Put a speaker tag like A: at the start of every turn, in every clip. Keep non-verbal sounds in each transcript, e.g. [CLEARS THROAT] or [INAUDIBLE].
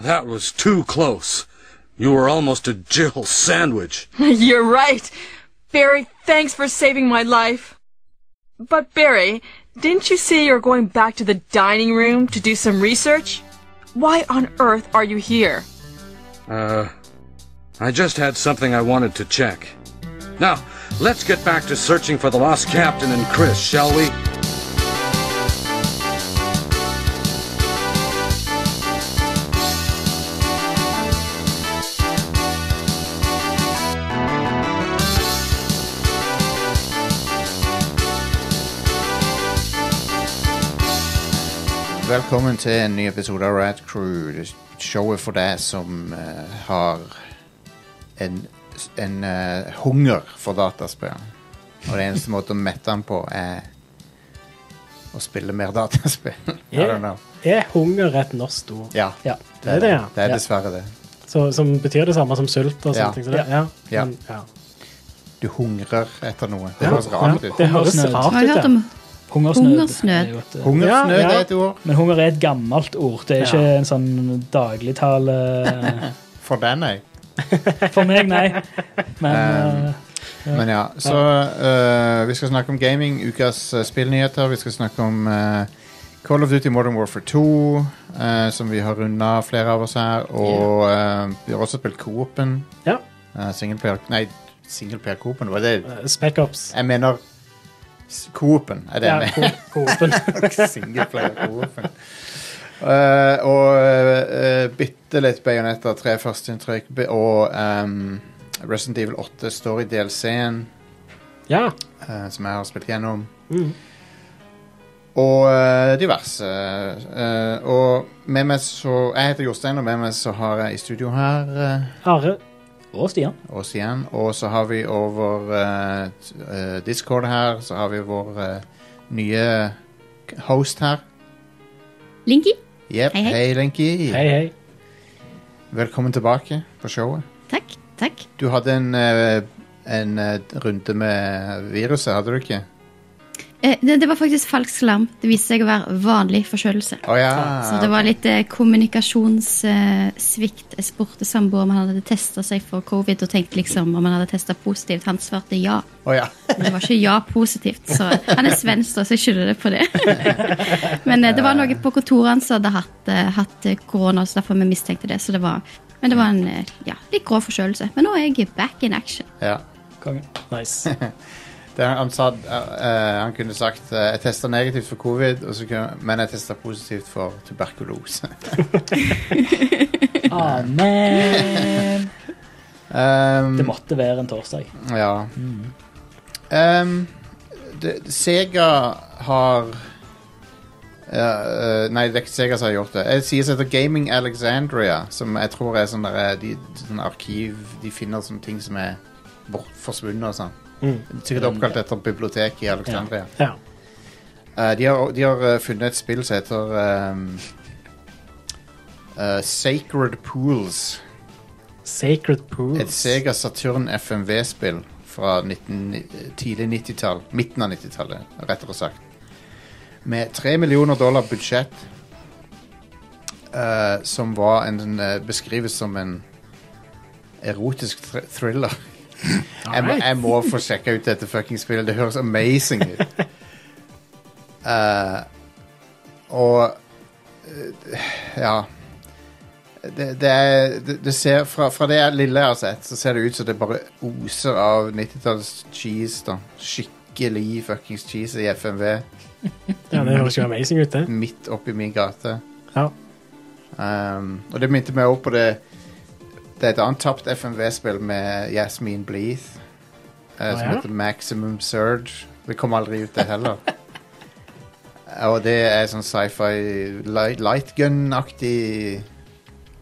A: That was too close. You were almost a Jill sandwich.
B: [LAUGHS] You're right. Barry, thanks for saving my life. But Barry, didn't you say you were going back to the dining room to do some research? Why on earth are you here?
A: Uh, I just had something I wanted to check. Now, let's get back to searching for the lost captain and Chris, shall we?
C: Velkommen til en ny episode av Rad Crew. Det er Showet for deg som eh, har en, en eh, hunger for dataspill. Og det eneste måten å mette den på er å spille mer dataspill. [LAUGHS] I
D: Er,
C: don't know.
D: er hunger et norsk ord?
C: Ja,
D: Ja, det er det, ja.
C: Det er
D: ja.
C: dessverre det.
D: Så, som betyr det samme som sult og
C: Ja.
D: sånne ting. Så det, ja.
C: Ja.
D: Men, ja.
C: Du hungrer etter noe. Det
D: Ja.
C: høres rart ut.
D: Det høres
E: Hungersnød.
D: rart
F: Har jeg hørt
D: ut, ja.
F: om
E: Hungersnød.
F: Hungersnød.
E: er jo et, eh,
C: Hungersnød
D: Ja, ja.
C: er et ord.
E: Men hunger er et gammelt ord. Det er ikke
D: Ja.
E: en sånn dagligtale eh,
C: For den, jeg.
E: For meg, nei. Men eh,
C: Men ja, så eh, vi skal snakke om gaming, ukas eh, spillnyheter. Vi skal snakke om eh, Call of Duty Modern Warfare 2, eh, som vi har runda flere av oss her. Og eh, vi har også spilt Coopen.
D: Ja.
C: Uh, singleplayer Nei, singleplayer Coopen, var det
D: Eh, Spec-Ops.
C: Jeg mener s- Coopen, er det
D: Ja,
C: jeg mener.
D: ko- kopen.
C: [LAUGHS] Singleplayer Coopen. Eh, og eh, eh, bitte litt Bajonetta 3 førsteinntrykk be- og um, Resident Evil 8 står i DLC-en.
D: Ja.
C: eh, som jeg har spilt gjennom.
D: Mm.
C: Og eh, diverse. eh, og med meg så Jeg heter Jostein, og med meg så har jeg i studio her eh,
D: Are.
E: Og Stian.
C: oss igjen. Og så har vi over eh, t- eh, Discord her, så har vi vår eh, nye k- host her.
F: Linky.
C: Jepp.
F: Hei,
C: Hei,
F: hei.
C: Lenki.
D: Hei, hei.
C: Velkommen tilbake på showet.
F: Takk. Takk.
C: Du hadde en, eh, en eh, runde med viruset, hadde du ikke?
F: Eh, det, det var faktisk falsk alarm. Det viste seg å være vanlig forkjølelse.
C: Å ja.
F: Så det var litt eh, kommunikasjonssvikt. Jeg spurte samboer om han hadde testa seg for covid, og tenkte liksom om han hadde testa positivt. Han svarte ja.
C: Å ja.
F: Men det var ikke ja positivt, så han er svensk, da, så jeg skylder det på det. [LAUGHS] Men eh, det var noe på kontoret hans som hadde hatt, eh, hatt eh, korona, så derfor vi mistenkte det. Så det var, men det var en eh, ja, litt grå forkjølelse. Men nå er jeg back in action.
C: ja.
E: Konge. Nice.
C: Det, han, sa, eh, eh, han kunne sagt eh, Jeg testa negativt for covid, og så kunne, men jeg testa positivt for tuberkulose. [LAUGHS]
E: Amen.
C: um,
E: Det måtte være en torsdag.
C: Ja. Um, det, Sega har eh, eh, Nei, det er ikke Sega som har gjort det. Det sies heter Gaming Alexandria, som jeg tror er sånn der, eh, de, sånn arkiv De finner sånne ting som er bort, forsvunnet og sånn. Sikkert oppkalt etter biblioteket i Alexandria.
D: Ja.
C: Eh, de har, de har eh, funnet et spill som heter ehm, eh, Sacred Pools.
D: Sacred Pools.
C: Et Sega Saturn FMV-spill fra 19, tidlig 90-tall. Midten av 90-tallet, rettere sagt. Med 3 millioner dollar budsjett. eh, som var en, eh, beskrives som en erotisk thr thriller. jeg, må, jeg må få sjekka ut dette fucking spillet. Det høres amazing ut. Eh, og eh, Ja. Det, det, er, det, det ser, fra, fra det jeg- lille jeg har sett, så ser det ut som det bare oser av 90-tallets cheese. da Skikkelig fuckings cheese i FMV
D: Ja, det høres jo amazing ut, det.
C: midt oppi min gate.
D: Ja.
C: Um, og det minte meg også på det Det er et annet tapt FMV-spill med Yasmin Bleeth. eh,
D: Å,
C: som
D: ja?
C: heter Maximum Surge. Det kom aldri ut, det
D: [LAUGHS]
C: heller. og det er sånn sci-fi light, light gun-aktig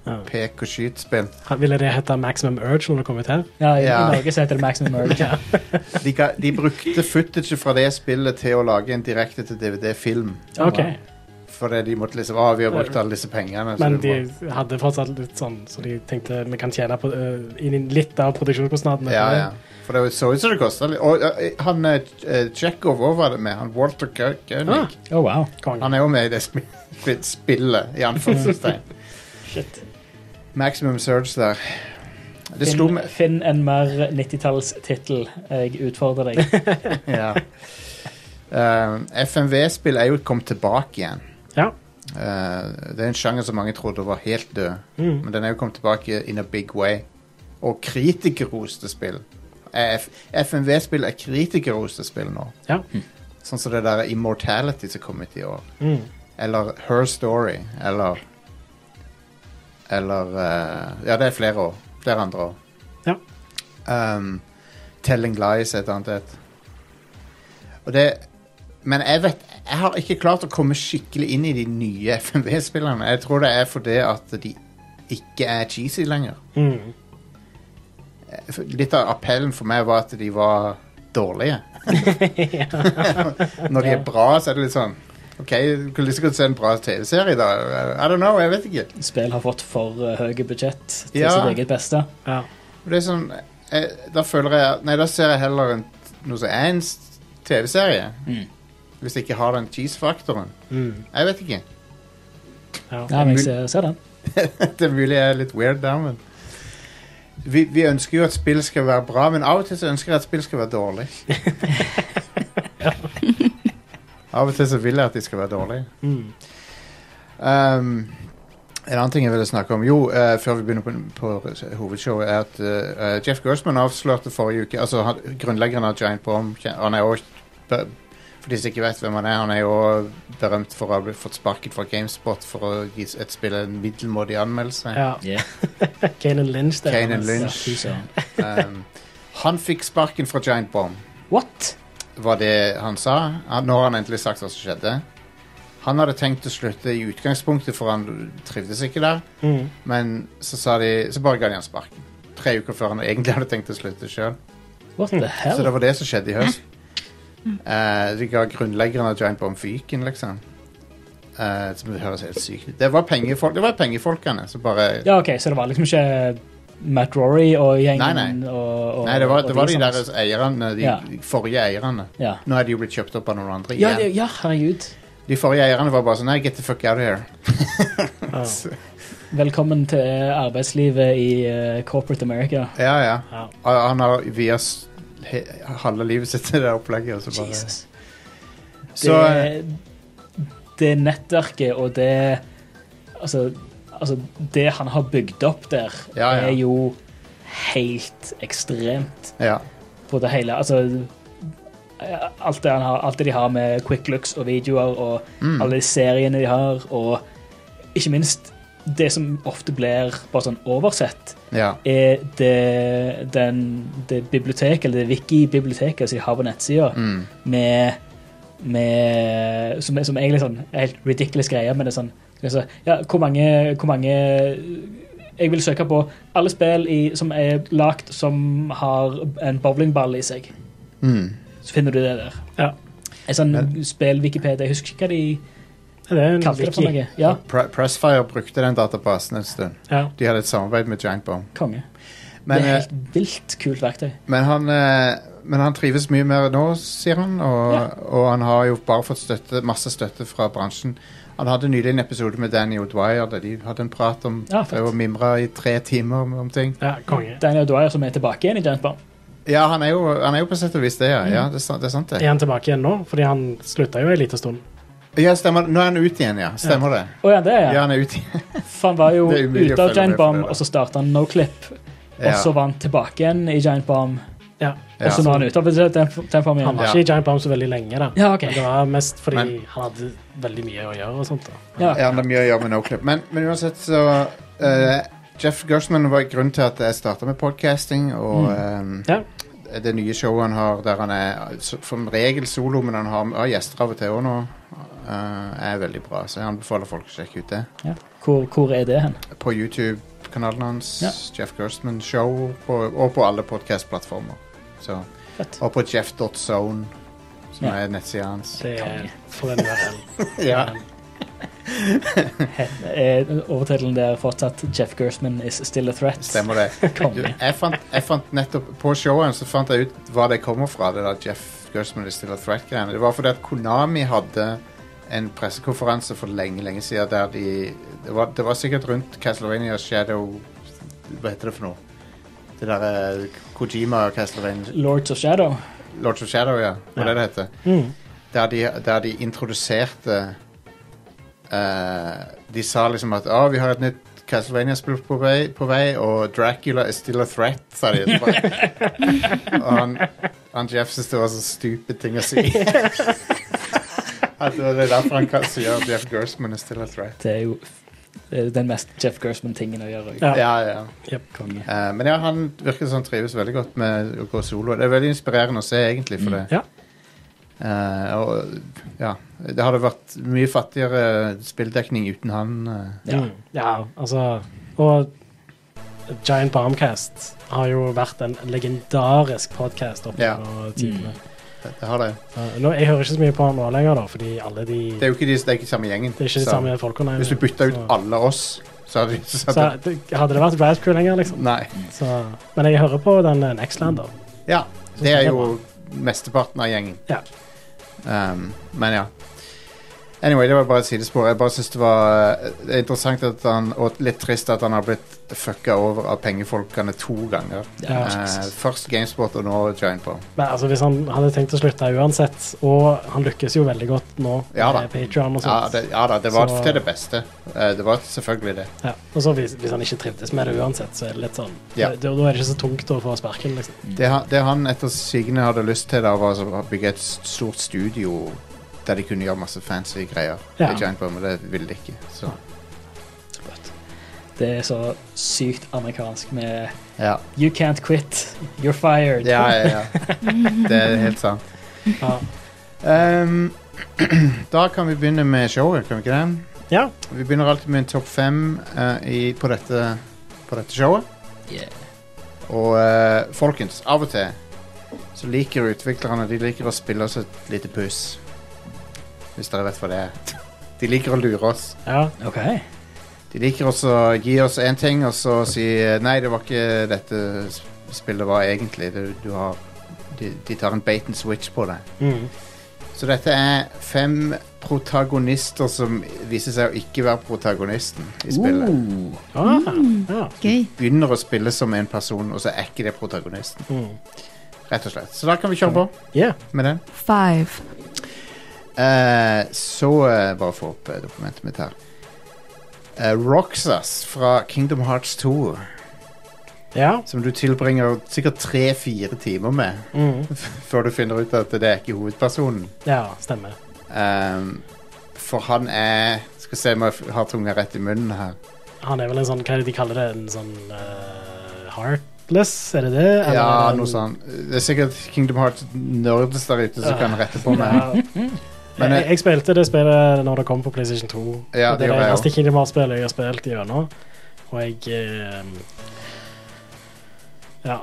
D: Ja.
C: pek og skyt-spill.
D: Ville det hete Maximum Urge når det kom ut her?
E: Ja, I
C: Ja.
E: i Norge så heter det Maximum Merge.
C: De, ga, de brukte footage fra det spillet til å lage en direkte til DVD-film.
D: Ok,
C: Fordi de måtte liksom Å, vi har brukt alle disse pengene. så
D: Men
C: du
D: de
C: må-
D: hadde fortsatt litt sånn, så de tenkte vi kan tjene på, eh, inn i litt av produksjonskostnadene.
C: Ja, ja. For det så ut som det kosta litt. Og eh, han eh, Tsjekhov òg var det med. Han Walter Ko- Koenig.
D: Ah,
E: Oh, wow.
D: konge. [LAUGHS]
C: Han er jo med i det sp spillet, i anførselstegn.
E: Shit.
C: Maximum Surge der. Det slo
E: Finn,
C: meg
E: finn en mer 90-tallstittel. Jeg utfordrer deg.
C: ja. Eh, FMV-spill er jo kommet tilbake igjen.
D: Ja.
C: Eh, det er en sjanger som mange trodde var helt død,
D: Mm.
C: men den er jo kommet tilbake in a big way. Og kritikerroste spill. Eh, F- FMV-spill er kritikerroste spill nå.
D: Ja.
C: Sånn som det der Immortality som kom ut i år.
D: Mm.
C: Eller Her Story. Eller Eller eh, Ja, det er flere år. Flere andre år.
D: Ja.
C: Um, Telling Lies er et annet et. Og det Men jeg vet Jeg har ikke klart å komme skikkelig inn i de nye FMV-spillerne. Jeg tror det er fordi at de ikke er cheesy lenger.
D: Mm.
C: For Litt av appellen for meg var at de var
D: [LAUGHS]
C: dårlige. Når de er bra, så er det litt sånn OK, du kunne lyst til å se en bra TV-serie, da. I don't know, jeg vet ikke.
E: Spill har fått for eh, høye budsjett til
C: Ja.
E: sitt eget beste.
D: Ja.
C: Og Det er sånn, eh, da føler jeg Nei, da ser jeg heller en, noe som er en s- TV-serie.
E: Mm.
C: Hvis jeg ikke har den cheese-faktoren.
D: Mm.
C: Jeg vet ikke. [LAUGHS]
D: Ja.
E: Ja, men jeg ser, ser den.
C: det er mulig jeg er litt weird der, men vi, vi ønsker jo at spill skal være bra, men av og til så ønsker jeg at spill skal være dårlig. av og til så vil jeg at de skal være dårlige.
D: Mm.
C: Um, en annen ting jeg ville snakke om, jo, eh, før vi begynner på, på hovedshowet, er at eh, Jeff Gersman avslørte forrige uke Altså han, grunnleggeren av Giant Bomb. kjen- Han er også be- For de som ikke vet hvem han er, han er jo også berømt for å ha blitt- fått sparket fra GameSpot for å gi et spill en middelmådig anmeldelse.
D: ja.
E: Yeah.
D: Kane Lynch, det.
C: Kane and
D: hans-
C: Lynch.
E: Fy søren.
C: Um, han fikk sparken fra Giant Bomb,
D: What?
C: var det han sa. Han, nå har han endelig sagt hva som skjedde. Han hadde tenkt å slutte i utgangspunktet, for han trivdes ikke der.
D: Mm.
C: Men så, sa de, så bare ga de han sparken. Tre uker før han egentlig hadde tenkt å slutte sjøl.
E: What the
C: Så det
E: hell?
C: var det som skjedde i høst. Eh, de ga grunnleggeren av Giant Bomb fyken, liksom. Eh, som det høres helt sykt ut. Det var pengefolk, det var pengefolkene som bare
E: Ja, OK, så det var liksom ikke Matt Rory og gjengen
C: Nei, nei.
E: Og, og,
C: Nei, det var,
E: og
C: det var de
E: som-
C: der eierne, de,
E: Ja.
C: de forrige eierne.
E: Ja.
C: Nå er de jo blitt kjøpt opp av noen andre
E: Ja, det,
C: igjen.
E: ja, herregud.
C: De forrige eierne var bare sånn Nei, get the fuck out of here.
D: Ja.
C: Så-
E: Velkommen til arbeidslivet i eh, corporate America.
C: Ja, ja.
D: Ja.
C: Og Han har via s- he, halve livet sitt til det opplegget. Og så bare,
E: Jesus.
C: Så, eh,
E: det, det nettverket og det altså, altså, det han har bygd opp der,
C: Ja, ja.
E: er jo helt ekstremt
C: ja.
E: på det hele. Altså eh, Alt det, han har, alt det de har med quick looks og videoer, og
C: Mm.
E: alle de seriene de har, og ikke minst det som ofte blir bare sånn oversett,
C: ja.
E: er det, den, det biblioteket, eller det wiki-biblioteket som de har på nettsida,
C: Mm.
E: med, med som, som egentlig sånn er helt ridiculous greier, men det er sånn altså, ja, hvor, mange, hvor mange Jeg vil søke på alle spill i, som er lagd som har en bowlingball i seg.
C: Mm.
E: Så finner du det der.
D: Ja.
E: En sånn
C: Men-
E: spill-Wikipedia. Jeg husker ikke hva de
D: Det er en
E: kalte det for
D: wiki.
E: noe. Ja,
C: Pre Pressfire brukte den databasen en stund.
D: Ja.
C: De hadde et samarbeid med Giant Bomb.
E: konge.
C: Men,
E: det er
C: eh,
E: helt vilt kult verktøy.
C: men, han, eh, men han trives mye mer nå, sier han. Og,
E: Ja.
C: og han har jo bare fått støtte, masse støtte fra bransjen. Han hadde nylig en episode med Danny O'Dwyer der de hadde en prat om
E: Ja, fett.
C: drev og mimra i tre timer om, om ting.
D: ja, konge.
E: Daniel Dwyer som er tilbake igjen i Giant Bomb.
C: Ja, han er jo, han er jo på sett og vis det,
E: Mm.
C: ja. ja det, er sant- det er sant,
D: Er
C: det.
D: han tilbake igjen nå? Fordi han slutta jo en liten stund.
C: Ja, stemmer det. Nå er han ute igjen, ja. Stemmer det.
E: Å ja, det er
C: Ja,
E: ja.
C: han [LAUGHS] er ute igjen.
E: For han var jo
C: Det er umulig å
E: ute av
C: følge med
E: Giant
C: på
E: Bomb,
C: det, da.
E: og så starta han Noclip. Og
C: Ja.
E: så var han tilbake igjen i Giant Bomb.
D: Ja.
E: Og så nå er han ute av den, den formen
D: Han
E: igjen.
D: var
C: Ja.
D: ikke i Giant Bomb så veldig lenge, da.
E: Ja, ok.
D: Men det var mest fordi
C: Men-
D: han hadde veldig mye å gjøre og sånt. da.
E: Ja.
C: Ja, det er mye å gjøre med Noclip. Men, men uansett, så eh, Jeff Gersman var grunnen til at jeg starta med podcasting. Og
E: Mm.
C: eh,
D: Ja.
C: det nye showet han har der han er eh, so- som regel solo, men han har har gjester av og til òg nå, eh, er veldig bra. Så jeg anbefaler folk å sjekke ut det.
E: Ja. Hvor, hvor er det hen?
C: På YouTube-kanalen hans,
E: Ja.
C: Jeff Gersman Show, på, og på alle podcast-plattformer. Så-
E: Fett.
C: Og på jeff.zone, som
E: Ja.
C: er nettsida hans.
D: Det er
E: Konge.
D: for en URL.
C: Ja.
E: Er overtittelen der fortsatt 'Jeff Gersman is still a threat'?
C: Stemmer det. Du,
E: Konge.
C: jeg, fant, jeg fant nettopp På showet så fant jeg ut hva det kommer fra, det der Jeff Gersman is still a threat-greiene. Det var fordi at Konami hadde en pressekonferanse for lenge, lenge siden der de Det var, det var sikkert rundt Castlevania Shadow Hva heter det for noe? Det derre Kojima og Castlevania
E: Lords of Shadow.
C: Lords of Shadow, ja. Hva er det det heter?
D: Mm.
C: der de, der de introduserte eh, De sa liksom at ah, vi har et nytt Castlevania-spill på, vei- på vei, og Dracula is still a threat, sa de. etterpå.
D: [LAUGHS]
C: og han, han Jeff syntes det var så stupid ting å si. at det var- det er derfor han kan- sier at Jeff Gersman is still a threat.
E: Det er jo det er den mest Jeff Gersman-tingen å gjøre.
D: Ja.
C: Ja, ja.
D: Jep.
E: Konge.
C: Eh, men ja, han virker som han trives veldig godt med å gå solo. Det er veldig inspirerende å se, egentlig, for det.
D: Mm, Ja.
C: Eh, og, ja. Det hadde vært mye fattigere spilldekning uten han. eh.
E: [LAUGHS] Ja.
D: Mm. ja, altså Og Giant Bombcast har jo vært en legendarisk podkast opp
C: Ja.
D: gjennom tidene.
E: Mm.
C: Det, det har det.
D: Uh, nå- Jeg hører ikke så mye på han nå lenger, da, fordi alle de
C: Det er jo ikke, de, det er ikke samme gjengen.
D: Det er ikke de
C: så
D: samme folka, nei.
C: Hvis du bytta ut
D: så-
C: alle oss, så hadde de så
D: så,
C: hadde,
D: det- Hadde det vært Rad Crew lenger, liksom.
C: Nei.
D: Så, men jeg hører på den eh, Nextlander.
C: Ja,
D: Så
C: det er
D: det
C: jo mesteparten av gjengen.
D: Ja.
C: Um, men ja. Anyway, det var bare et sidespor. Jeg bare synes det var eh, det er interessant at han, og litt trist at han har blitt fucka over av pengefolkene to ganger.
D: Ja.
C: Eh, først Gamespot og nå Giant Bomb.
D: Men altså, hvis han hadde tenkt å slutte uansett, og han lykkes jo veldig godt nå
C: Ja da.
D: med Patreon og
C: Ja,
D: sånt,
C: det, ja da, det var
D: Så-
C: til det beste. Eh, det var selvfølgelig det.
D: Ja. Og så hvis, hvis han ikke trivdes med det uansett, så er det litt sånn
C: Ja.
D: da, da er det ikke så tungt å få sparken, liksom.
C: Det, han- det han etter sigende hadde lyst til, da, var altså å bygge et s- stort studio der de kunne gjøre masse fancy greier.
D: Ja.
C: Det Giant Bomb, men det ville de ikke. Så.
E: Det er så sykt amerikansk med
C: Ja.
E: You can't quit, you're fired.
C: ja, ja, ja. Det er helt sant.
D: [LAUGHS] Ja.
C: Ehm, [CLEARS THROAT] da kan vi begynne med showet, kan vi ikke det?
D: Ja.
C: Vi begynner alltid med en topp fem eh, i, på, dette, på dette showet.
E: Yeah.
C: Og eh, folkens, av og til så liker utviklerne De liker å spille oss et lite puss. Hvis dere vet hva det er. De liker å lure oss.
D: ja.
E: Ok.
C: De liker også å gi oss én ting, og så si Nei, det var ikke dette sp- spillet var egentlig. Du, du har, de, de tar en bait and switch på deg.
D: Mm.
C: Så dette er fem protagonister som viser seg å ikke være protagonisten i spillet.
E: Uh,
D: Ah, ja.
F: Gøy.
C: Begynner å spille som en person, og så er ikke det protagonisten.
D: Mm.
C: Rett og slett. Så da kan vi kjøre på
D: Yeah.
C: med den.
B: Five.
C: Eh, så eh, bare få opp eh, dokumentet mitt her. Eh, Roxas fra Kingdom Hearts 2,
D: Ja.
C: som du tilbringer sikkert tre-fire timer med
D: Mm.
C: før du finner ut at det er ikke hovedpersonen.
D: ja, stemmer.
C: Ehm, for han er Skal se om jeg f- har tunga rett i munnen her.
D: Han er vel en sånn, hva er det de kaller det, en sånn eh, heartless, er det det? Eller
C: Ja,
D: en-
C: noe sånn. sånt. Det er sikkert Kingdom Hearts-nerds der ute som kan rette på meg.
D: Ja.
C: Men
D: jeg,
C: jeg-
D: jeg spilte det spillet når det kom på PlayStation 2.
C: Ja, det
D: det er
C: gjorde
D: det
C: jeg
D: eneste
C: også.
D: Kingdom Hearts-spillet jeg har spilt gjennom. Og jeg eh, Ja.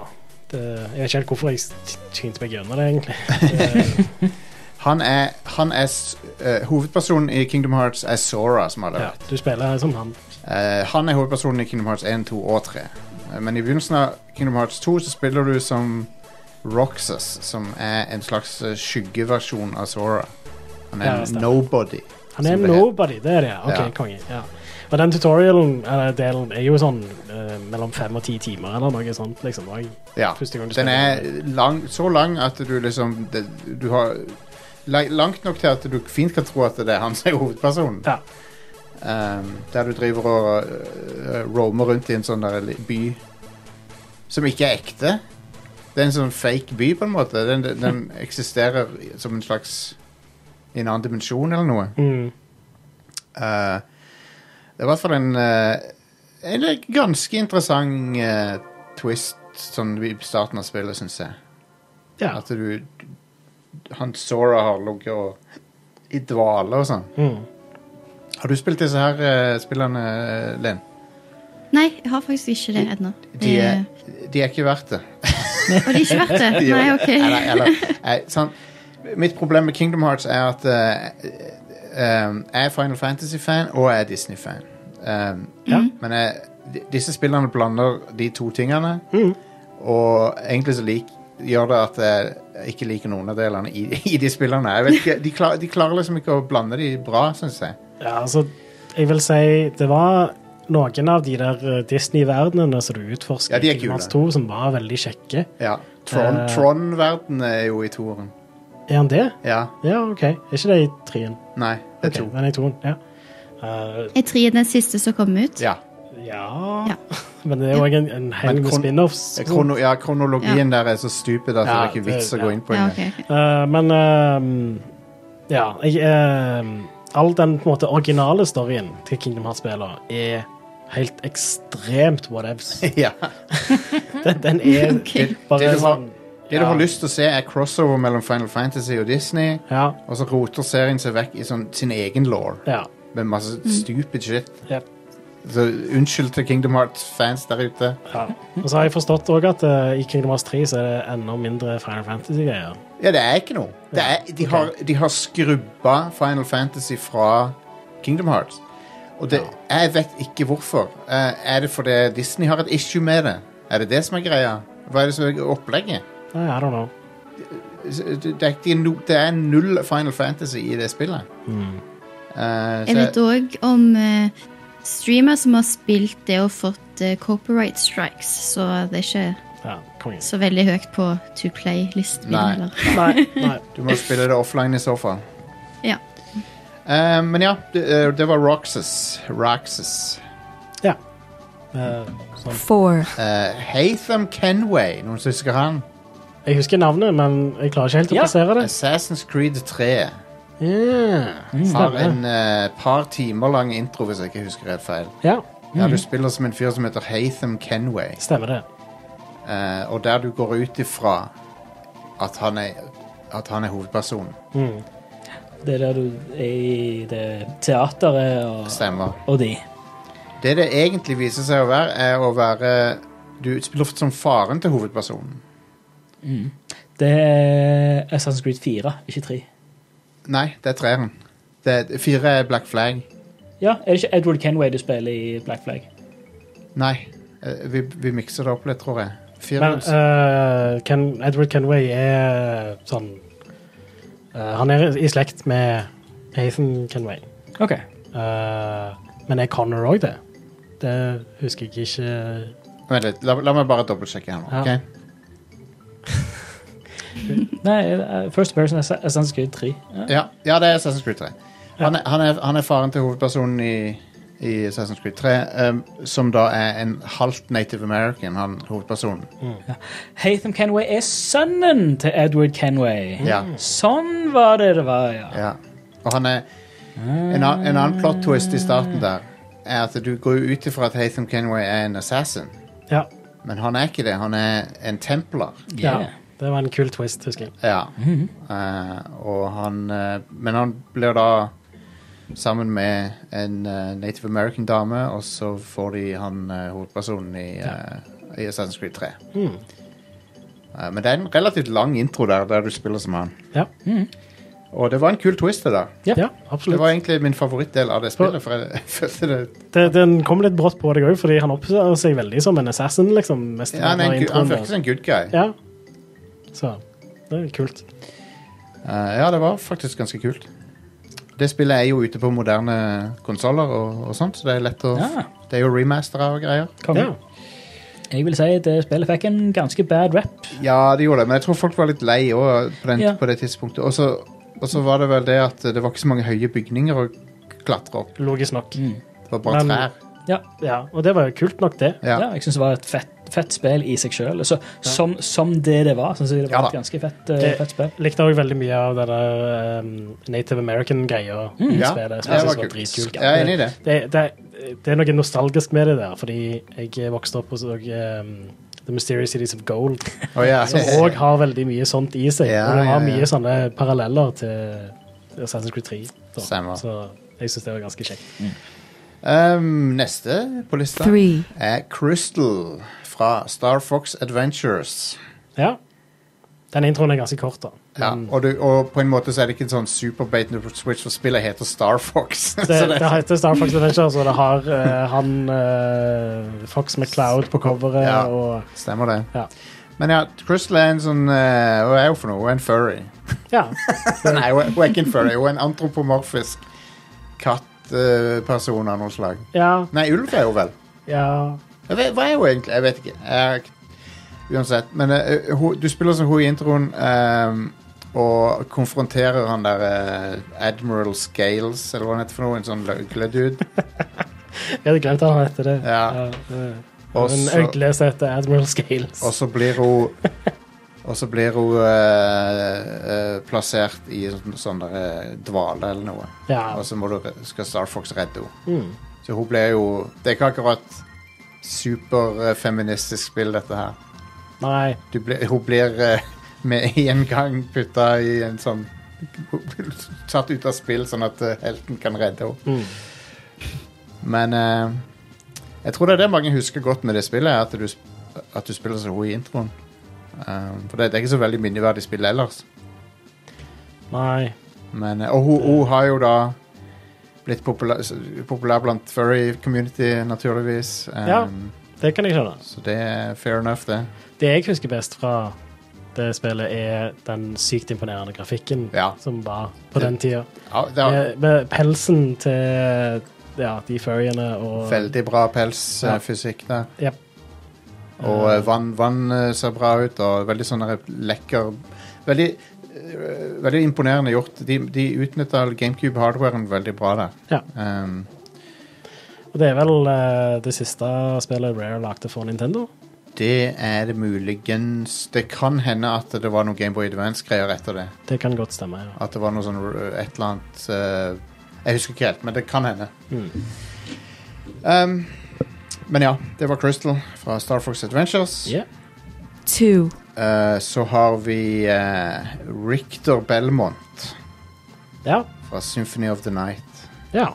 D: Det, jeg vet ikke helt hvorfor jeg s- kjente meg gjennom det,
C: [LAUGHS]
D: eh, egentlig.
C: Han er, han er s- eh, Hovedpersonen i Kingdom Hearts er Sora, som
D: Eh,
C: alle
D: ja,
C: vet.
D: du spiller som han.
C: Eh, han er hovedpersonen i Kingdom Hearts 1, 2 og 3. Eh, Men i begynnelsen av Kingdom Hearts 2 så spiller du som Roxas, som er en slags eh, skyggeversjon av Sora. Han er
D: Ja,
C: en
D: stemmer.
C: nobody.
D: Han er
C: som det
D: nobody, det er det, ja. Ok,
C: Ja.
D: konge. Ja. Og den tutorialen eller delen er jo sånn eh, mellom fem og ti timer eller noe sånt. liksom. Og jeg,
C: Ja.
D: første gang du
C: Den er
D: spiller.
C: lang, så lang at du liksom det, Du har la- Langt nok til at du fint kan tro at det er han som er hovedpersonen.
D: Ja.
C: Um, der du driver og øh, roamer rundt i en sånn der li- by som ikke er ekte. Det er en sånn fake by, på en måte. Den, den, den eksisterer i- som en slags I en annen dimensjon eller noe.
D: Mm.
C: Eh, det er i hvert fall en eh, En ganske interessant eh, twist sånn i starten av spillet, syns jeg.
D: ja.
C: At du Han Sora har ligget og i dvale og sånn.
D: Mm.
C: Har du spilt disse her eh, spillene, Linn?
F: Nei, jeg har faktisk ikke det ennå.
C: De
F: Det-
C: er, de er ikke verdt det.
F: Og det er ikke verdt det?
C: [LAUGHS] De er-
F: Nei, OK.
C: eller, eller, nei, sånn. Mitt problem med Kingdom Hearts er at eh, eh, jeg er Final Fantasy-fan og jeg er Disney-fan. Um, Men jeg, di- disse spillene blander de to tingene. Og egentlig så lik, gjør det at jeg ikke liker noen av delene i, i de spillene. Jeg vet ikke, de, klar, de klarer liksom ikke å blande de bra, syns jeg.
D: Ja, altså, jeg vil si det var noen av de der eh, Disney-verdenene som du utforsker
C: Ja, de er
D: i Kingdom Hearts
C: kule.
D: 2, som var veldig kjekke.
C: Ja. Tron-
D: Eh.
C: Tron-verden er jo i toeren.
D: Er han det?
C: Ja.
D: Ja, OK. Er ikke det i treen?
C: Nei, det er
D: Ok,
C: to.
D: Den er i toen, ja. Eh,
F: Er tre den siste som kom ut?
C: Ja.
D: ja.
F: Ja.
D: [LAUGHS] Men det er òg en, en hel
C: Men
D: med
C: kron-
D: spin-offs.
C: Krono, ja, kronologien der er så stupid at det
D: Ja,
C: er ikke vits
D: det-
C: å gå
D: ja.
C: inn på
F: Ja,
C: engang.
F: ok, ok.
D: Eh, men ehm, ja, jeg, ehm, all den på en måte originale storyen til Kingdom Hearts-spillene er helt ekstremt whatevs.
C: [LAUGHS] Ja.
D: Den, den er
F: Ok.
D: bare
C: Det du har-
D: sånn
C: Det du har lyst til å se, er crossover mellom Final Fantasy og Disney,
D: Ja.
C: og så roter serien seg vekk i sånn, sin egen law
D: ja.
C: med masse
D: Mm.
C: stupid shit.
D: ja.
C: Så unnskyld til Kingdom Hearts-fans der ute.
D: ja. Og så har jeg forstått òg at eh, i Kingdom Hearts 3 så er det enda mindre Final Fantasy-greier.
C: Ja, det er ikke noe. Det er, de, har, de har skrubba Final Fantasy fra Kingdom Hearts. Og det, jeg vet ikke hvorfor. Eh, er det fordi Disney har et issue med det? Er det det som er greia? Hva er det som er opplegget?
D: Nei, I don't know.
C: S- Det det er, ikke no, det er null Final Fantasy i det spillet. Eh, så
F: Jeg vet òg om eh, streamer som har spilt det og fått eh, copyright strikes, så det er ikke
D: Ja, konge.
F: så veldig høyt på to play-listen min
C: Nei.
F: heller.
D: [LAUGHS] Nei, nei.
C: du må spille det offline i så fall.
F: Ja.
C: Eh, men ja, det, eh, det var Roxas. Roxas.
D: Ja. Eh, sånn.
B: Four.
C: Eh, Haytham Kenway, noen som husker han?
D: Jeg husker navnet, men jeg klarer ikke helt å
E: Ja.
D: plassere det.
C: Assassin's Creed 3.
D: Ja,
C: Har
D: stemmer.
C: en eh, par timer lang intro, hvis jeg ikke husker helt feil.
D: Ja,
C: Ja, Du spiller som en fyr som heter Haytham Kenway,
D: stemmer det.
C: eh, og der du går ut ifra at han er, at han er hovedpersonen.
E: Det er der du er i det teateret og,
C: Stemmer.
E: og de.
C: Det det egentlig viser seg å være, er å være Du spiller ofte som faren til hovedpersonen.
E: Det er Assassin's Creed 4, ikke 3.
C: Nei, det er treeren. Det er- Fire er Black Flag.
E: Ja, er det ikke Edward Kenway du spiller i Black Flag?
C: Nei, eh, vi, vi mikser det opp litt, tror jeg. Fire,
D: Men eh, Ken, Edward Kenway er sånn eh, Han er i slekt med Nathan Kenway.
E: OK.
D: Eh, men er Connor òg det? Det husker jeg ikke.
C: Vent litt, la, la meg bare dobbeltsjekke her nå.
D: eh, Ja.
C: ok?
E: Nei, eh, First Person Ass- Assassin's Creed 3. Ja.
C: Ja, ja det er Assassin's Creed 3. Han er, han er, han er faren til hovedpersonen i, i Assassin's Creed 3, um, som da er en halvt native american, han hovedpersonen.
E: Hatham Kenway er sønnen til Edward Kenway.
D: Mm.
C: Ja.
E: Sånn var det det var, ja.
C: Ja. Og han er en, an- en annen plot twist i starten der er at du går jo ut ifra at Hatham Kenway er en assassin,
D: Ja,
C: men han er ikke det. Han er en templar.
D: ja.
E: Yeah.
D: Det var en kul twist, husker jeg.
C: Ja. Eh, og han eh, Men han blir da sammen med en eh, native american dame, og så får de han eh, hovedpersonen i, eh, i Assassin's Creed 3. Eh, men det er en relativt lang intro der, der du spiller som han.
D: Ja,
C: Og det var en kul twist, det der.
D: ja.
C: Det
D: absolutt.
C: var egentlig min favorittdel av det spillet, for jeg [LAUGHS] følte det
D: Det, den kom litt brått på deg òg, fordi han oppfører seg veldig som en assassin. liksom. mest
C: ja, han, er en, gu-
D: av
C: han
D: introen. altså.
C: virker som en good guy.
D: Ja. Så det er kult.
C: Eh, ja, det var faktisk ganske kult. Det spillet er jo ute på moderne konsoller og, og sånt, så det er lett å
E: Ja.
C: Det er jo remastera og greier.
E: Konge.
D: Ja.
E: Jeg vil si at det spillet fikk en ganske bad rap.
C: Ja, det gjorde det, men jeg tror folk var litt lei også på, den,
E: Ja.
C: på det tidspunktet. Og så- Og så var det vel det at det var ikke så mange høye bygninger å klatre opp.
D: Logisk nok.
C: Det var bare
D: Men-
C: trær.
E: Ja,
D: Ja, Og det var jo kult nok, det.
E: ja.
C: Ja.
E: jeg syns det var et fett, fett spill i seg sjøl. Så, som, som det det var, syns jeg det
C: Ja
E: var
C: da.
E: et ganske fett, eh,
D: Det-
E: fett spill.
D: Likte òg veldig mye av denne Native American-greia. i
E: Mm.
C: Ja,
D: spillet.
C: det
D: Jeg synes
C: var
D: det var
C: kult.
D: dritkult.
C: Jeg er enig i det.
D: Det, det, det er noe nostalgisk med det der, fordi jeg vokste opp hos og, ehm, The Mysterious Cities of Gold,
C: Å, ja.
D: som òg har veldig mye sånt i seg.
C: Eh, Ja,
D: og det har
C: ja, ja.
D: mye sånne paralleller til Assassin's Creed 3. da.
C: Stemmer.
D: Så jeg syns det var ganske kjekt.
C: Um, neste på lista
B: Three.
C: er Crystal fra Star Fox Adventures.
D: Ja. Den introen er ganske kort, da.
C: Ja, Mm. og, du, og på en måte så er det ikke en sånn superbait på Switch, for spillet heter Star Fox. [LAUGHS] Så
D: Det,
C: det-
D: det heter Star Fox Adventures, og det har eh, han eh, Fox McCloud på coveret.
C: Ja.
D: og
C: Stemmer det.
D: Ja.
C: Men ja, Crystal er en sånn eh, Hva er hun for noe? Hun er en furry.
D: Ja.
C: Nei, hun er hun er ikke en furry. Hun er en antropomorfisk kattperson av noe slag.
D: Ja.
C: Nei, ulv er hun vel.
D: ja.
C: Jeg vet, hva er hun egentlig? Jeg vet ikke. Jeg, uansett. Men eh, hun, du spiller som hun i introen ehm, og konfronterer han der eh, Admiral Scales, eller hva han heter for noe. En sånn løgledude.
D: Jeg hadde glemt at han hette det.
C: Ja.
D: det-
C: Og
D: Men
C: så-
D: Øgles heter Admiral Scales.
C: Og så blir hun Og så blir hun eh, eh, plassert i en sånn- sånn der, eh, dvale eller noe.
D: Ja.
C: Og så må du, re- skal Star Fox redde henne.
D: Mm.
C: Så hun ble jo Det er ikke akkurat superfeministisk spill, dette her.
D: Nei.
C: Du ble, hun blir eh, med [LAUGHS] en gang putta i en sånn Satt ut av spill, sånn at eh, helten kan redde henne.
D: Mm.
C: Men eh, jeg tror det er det mange husker godt med det spillet, er at du, sp- at du spiller som hun i introen. Um, for det, det er ikke så veldig minneverdig spill ellers.
D: Nei.
C: Men, eh, og hun, hun har jo da blitt populær, s- populær blant furry-community, naturligvis. Um,
D: Ja. Det kan jeg skjønne.
C: Så det er fair enough, det.
D: Det jeg husker best fra det spillet, er den sykt imponerende grafikken
C: Ja.
D: som var på
C: Det-
D: den tida.
C: Ja, det er
D: Med, med pelsen til ja, de furryene og
C: veldig bra
D: Ja.
C: pelsfysikk der.
D: Jep.
C: Og eh, vann, vann eh, ser bra ut, og veldig sånn der lekker Veldig, eh, veldig imponerende gjort. De, de utnytta GameCube-hardwaren veldig bra der.
D: Ja.
C: Um,
D: Og det er vel eh, det siste spillet Rare lagde for Nintendo.
C: det er det muligens Det kan hende at det var noe Gameboy Advance-greier etter det.
D: Det kan godt stemme. ja.
C: At det var noe sånn eh, et eller annet eh, Jeg husker ikke helt, men det kan hende.
D: Mm.
C: Um, men ja, det var Crystal fra Star Fox Adventures.
D: Yeah.
B: Two.
C: Eh, så har vi eh, Richter Belmont
D: Ja.
C: fra Symphony of the Night.
D: ja.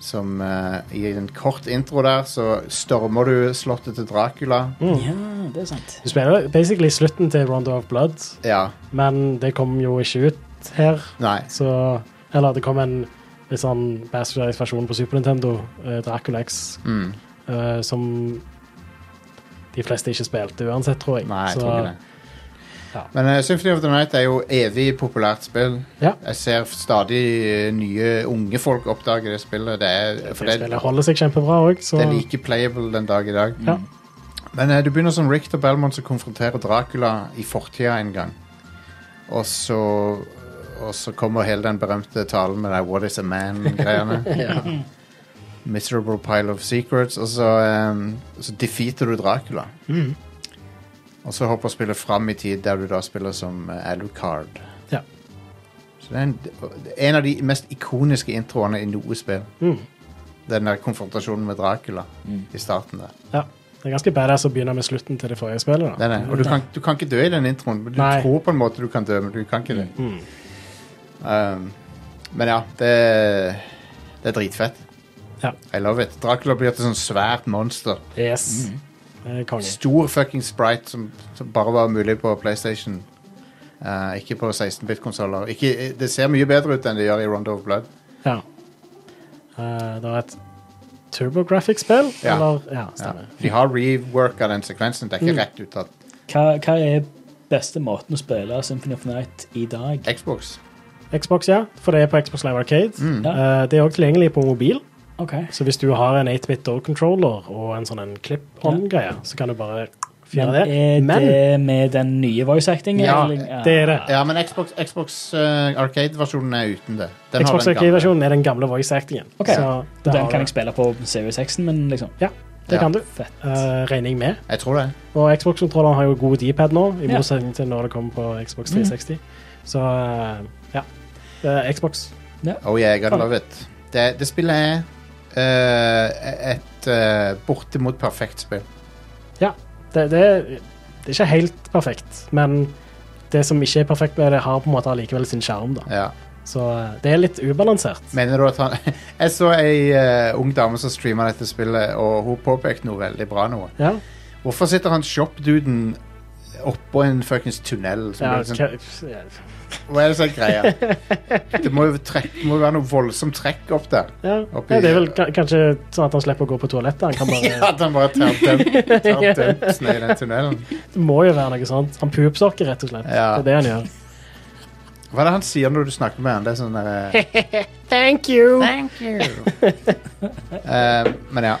C: Som eh, i en kort intro der, så stormer du slottet til Dracula.
E: Ja, det er sant.
D: Mm. Du spiller basically slutten til Rondo of Blood,
C: Ja.
D: men det kom jo ikke ut her.
C: Nei.
D: Så Eller det kom en litt sånn bastardized versjon på Super Nintendo, eh, Dracula X,
C: Mm.
D: eh, som de fleste ikke spilte uansett, tror jeg.
C: Nei, jeg
D: så,
C: tror ikke det.
D: ja.
C: Men eh, Symphony of the Night er jo evig populært spill.
D: Ja.
C: Jeg ser stadig eh, nye unge folk oppdage det spillet. Det er, for
D: det
C: det,
D: spillet holder seg kjempebra òg, så
C: det er like Mm. playable den dag i dag.
D: Ja.
C: Men eh, du begynner som Richter Belmont som konfronterer Dracula i fortida en gang. Og så, og så kommer hele den berømte talen med deg What is a man-greiene.
D: [LAUGHS]
C: Miserable pile of secrets. Og så, um, så defeater du Dracula.
D: Mm.
C: Og så hopper spillet fram i tid, der du da spiller som eh, Alucard.
D: Ja.
C: Så det er en, en av de mest ikoniske introene i noe spill.
D: Mm.
C: Den der konfrontasjonen med Dracula i starten der.
D: ja. Det er ganske badass å begynne med slutten til det forrige spillet. da.
C: Nei, nei. Og du kan, du kan ikke dø i den introen. men Du
D: Nei.
C: tror på en måte du kan dø, men du kan ikke det.
D: Mm.
C: Um, men ja, det, det er dritfett.
D: Ja.
C: I love it. Dracula blir et sånn svært monster.
D: Yes.
C: Mm.
D: Eh, Konge.
C: Stor fucking sprite som, som bare var mulig på PlayStation. Uh, ikke på 16-bit-konsoller. Det ser mye bedre ut enn det gjør i Rondo of Blood.
D: Ja. Eh, det var et turbographic-spill,
C: Ja.
D: eller Ja,
C: Ja.
D: stemmer.
C: De har reworka den sekvensen. Det er
D: Mm.
C: ikke rett ut av
E: Hva, hva er beste måten å spille Symphony of the Night i dag?
C: Xbox.
D: Xbox, ja. For det er på Xbox Live Arcade.
C: Mm.
D: Eh, det er òg tilgjengelig på mobil.
E: Ok.
D: Så hvis du har en 8-bit door-controller og en sånn en clip-on-greie, så kan du bare
E: Men
D: fjerne det.
E: er det
D: Men
E: med den nye voice actingen?
C: Ja,
E: eller-
D: det er det.
C: Ja, men Xbox, Xbox eh, Arcade-versjonen er uten det. Den har
D: Xbox
C: den gamle.
D: Arcade-versjonen er den gamle voice-actingen.
E: Ok.
D: Så det
E: Den
D: har du.
E: kan jeg spille på Series X-en, men liksom
D: Ja, det
C: Ja.
D: kan du.
E: Fett.
D: Eh, regner jeg med.
C: Jeg tror det.
D: Og Xbox-kontrolleren har jo god D-pad nå, i
E: Ja. Mm.
D: motsetning til når det kommer på Xbox 360. Så eh, ja. Det er Xbox.
C: Oh yeah, I gotta
E: Fan.
C: love it. Det, det spillet er eh, et eh, bortimot perfekt spill.
D: Det, det, er- det er ikke helt perfekt, men det som ikke er perfekt med det, har på en måte allikevel sin sjarm. da.
C: Ja.
D: Så eh, det er litt ubalansert.
C: Mener du at han [LAUGHS] Jeg så ei eh, ung dame som streama dette spillet, og hun påpekte noe veldig bra. noe
D: Ja.
C: Hvorfor sitter han shop-duden oppå en fuckings tunnel. Så
D: Ja,
C: blir det sånn,
D: hva- ja.
C: hva er det som er greia? Det må jo trekk, det må jo være noe voldsomt trekk opp der.
D: Ja.
C: Oppi-
D: ja, det er vel ka- kanskje sånn at han slipper å gå på toalettet. Han kan
C: [LAUGHS] Ja,
D: bare,
C: at han bare tar dump- tar dumpsen i den tunnelen.
D: det må jo være noe sånt. Han pupsokker, rett og slett.
C: Ja.
D: Det er det han gjør.
C: Hva er det han sier når du snakker med han? Det er sånn der,
D: Thank you!
C: Thank you. Eh, men ja.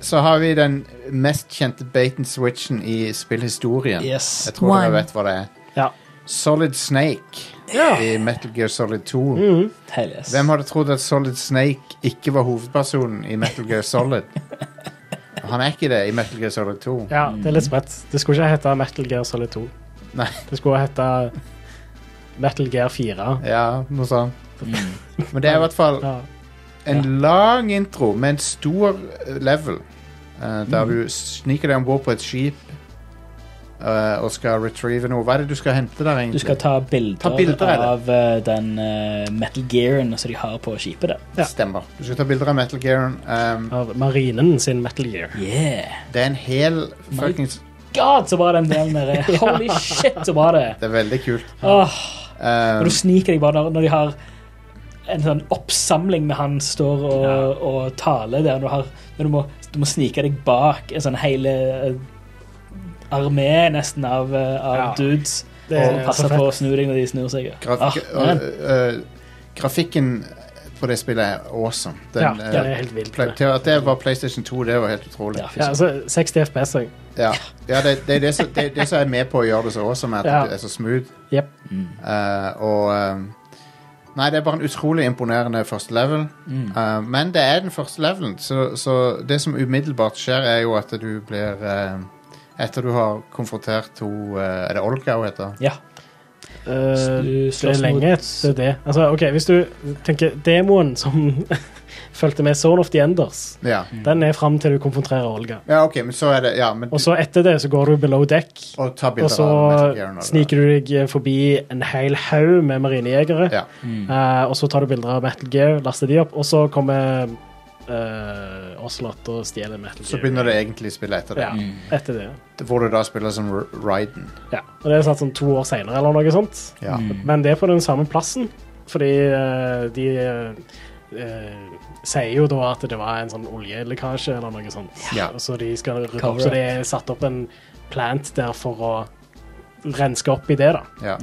C: Så har vi den mest kjente bait and switchen i spillhistorien.
D: Yes.
C: Jeg tror dere
B: One.
C: vet hva det er.
D: Ja.
C: Solid Snake i Metal Gear Solid 2.
D: Mm.
E: Hell yes.
C: Hvem hadde trodd at Solid Snake ikke var hovedpersonen i Metal Gear Solid? Han er ikke det i Metal Gear Solid 2.
D: ja, det er litt spredt. Det skulle ikke hete Metal Gear Solid 2.
C: Nei.
D: Det skulle hete Metal Gear 4.
C: Ja, noe sånt. Men det er i hvert fall
D: Ja.
C: en lang intro med en stor eh, level. eh, der
D: Mm.
C: du sniker deg om bord på et skip eh, og skal retrieve noe. Hva er det du skal hente der,
E: Du
C: egentlig?
E: skal ta bilder,
C: Ta bilder av det.
E: av eh, den eh, metal gearen som de har på skipet der.
D: ja.
C: Stemmer. Du skal ta bilder av Metal Gearen. ehm,
D: Av marinen sin Metal Gear.
E: Yeah.
C: det er en hel fuckings
E: God, så bra den delen der
D: [LAUGHS]
E: er. Holy shit, så bra det er.
C: Det er veldig kult.
E: Åh,
C: Ehm,
E: og du sniker deg bare når, når de har en sånn oppsamling med han står og, og taler der. Du, har, når du, må, du må snike deg bak en sånn hele eh, armé nesten av, eh, av
D: Ja.
E: dudes.
D: Det er
E: og passer
D: så fett.
E: på å snu deg når de snur seg.
C: graf
E: Ah,
C: og,
E: man.
C: eh, grafikken på det spillet er awesome. Den,
D: Ja, det
C: eh,
D: er helt vilt.
C: pla- til at det var PlayStation 2, det var helt utrolig.
E: Ja,
C: Ja,
E: fy
D: Ja,
E: søren.
D: altså, 60 FPS òg.
C: det, det, er det, som- det, er det som er med på å gjøre det så awesome, er at
D: Ja.
C: det er så smooth.
D: Jep.
C: Eh, og ehm, Nei, det er bare en utrolig imponerende første level.
D: Mm.
C: Eh, men det er den første levelen, så, så det som umiddelbart skjer, er jo at du blir ehm, Etter du har konfrontert hun eh, Er det Olga hun heter?
E: Ja,
D: Eh,
E: du
D: Det er
E: slåss mot
D: lenge etter det. Altså, ok, Hvis du tenker demoen som [LAUGHS] fulgte med Zone of the Enders,
C: Ja.
E: Mm.
D: den er fram til du konfronterer Olga.
C: ja, OK, men så er det Ja, men
D: Og så etter det så går du below deck,
C: Og ta bilder
D: og så
C: av Metal Gear når
D: sniker du deg forbi en hel haug med marinejegere.
C: Ja.
D: Eh, og så tar du bilder av Metal Gear, laster de opp, og så kommer uh, Ocelot og stjeler Metal Gear.
C: Så begynner det egentlig spillet etter det.
D: ja,
E: Mm.
D: etter det.
C: Hvor du da spiller som R- Raiden.
D: Ja. Og det er satt sånn to år seinere eller noe sånt.
C: Ja.
D: Men det er på den samme plassen, fordi eh, de eh, sier jo da at det var en sånn oljelekkasje eller noe sånt.
C: Ja.
D: Så de skal rydde opp,
E: Cover
D: så
E: up.
D: det er satt opp en plant der for å renske opp i det, da.
C: ja.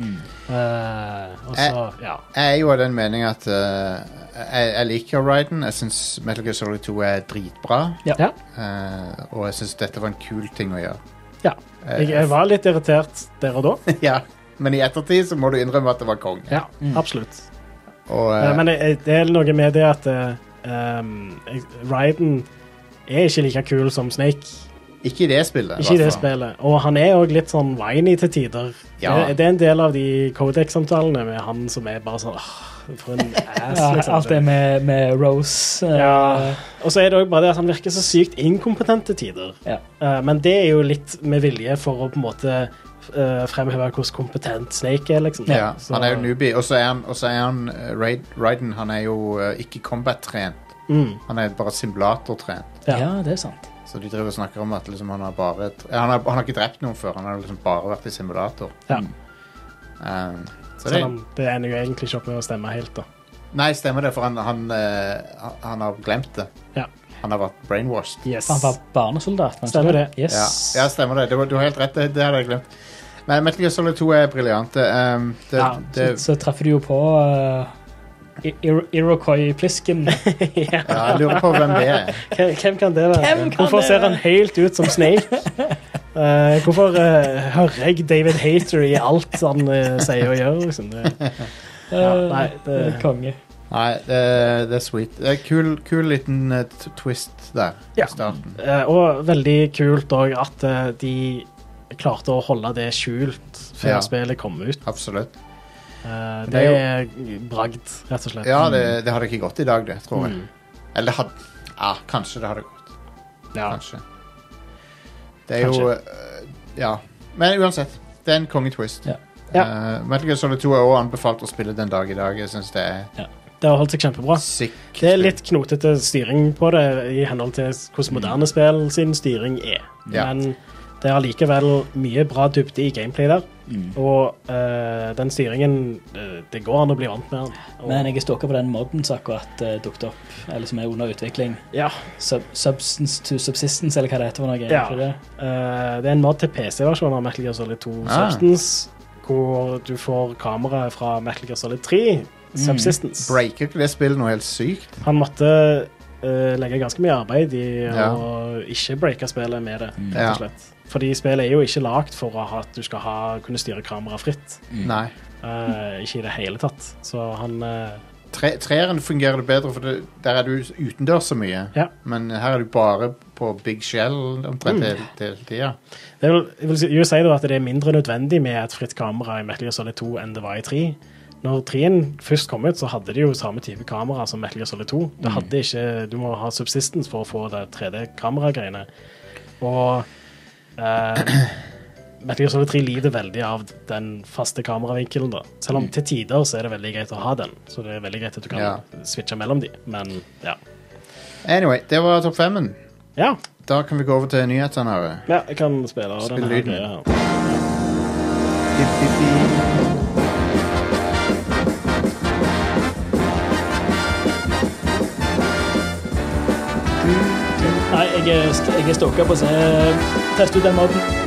D: Eh, og så, ja.
C: Jeg er jo av den mening at eh, jeg, jeg liker Raiden. Jeg syns Metal Gear Solid 2 er dritbra.
D: ja.
C: eh, og jeg syns dette var en kul ting å gjøre.
D: Ja.
C: Eh.
D: Jeg, jeg var litt irritert der og da.
C: [LAUGHS] ja. Men i ettertid så må du innrømme at det var konge.
D: [LAUGHS] Ja, Mm. absolutt.
C: Og, eh,
D: Eh, Men jeg, jeg- det er noe med det at eh, ehm, jeg- Raiden er ikke like kul som Snake.
C: ikke i det spillet. altså.
D: Ikke i det
C: hvert fall.
D: spillet. Og han er òg litt sånn whiny til tider.
C: Ja.
D: Det, det er en del av de Codex-samtalene med han som er bare sånn «Åh, For [LAUGHS] en ass,
E: ja,
D: liksom.
E: alt det med, med Rose. eh,
D: Ja. Og så er det òg bare det at han virker så sykt inkompetent til tider.
E: Ja.
D: Eh, men det er jo litt med vilje for å på en måte eh, fremheve hvordan kompetent Snake er, liksom.
C: Ja,
D: Så-
C: han er jo newbie, og så er han, og så er han eh, Raid, Raiden Han er jo eh, ikke combat-trent.
D: Mm,
C: Han er bare simulator-trent.
E: ja.
D: ja.
E: det er sant.
C: Så de driver og snakker om at liksom han har bare han har, han har ikke drept noen før, han har liksom bare vært i simulator.
D: Ja.
C: Um, så det,
D: Selv om det ender jo egentlig ikke opp med å stemme helt, da.
C: nei, stemmer det, for han, han, eh, han har glemt det.
D: Ja.
C: Han har vært brainwashed.
D: Yes.
E: Han var barnesoldat. men-
D: Stemmer det.
E: Yes.
C: Ja, ja stemmer det. Du, du har helt rett, det, det hadde jeg glemt. Nei, Metal Gear Solid 2 er briljante. Um, det,
E: Ja,
C: det,
E: så, så treffer du jo på eh, I- Iro- Iroquois Plisken.
D: [LAUGHS] ja.
C: ja, jeg lurer på hvem det er.
D: Hvem hvem kan det være?
E: Hvem kan
D: hvorfor
E: det
D: ser
E: være?
D: han helt ut som Snake?
E: [LAUGHS]
D: Eh, hvorfor eh, hører jeg David Hater i alt han eh, sier og gjør? Liksom? Det, ja, nei, det,
E: Eh, Konge.
C: Nei, det, det er sweet. Det er kul, kul liten eh, t- twist der
D: Ja.
C: i starten.
D: Eh, og veldig kult òg at eh, de klarte å holde det skjult før
C: Ja.
D: spillet kom ut.
C: Absolutt.
D: Eh,
C: Det
D: det
C: er
D: er bragd, rett og slett. Mm.
C: Ja, det, det hadde ikke gått i dag, det, tror jeg. Eller det hadde Ja, kanskje det hadde gått.
D: Ja.
C: Kanskje. Det er jo øh, Ja. Men uansett, det er en kongetwist.
E: Ja.
C: Eh, Metal Gear Solid 2 er også anbefalt å spille den dag i dag. Jeg syns det er
D: Det har holdt seg kjempebra.
C: sick.
D: Det er litt knotete styring på det i henhold til hvordan moderne spill sin styring er.
C: Mm. Ja.
D: Men Det er allikevel mye bra dybde i gameplay der.
C: Mm.
D: Og eh, den styringen eh, Det går an å bli vant med den. Og,
E: Men jeg er stalker på den modden som akkurat uh, dukket opp, eller som er under utvikling.
D: ja,
E: Sub substance to subsistence, eller hva det heter for noe.
D: Ja.
E: er det det?
D: eh, det er en mod til PC-versjonen av Metal Gear Solid 2
C: Ah.
D: Substance, hvor du får kameraet fra Metal Gear Solid 3 Subsistence.
C: Breaker ikke det spillet noe helt sykt?
D: Han måtte eh, legge ganske mye arbeid i
C: Ja.
D: å ikke breake spillet med det, rett
C: Ja.
D: og slett. Fordi spillet er jo ikke lagd for å ha, at du skal ha, kunne styre kameraet fritt.
C: Nei.
D: Eh, ikke i det hele tatt. Så han eh,
C: Tre, treeren fungerer det bedre, for det, der er du utendørs så mye.
D: Ja.
C: Men her er du bare på big shell omtrent hele hele tida.
D: Det er vel, jeg vil si- jeg vil si da at det er mindre nødvendig med et fritt kamera i Metal Gear Solid 2 enn det var i 3. Når 3-en først kom ut, så hadde de jo samme type kamera som Metal Gear Solid 2.
C: Mm.
D: Det hadde ikke, du må ha subsistence for å få det 3D-kameragreiene. Og eh, [CLEARS THROAT] Metal Gear Solid 3 lider veldig av den faste kameravinkelen, da. Selv om til tider så er det veldig greit å ha den, så det er veldig greit at du kan
C: Mm. Ja.
D: switche mellom de, men ja.
C: Anyway, det var topp femmen.
D: Ja,
C: Da kan vi gå over til nyhetene. Are.
D: ja jeg kan spille av
C: Spill
D: denne her
C: lyden.
D: greia her.
C: Hipp, hipp, hipp.
E: Nei, jeg er, st- jeg er stalker på å se eh, teste ut den modden.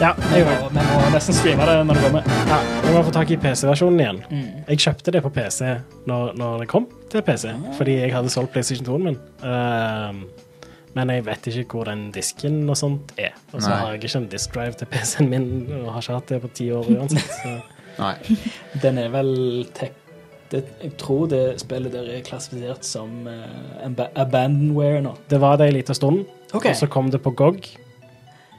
D: Ja,
E: Vi
D: jeg
E: må, vi må nesten streame det når det kommer.
D: Ja, jeg må få tak i PC-versjonen igjen.
C: Mm.
D: Jeg kjøpte det på PC når, når det kom til PC,
C: Ah.
D: fordi jeg hadde solgt PlayStation 2-en min. Ehm, men jeg vet ikke hvor den disken og sånt er. Og så
C: Nei.
D: har jeg ikke en disk drive til PC-en min, og har ikke hatt det på ti år uansett. Så.
C: Nei.
E: Den er vel tek... Det, jeg tror det spillet der er klassifisert som eh, ab abandonware nå.
D: Det var det en liten stund,
E: Ok.
D: og så kom det på GOG.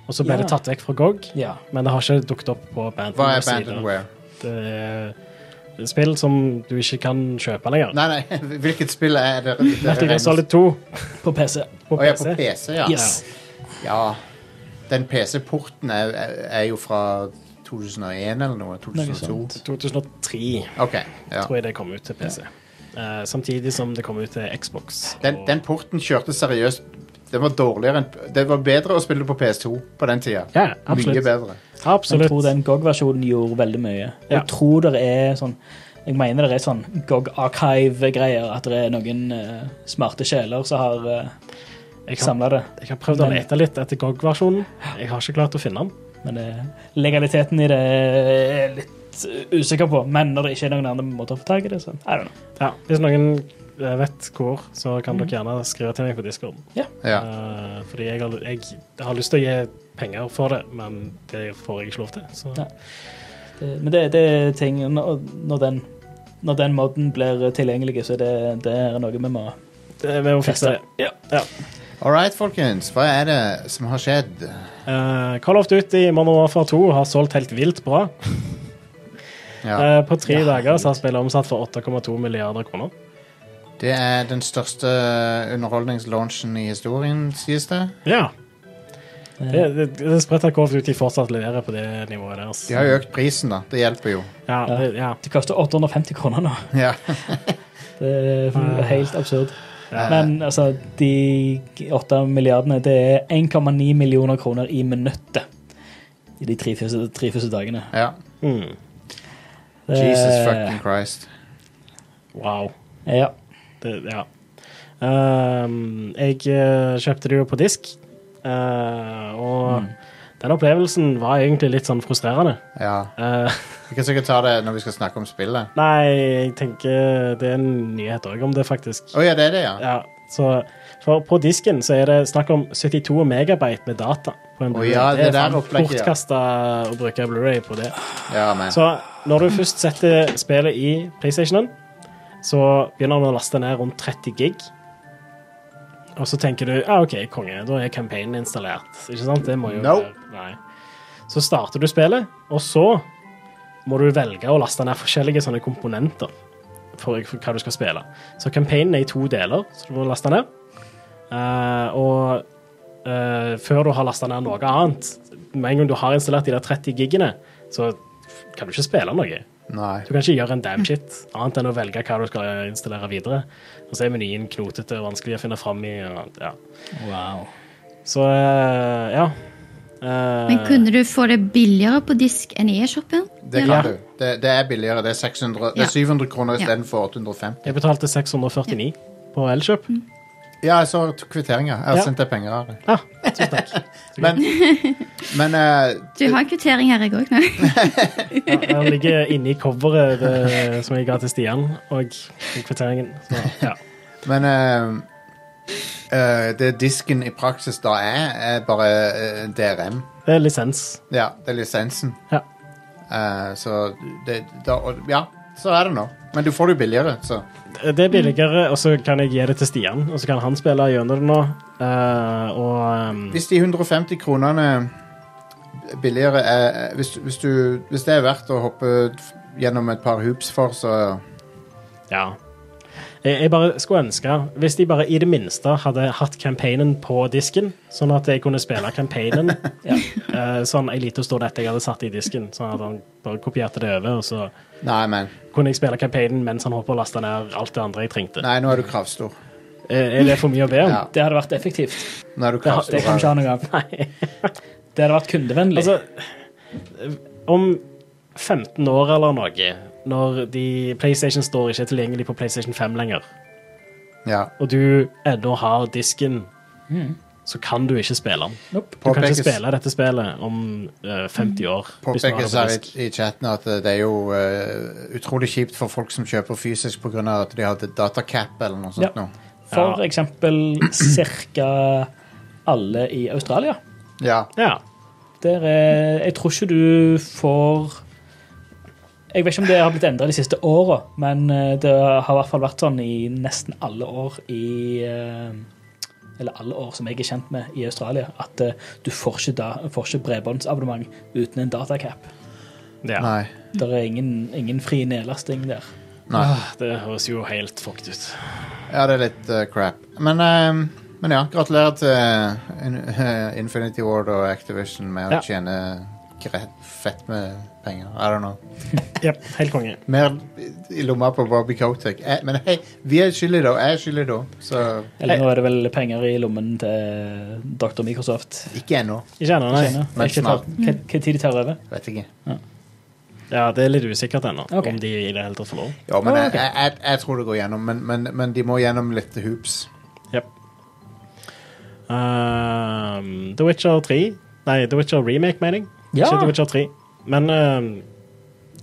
D: Og så ble
E: Ja.
D: det tatt vekk fra GOG,
E: Ja.
D: men det har ikke dukket opp på
C: Hva er
D: Bandware-sider.
C: Bandonware?
D: Det er spill som du ikke kan kjøpe lenger.
C: Nei, [LAUGHS] nei, hvilket spill er det? det er
D: Metal Gear
C: rent-
D: Solid 2
E: På PC.
D: på
C: Å, ja, på
D: PC.
C: PC, ja.
E: Yes.
C: ja. Den PC-porten er, er- er jo fra 2001 eller noe. 2002.
D: 2003.
C: Ok, ja.
D: tror jeg det kom ut til PC. Eh, samtidig som det kom ut til Xbox.
C: Den,
D: og-
C: den porten kjørte seriøst. Den var dårligere enn Det var bedre å spille på PS2 på den tida.
D: Ja,
C: Mye
D: absolutt.
C: bedre.
E: Jeg tror
D: absolutt.
E: den GOG-versjonen gjorde veldig mye.
D: Ja.
E: Jeg tror det er sånn jeg mener det er sånn GOG-archive-greier, at det er noen eh, smarte sjeler som har uh,
D: Jeg har,
E: samla det.
D: jeg har prøvd å
E: Men-
D: lete litt etter GOG-versjonen. Jeg har ikke klart å finne den.
E: Men eh, legaliteten i det er jeg litt eh, usikker på. Men når det ikke er noen andre måter å få tak i det, så I don't know.
D: Ja, hvis noen eh, vet hvor, så kan dere gjerne skrive til meg på discorden.
C: Ja.
D: Eh, fordi jeg har, jeg har lyst til å gi penger for det, men det får jeg ikke lov til. Så.
E: Nei. Det, men det, det er ting når, når den når den moden blir tilgjengelig, så det, det er noe vi må
D: Det, vi må fikse det.
E: Teste.
D: Ja. Ja.
C: All right, folkens. Hva er det som har skjedd?
D: Eh, Call of Duty Modern Warfare 2 har solgt helt vilt bra.
C: Ja.
D: Eh, på tre dager så har spillet omsatt for 8,2 milliarder kroner.
C: Det er den største underholdningslaunchen i historien, sies det.
D: Ja.
E: eh,
D: Det, det, det er spredt at Call of Duty fortsatt leverer på det nivået deres.
C: De har jo økt prisen, da. Det hjelper jo. [LAUGHS]
D: Ja, det, ja.
E: Det koster 850 kroner nå.
C: Ja.
E: Det er helt absurd.
C: Ah. Ja.
E: Men altså, de 8 milliardene, det er 1,9 millioner kroner i minuttet. I de tre første, tre første dagene.
C: ja.
D: Mm.
E: Det-
D: Eh.
C: Jesus fucking Christ.
D: Wow.
E: Ja.
D: Det, ja. Ehm, jeg eh, kjøpte det jo på disk, eh, og den opplevelsen var egentlig litt sånn frustrerende.
C: Ja.
D: Eh, [LAUGHS]
C: Vi kan sikkert ta det når vi skal snakke om spillet.
D: nei, jeg tenker det er en nyhet òg om det, faktisk.
C: Å ja, det er det, ja.
D: Ja, så for på disken så er det snakk om 72 megabyte med data. På en
C: Å
D: Blu-ray.
C: ja, det
D: det
C: der
D: er
C: opplegget, ja.
D: bortkasta å bruke Blu-ray på det.
C: Ja, men.
D: Så når du først setter spillet i PlayStationen, så begynner den å laste ned rundt 30 gig. Og så tenker du ja, OK, konge, da er campaignen installert. Ikke sant? Det må jo
C: Nope.
D: være- Nei. Så starter du spillet, og så må du velge å laste ned forskjellige sånne komponenter for, for hva du skal spille. Så campaignen er i to deler, så du må laste ned. Eh, og eh, før du har lasta ned noe annet Med en gang du har installert de der 30 giggene, så kan du ikke spille noe.
C: Nei.
D: Du kan ikke gjøre en damn shit annet enn å velge hva du skal installere videre. Og så er menyen knotete og vanskelig å finne fram i. Og, ja.
E: Wow.
D: Så eh, ja. Eh,
F: Men kunne du få det billigere på disk enn i e-shoppen?
C: Det kan
D: Ja.
C: du. Det, det er billigere. Det er, 600, det er
F: Ja.
C: 700 kroner
F: Ja.
C: istedenfor 850.
D: Jeg betalte 649 på Elkjøp.
F: Mm.
C: Ja, jeg så t- kvitteringa. Jeg har
D: Ja.
C: sendt deg penger. Ari.
D: Ja, tusen takk.
C: Men, men eh,
F: Du har en kvittering her, jeg òg.
C: [LAUGHS]
D: Ja, Den ligger inni coveret det, som jeg ga til Stian, og i kvitteringen. Så, ja.
C: Men eh, eh, det disken i praksis da er, er bare eh, DRM.
D: Det er lisens.
C: Ja, det er lisensen.
D: Ja.
C: Eh, så det da, og, Ja, så er det nå. Men du får det jo billigere, så.
D: Det er billigere, og så kan jeg gi det til Stian, og så kan han spille gjennom det nå. Eh, og ehm,
C: Hvis de 150 kronene billigere er eh, hvis, hvis, du, hvis det er verdt å hoppe f- gjennom et par hoops for, så
D: Ja. Jeg, jeg bare skulle ønske Hvis de bare i det minste hadde hatt campaignen på disken, sånn at jeg kunne spille
C: [LAUGHS]
D: campaignen ja. eh, sånn ei lita storlett jeg hadde satt i disken, sånn at han bare kopierte det over, og så
C: Nei, men.
D: kunne jeg spille campaignen mens han hopper og laster ned alt det andre jeg trengte.
C: Nei, nå er du kravstor.
D: Eh, er det for mye å be om?
C: Ja.
E: Det hadde vært effektivt.
C: Nå er du
E: Det, har-
C: kravstor.
E: det kan vi ikke ha noe av.
D: [LAUGHS] Nei.
E: Det hadde vært kundevennlig.
D: Altså, eh, om 15 år eller noe, når de PlayStation Store ikke er tilgjengelig på PlayStation 5 lenger,
C: ja.
D: og du ennå har disken,
C: Mm.
D: så kan du ikke spille den.
E: nope.
D: Du kan ikke
C: Påpekes-
D: spille dette spillet om eh, 50 år. hvis du har det
C: påpekes
D: på
C: her
D: disk.
C: i, i chatten at eh, det er jo eh, utrolig kjipt for folk som kjøper fysisk pga. at de hadde datacap eller noe sånt.
E: Ja.
C: nå.
E: For
D: Ja.
E: eksempel ca. alle i Australia.
C: Ja.
D: Ja.
E: Der er Jeg tror ikke du får Jeg vet ikke om det har blitt endra de siste åra, men eh, det har i hvert fall vært sånn i nesten alle år i eh, Eller alle år som jeg er kjent med i Australia, at eh, du får ikke, da, får ikke bredbåndsabonnement uten en datacap.
D: ja.
C: Nei.
E: Det er ingen, ingen fri nedlasting der.
C: Nei.
D: Ah, Det høres jo helt fucked ut.
C: Ja, det er litt eh, crap. Men, eh, men ja, gratulerer til In- eh, Infinity Ward og Activision med
D: Ja.
C: å tjene gre- fett med penger. I don't know.
D: Jep, helt konge.
C: Mer i lomma på Bobby Kotek. Eh, Men hei, vi er skyldige da. Jeg er skyldig da. Så
E: Eller nå er det vel penger i lommen til Dr. Microsoft.
C: ikke ennå.
D: Ikke ennå, nei.
E: Kjenner. Jeg vet Ikke
C: snart.
E: tar- hva hva tid de tar over.
C: Vet ikke.
D: Ja, det er litt usikkert ennå,
E: Ok.
D: om de i det hele tatt får lov.
C: Ja, men
E: Ah,
C: jeg,
E: ok.
C: jeg, jeg, jeg tror det går gjennom. Men, men, men de må gjennom litt hoops.
D: Jep. Ehm, The Witcher 3 Nei, The Witcher Remake, mener jeg.
E: Ja.
D: Ikke The Witcher 3. Men ehm,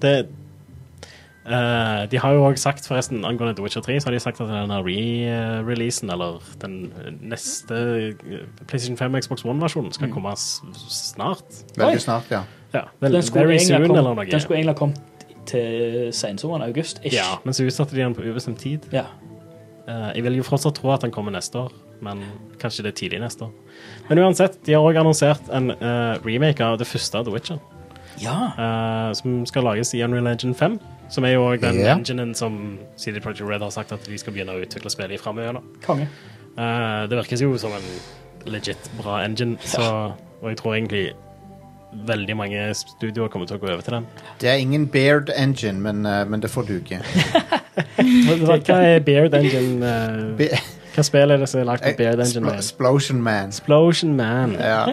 D: det eh, De har jo òg sagt, forresten, angående The Witcher 3, så har de sagt at denne re-releasen, eller den neste eh, PlayStation 5 og Xbox One-versjonen, skal komme s snart.
E: Oi.
C: Veldig snart, ja.
D: Ja, vel,
E: Mm. Den skulle
D: very
E: egentlig ha
D: soon,
E: kommet-
D: eller noe.
E: Den skulle egentlig ha kommet til sensommeren, august. Ish.
D: ja, men så utsatte de den på ubestemt tid.
E: Ja.
D: Eh, jeg vil jo fortsatt tro at den kommer neste år, men kanskje det er tidlig neste år. Men uansett, de har òg annonsert en eh, remake av det første The Witcher,
E: Ja.
D: eh, som skal lages i Unreal Engine 5. Som er jo òg den
C: Ja.
D: enginen som CD Projekt Red har sagt at de skal begynne å utvikle spillet i framover.
E: Konge.
D: Uh, det virker jo som en legit bra engine, så, og jeg tror egentlig veldig mange studioer kommer til å gå over
C: [LAUGHS]
D: til den.
C: Det er ingen Baird engine, men, eh, men det får
E: [LAUGHS]
C: duke.
D: Hva hva er Beard Engine? eh,
C: Be-
D: hva spill er det som er lagt på Beard Engine?
C: Explo- eh, Explosion Man.
D: Explosion Man.
E: [LAUGHS]
C: Ja.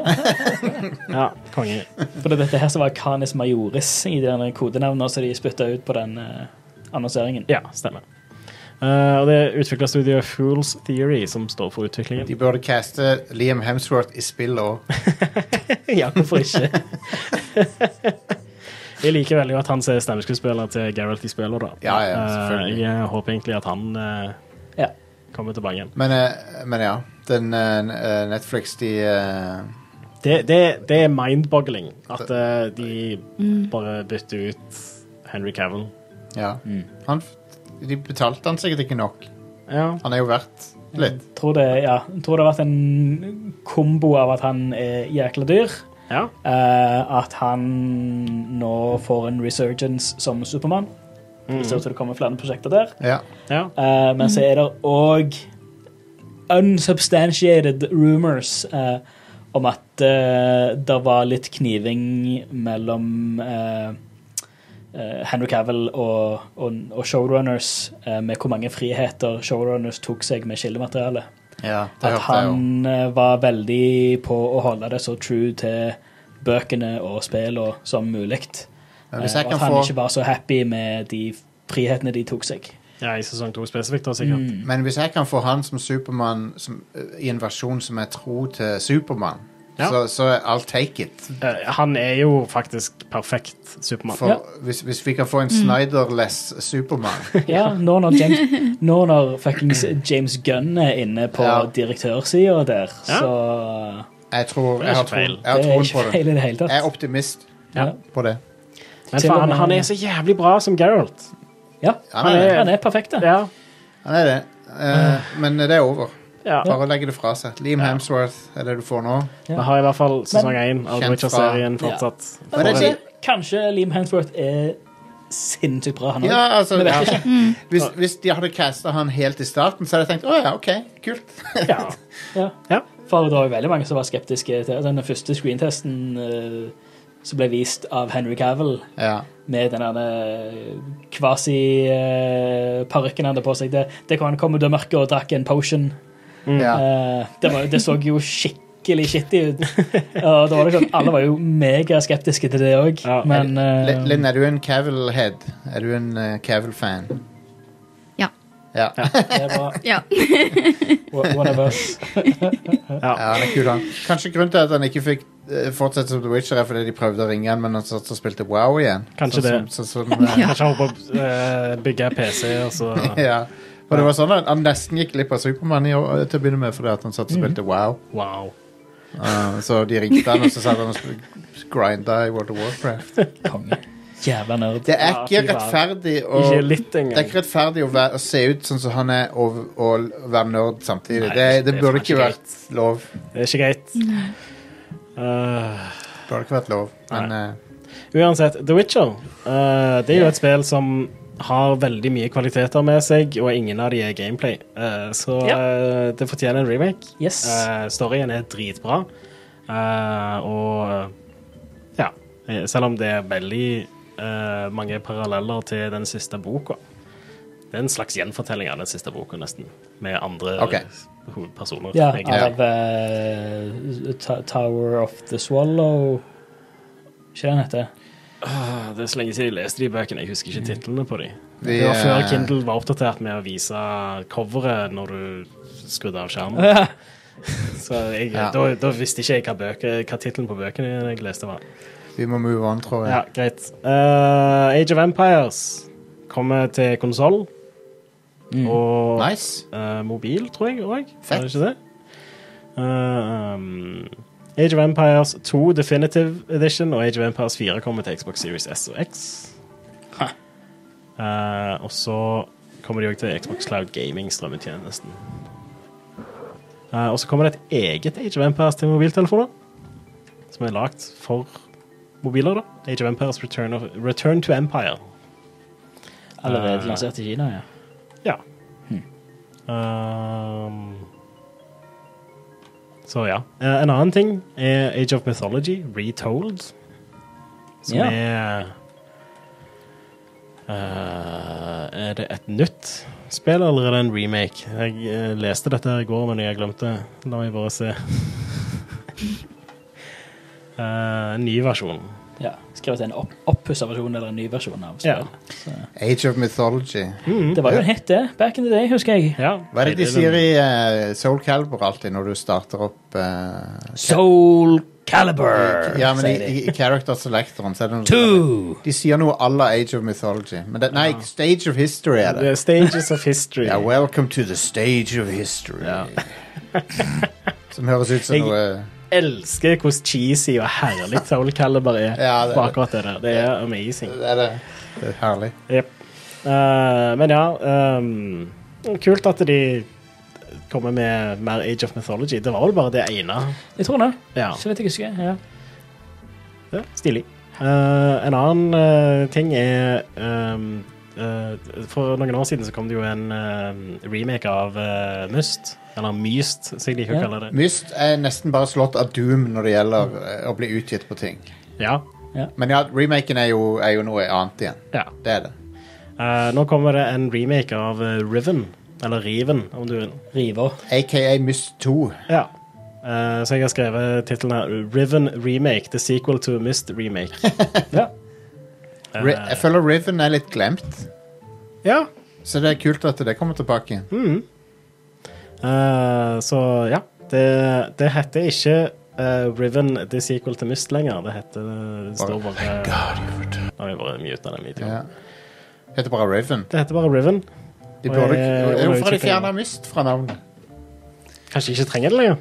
D: Ja, konge.
E: For det er dette her som var Canis Majoris i de kodenavnene som de spytta ut på den eh, annonseringen.
D: Ja, stemmer. Eh, og det er utvikla studioet Fools Theory som står for utviklingen.
C: [LAUGHS] De burde caste Liam Hemsworth i spill òg.
D: ja, hvorfor ikke? [LAUGHS] jeg liker veldig godt han som er stemmeskuespiller til Geralt i spillet. da.
C: Ja, ja, selvfølgelig.
D: Eh, jeg håper egentlig at han eh,
E: Ja.
D: kommer tilbake igjen.
C: Men, eh, men ja. Den eh, Netflix, de eh,
D: Det, det, det er mind-boggling at eh, de
E: Mm.
D: bare bytter ut Henry Cavill.
C: Ja.
E: Mm.
C: Han, f- de betalte han sikkert ikke nok.
D: Ja.
C: Han er jo verdt litt.
E: Tror det, ja. Tror det har vært en kombo av at han er jækla dyr,
D: ja.
E: eh, at han nå får en resurgence som Supermann. Det ser ut som det kommer flere prosjekter der.
C: Ja.
D: ja.
E: Eh, men så er det òg unsubstantiated rumors eh, om at eh, det var litt kniving mellom eh, eh, Henry Cavill og, og, og showrunners eh, med hvor mange friheter showrunners tok seg med kildematerialet.
C: ja det
E: At
C: hørte jeg jo.
E: han eh, var veldig på å holde det så true til bøkene og spillene som mulig.
C: Ja,
E: Eh,
C: Hvis
E: og
C: jeg
E: at
C: kan
E: han
C: få
E: ikke var så happy med de frihetene de tok seg.
D: Ja, I sesong to spesifikt, da, sikkert.
E: Mm.
C: Men hvis jeg kan få han som Supermann som- eh, i en versjon som er tro til Supermann,
D: Ja.
C: så, så I'll take it.
D: Eh, Han er jo faktisk perfekt Supermann.
C: For
E: Ja. Mm.
C: hvis, hvis vi kan få en Snyder-less Supermann
E: Ja, nå når James, nå når fuckings James Gunn er inne på
C: Ja.
E: direktørsida der,
D: Ja.
E: så
C: Jeg tror
D: Det er
C: jeg har
D: ikke
C: tro-
D: feil.
C: jeg har
E: Det er
C: troen på
E: ikke
C: det.
E: feil i det hele
C: Jeg er
E: tatt.
C: optimist
E: Ja.
C: på det.
D: Men
E: Til og
D: faen,
E: med-
D: han er så jævlig bra som Geralt.
E: Ja,
C: Han er det.
E: han er perfekt, da.
D: Ja.
C: Han er det. Eh,
E: Ah.
C: men det er over.
D: ja.
C: Bare legge det fra seg. Liam Hemsworth er det du får nå.
E: Ja.
D: Vi har i hvert fall sesong én av
C: Kjent
D: Witcher-serien
E: fra-
D: fortsatt.
C: Men det er
E: Kanskje,
C: ikke-
E: kanskje Liam Hansworth er sinnssykt bra, han òg.
C: Ja, altså,
E: Vi vet
C: ja.
D: Mm.
C: [LAUGHS] Hvis, hvis de hadde casta han helt i starten, så hadde jeg tenkt å ja, OK, kult.
D: Ja.
E: [LAUGHS] Ja.
D: Ja.
E: For det var jo veldig mange som var skeptiske til den første screentesten eh, som ble vist av Henry Cavill
C: Ja.
E: med den eh, kvasi-parykken eh, han hadde på seg. Det, det kom han kom ut av mørket og drakk en potion.
C: ja.
E: Eh, det, var, det så jo skikkelig shitty ut. Og da var det sånn, alle var jo megaskeptiske til det òg,
D: Ja.
E: men eh,
C: Lin- Linn, er du en Cavill-head? Er du en eh, Cavill-fan?
F: Ja.
C: Ja. ja.
E: det var
F: Ja.
E: one of us.
C: han er kul, han. Kanskje grunnen til at han ikke fikk eh, fortsette som The Witcher, er fordi de prøvde å ringe han, men han satt og spilte Wow igjen.
D: Kanskje
C: sånn,
D: det.
C: Som, sånn, som, eh,
D: Kanskje han håper å eh, bygge PC, og så
C: [LAUGHS] ja. Og det var sånn at han nesten gikk glipp av Supermann i år- eh, til å begynne med, fordi at han
D: Mm.
C: satt og spilte Wow.
D: Wow.
C: Eh, så de ringte han, og så satt han og sp- grinda i World of Warcraft.
E: Konge. Jævla nerd.
C: Det er
D: Ja,
C: ikke
D: fy faen.
C: rettferdig å
D: Ikke litt
C: Det er
D: engang.
C: ikke rettferdig å, være, å se ut sånn som han er og, og være nerd samtidig. det, det,
D: det er
C: burde
D: faen
C: ikke
D: ikke
C: vært lov.
D: Det er ikke greit. Eh,
C: Burde ikke vært lov. Men eh,
D: Uansett, The Witcher eh, Det er jo et spill som har veldig mye kvaliteter med seg, og ingen av de er gameplay. Eh, så
E: Ja.
D: eh, det fortjener en remake.
E: Yes.
D: Eh, storyen er dritbra, Eh, og ja eh, Selv om det er veldig eh, mange paralleller til den siste boka. Det er en slags gjenfortelling av den siste boka, nesten, med andre
C: Ok.
D: hovedpersoner.
E: Ja,
D: egentlig.
E: av eh, Ta- Tower of the Swallow Ikke den heter?
D: Ah, Det er så lenge siden jeg leste de bøkene. Jeg husker ikke titlene på de.
C: Vi,
D: Mm. det var før
C: eh,
D: Kindle var oppdatert med å vise coveret når du skrudde av skjermen. [LAUGHS] Så jeg,
C: Ja.
D: da, da visste ikke jeg hva, bøker- hva tittelen på bøkene jeg leste var.
C: vi må move on, tror jeg.
D: Ja, greit. Eh, Age of Empires kommer til konsoll og
C: Mm. Nice.
D: eh, mobil, tror jeg òg.
C: Fett.
D: Er det ikke det? Eh, um, Age of Empires 2 Definitive Edition og Age of Empires 4 kommer til Xbox Series S og X. Eh, og så kommer de òg til Xbox Cloud Gaming-strømmetjenesten. Eh, og så kommer det et eget Age of Empires til mobiltelefoner. Som er lagt for mobiler, da. Age of Empires Return, of, Return to Empire.
E: Allerede
D: Eh.
E: lansert i Kina, ja.
D: Ja. Hmm. Um, så ja. Eh, En annen ting er Age of Mythology, Retold. Som
E: Ja.
D: er eh, Er det et nytt spill eller er det en remake? Jeg eh, leste dette her i går, men jeg glemte. La meg bare se. [LAUGHS] Eh, en ny versjon.
E: ja. Skrevet en opp oppussa versjon eller en ny versjon av
D: Ja.
E: spillet.
C: Age of Mythology.
E: Det var jo en hit, det. Back in the day, husker jeg.
D: Ja,
C: Hva er det de
D: den-
C: sier i eh, Soul Calibur alltid når du starter opp eh,
E: Soul Caliber,
C: Ja, men i,
E: sier de.
C: i, i Character Selectoren så er det noe sånn
E: Two!
C: De sier noe à la Age of Mythology. Men det, nei, Stage of History er
D: The
C: det.
D: Stages of History.
C: Ja, Welcome to the stage of history. [LAUGHS] Som høres ut som
D: Jeg-
C: noe
D: elsker hvor cheesy og herlig Soul Calibur er
C: [LAUGHS] Ja, det-
D: på akkurat det der. Det er amazing.
C: Det er det. Det er herlig.
D: Jep. Eh, men ja ehm, Kult at de kommer med mer Age of Mythology. Det var vel bare det ene.
E: Jeg tror det.
D: Ja,
E: Så vidt jeg husker. Ja.
D: ja Stilig. Eh, en annen eh, ting er ehm, eh, For noen år siden så kom det jo en ehm, remake av eh, Myst. Eller Myst, som jeg liker å
E: Ja.
D: kalle det.
C: Myst er nesten bare slått av Doom når det gjelder eh, å bli utgitt på ting.
D: Ja,
C: Men ja, remaken er jo, er jo noe annet igjen.
D: ja.
C: Det er det.
D: Eh, nå kommer det en remake av eh, Riven. Eller Riven, om du vil.
E: River.
C: AKA Myst 2.
D: Ja. Eh, så jeg har skrevet tittelen her Riven Remake, the sequel to Mist
E: [LAUGHS]
D: Remake.
E: Ja.
C: Ri- Jeg føler Riven er litt glemt,
D: Ja.
C: så det er kult at det kommer tilbake. igjen.
D: Eh, så ja. Det, det heter ikke eh, Riven the sequel to Mist lenger. Det heter Det
E: Oh
D: står bare Nå har jeg bare muta den videoen.
C: Ja. Heter bare Riven.
D: Det heter bare Riven.
C: De burde,
D: Og, eh,
C: hvorfor har de
D: underutvikling.
C: fjerna Myst fra navnet?
D: Kanskje ikke trenger det lenger.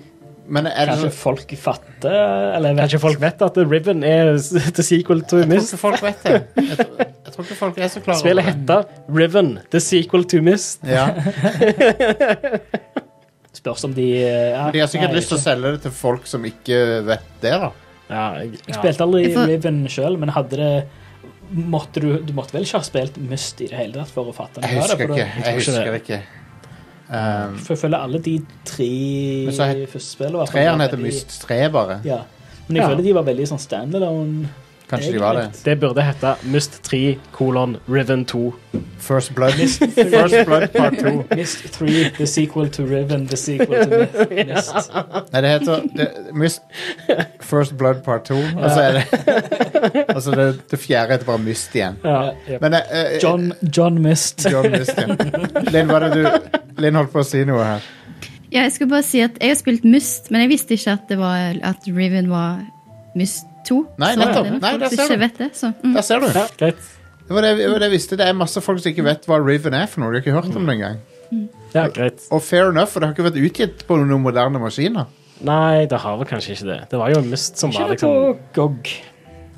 C: Men er det
E: Kanskje
C: så-
E: folk fatter Eh, Eller vet
D: Kanskje folk vet at Riven er [LAUGHS] s- the sequel to
C: Jeg tror
D: Mist.
C: ikke folk vet det. Jeg tror, jeg tror ikke folk er så klare over
D: Spillet
C: det.
D: heter Riven the sequel to Mist.
C: Ja.
E: Spørs om de eh, ja,
C: De har sikkert
E: nei,
C: lyst til å
E: ikke.
C: selge det til folk som ikke vet det, da.
D: Ja, jeg,
E: Jeg
D: ja.
E: spilte aldri
F: Jeg får-
E: Riven sjøl, men hadde det Måtte du, du måtte vel ikke ha spilt Myst i det hele tatt for å fatte
C: Jeg husker ikke. Jeg
D: ikke
C: husker
D: det.
C: ikke. Um,
E: For jeg føler alle de tre
C: Men så het-
E: første spillene var-
C: Treeren heter Myst 3, bare.
E: Ja. Men jeg
D: Ja.
E: føler de var veldig sånn standalone.
C: Kanskje de var det.
D: Det burde hete Mist 3 kolon Riven [LAUGHS] 2.
C: First Blood, First Blood Part 2. [LAUGHS]
E: Mist 3, the sequel to Riven, the sequel to Mi-
C: [LAUGHS]
E: Mist.
C: Nei, det heter det, Myst First Blood Part 2, og så er det Altså, det, det fjerde heter bare Myst igjen.
E: Ja.
C: Men eh, eh,
E: John, John Mist.
C: John Myst, ja. Linn, hva er det du Linn holdt på å si noe her.
F: Ja, jeg skulle bare si at jeg har spilt Myst, men jeg visste ikke at, det var, at Riven var Myst 2.
C: Nei,
F: så
C: nettopp.
F: det er nok
C: Nei, der ser
F: folk som
C: du.
F: ikke vet det. Så. Mm.
C: Der ser du.
D: Ja, greit.
C: Det var det, det var det jeg visste. Det er masse folk som ikke vet hva Riven er for noe. De har ikke hørt om det engang.
D: Ja, greit.
C: Og fair enough, for det har ikke vært utgitt på noen moderne maskiner.
D: Nei, det har vel kanskje ikke det. Det var jo Mist som
E: Ikke
D: var
E: det
D: liksom
E: på GOG.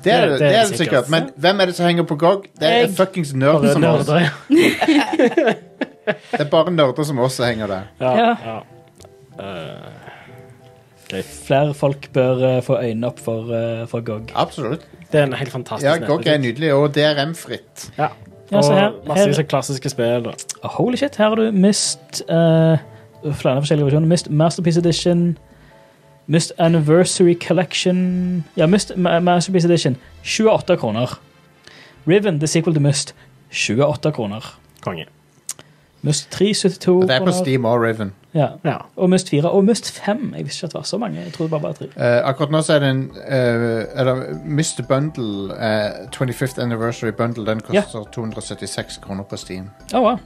C: Det er det, det, er det
D: sikkert.
C: sikkert. Men hvem er det som henger på GOG? Det er
E: Jeg.
C: fuckings nerder som oss.
D: Nerder, ja.
C: Det er bare nerder som oss som henger der.
D: Ja,
E: Ja.
D: ja. Eh,
E: Flere folk bør eh, få øynene opp for, eh, for GOG.
C: Absolutt.
D: det er en helt fantastisk
C: Ja, GOG er
D: nettbutikk.
C: nydelig, og DRM-fritt.
D: Ja.
E: Ja,
D: Og
E: så her-
D: massevis
E: her-
D: av klassiske spill. Og.
E: Oh, Holy shit, her har du Mist eh, Flere forskjellige versjoner. Mist Masterpiece Edition. Mist Anniversary Collection Ja, Mist Ma- Masterpiece Edition. 28 kroner. Riven, the sequel to Mist. 28 kroner.
D: Konge.
E: Must 3, 72
C: Det er på
E: kroner.
C: Steam og Riven.
E: Ja.
D: Ja.
E: Og Must 4 og Must 5. Jeg visste ikke at det var så mange. Jeg trodde det bare var tre.
C: Eh, akkurat nå så er det en eh, Eller Mr. Bundle, eh, 25th Anniversary Bundle, den
E: Ja.
C: koster 276 kroner på Steam.
E: Å, wow.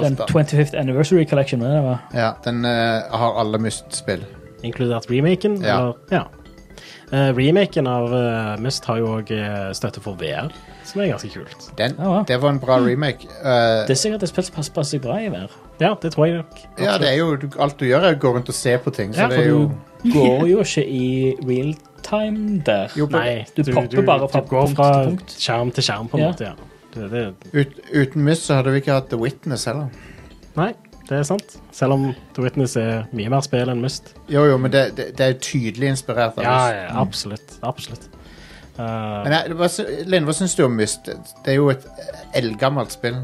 E: Den
C: Alt da.
E: 25th Anniversary Collection. var Det det var.
C: Ja, den eh, har alle Myst-spill.
D: Inkludert remaken.
C: Ja.
D: Eller, ja. Eh, remaken av eh, Myst har jo òg støtte for VR, som er ganske kult.
C: Den,
E: Ja, ja.
C: det var en bra remake. Eh,
E: Det er sikkert et spill som passer passer bra i vær.
D: Ja, det tror jeg nok.
C: ja, det er jo, du- alt du gjør, er å gå rundt og se på ting. Så
D: Ja,
C: det
D: for
C: er jo
E: Går jo ikke i real time der.
C: Jo, på-
D: Nei,
E: Du popper bare fra
D: du går
E: punkt
D: fra
E: til punkt.
D: skjerm til skjerm, på en
E: Ja.
D: måte. ja. Det, det,
C: ut, Uten Myst så hadde vi ikke hatt The Witness heller.
D: nei, det er sant. Selv om The Witness er mye mer spill enn Myst.
C: Jo, jo, men det, det, det er jo tydelig inspirert av
D: Ja,
C: Myst.
D: ja, absolutt. absolutt. Eh,
C: Men jeg, hva, sy- Linn, hva syns du om Myst? Det er jo et eldgammelt spill.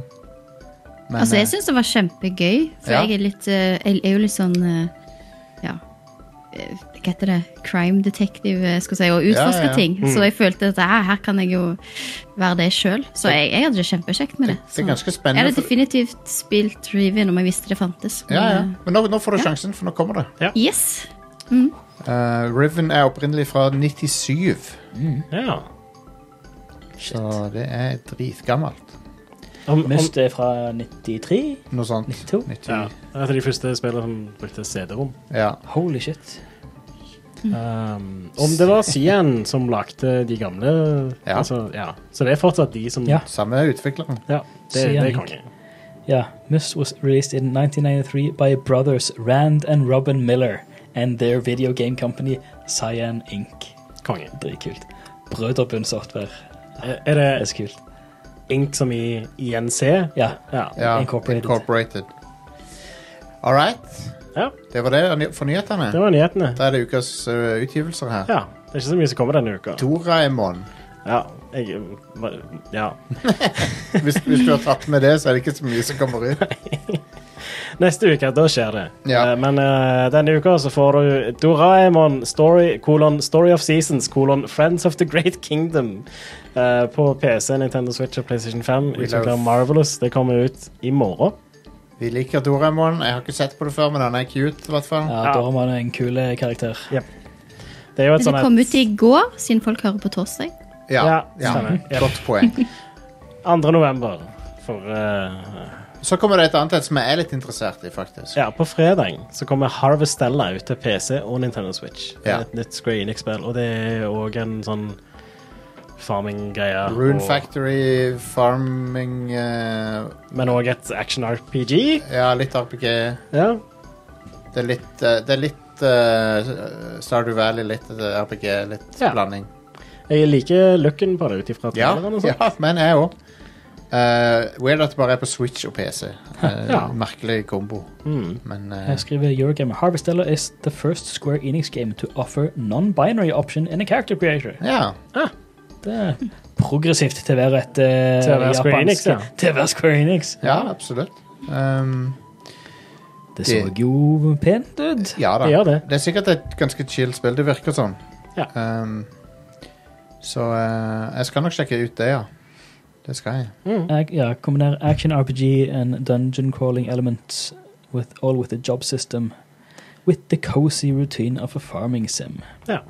C: Men,
F: Altså,
C: eh,
F: jeg syns det var kjempegøy, for
C: Ja.
F: jeg er litt eh, Jeg er jo litt sånn eh, Ja. eh, Hva heter det? Crime detective, eh, skal jeg si, og utforske
C: Ja, Mm. ja.
F: ting. Så jeg følte at "Ah, her, her kan jeg jo være det sjøl. Så jeg, jeg hadde det kjempekjekt med det.
C: det
F: Så.
C: er ganske
F: Jeg
C: spennende.
F: hadde
C: for-
F: definitivt spilt Riven om jeg visste det fantes. men,
C: ja, ja.
F: eh,
C: Men nå, nå får du sjansen, for nå kommer det.
F: Yes!
C: Eh, Riven er opprinnelig fra 97,
D: ja.
C: så det er dritgammelt.
D: Om, om,
E: Must er fra 93.
C: Noe sånt.
E: 92.
C: 90.
D: Ja, det er et av de første spillene som brukte CD-rom.
C: Ja.
E: Holy shit.
D: Um, om det var Cyan som lagde de gamle
C: Ja.
D: Altså, ja. Så det er fortsatt de som
E: Ja.
C: Samme utvikleren.
D: Ja, det, det
E: Cyan.
D: er konge.
E: Ja. Must was released in 1993 by brothers Rand and Robin Miller and their video game company Cyan Inc.
D: konge.
E: Dritkult. Brøderbund Software.
D: Er er
E: Det er
D: det
E: så kult.
D: Ink som i INC?
E: Ja.
D: Ja.
C: Ja,
E: Incorporated.
C: Incorporated. All right.
D: Ja,
C: Det var det for nyhetene.
D: Det var nyhetene.
C: Da er det ukas eh, utgivelser her.
D: Ja, Det er ikke så mye som kommer denne uka.
C: Doraemon.
D: Ja. Jeg, ja.
C: Hvis, hvis du har tatt med det, så er det ikke så mye som kommer ut.
D: Neste uke, da skjer det.
C: Ja.
D: Eh, Men eh, denne uka så får du Doraemon Story, kolon, Story of Seasons, kolon Friends of the Great Kingdom eh, på PC, Nintendo Switch og PlayStation 5.
C: We
D: Utvikler
C: love-
D: Marvelous. Det kommer ut i morgen.
C: Vi liker Doraemon. Jeg har ikke sett på det før, men han er cute, i hvert fall.
E: Ja,
D: Ja.
E: Doraemon er en kul eh, karakter.
D: Det er jo et
F: Men det
D: sånn
F: kom
D: et
F: ut i går, siden folk hører på torsdag.
C: Ja,
D: Ja,
C: ja,
D: stemmer. Ja.
C: Godt poeng.
D: 2. november. For, eh,
C: Så kommer det et annet et som jeg er litt interessert i, faktisk.
D: ja, på fredag så kommer Harvestella ut til PC og Nintendo Switch. Det
C: Ja.
D: er Et nytt Square Enix-spill, og det er òg en sånn farming-greie.
C: Rune
D: og-
C: Factory, Farming eh,
D: Men òg et action-RPG.
C: Ja, litt RPG.
D: Ja.
C: Det er litt, eh, det er litt eh, Stardew Valley, litt eh, RPG, litt
D: Ja.
C: blanding.
D: Jeg liker looken på det ut ifra
C: Ja,
D: traileren og sånn.
C: ja men jeg òg. weird at det bare er på Switch og PC. Eh,
D: [LAUGHS] Ja.
C: Merkelig kombo.
D: Mm.
C: Men
E: Jeg
C: eh,
E: skriver Eurogamer Harvestella is the first Square Enix game to offer non-binary option in a character creator.
C: ja.
E: Det er progressivt til å være et eh,
D: Til å være Square Enix, ja.
E: Til å være Square Enix.
C: ja, absolutt. Um,
E: Det så
C: Det-
E: jo pent ut.
C: ja da.
D: Det gjør det.
C: Det er sikkert et ganske chill spill. Det virker sånn.
D: Ja.
C: Ehm, så eh, jeg skal nok sjekke ut det, ja. Det skal jeg.
D: Mm.
E: Ac- Ja, kombiner action RPG and dungeon crawling elements with all with a job system with the cozy routine of a farming sim.
C: Ja.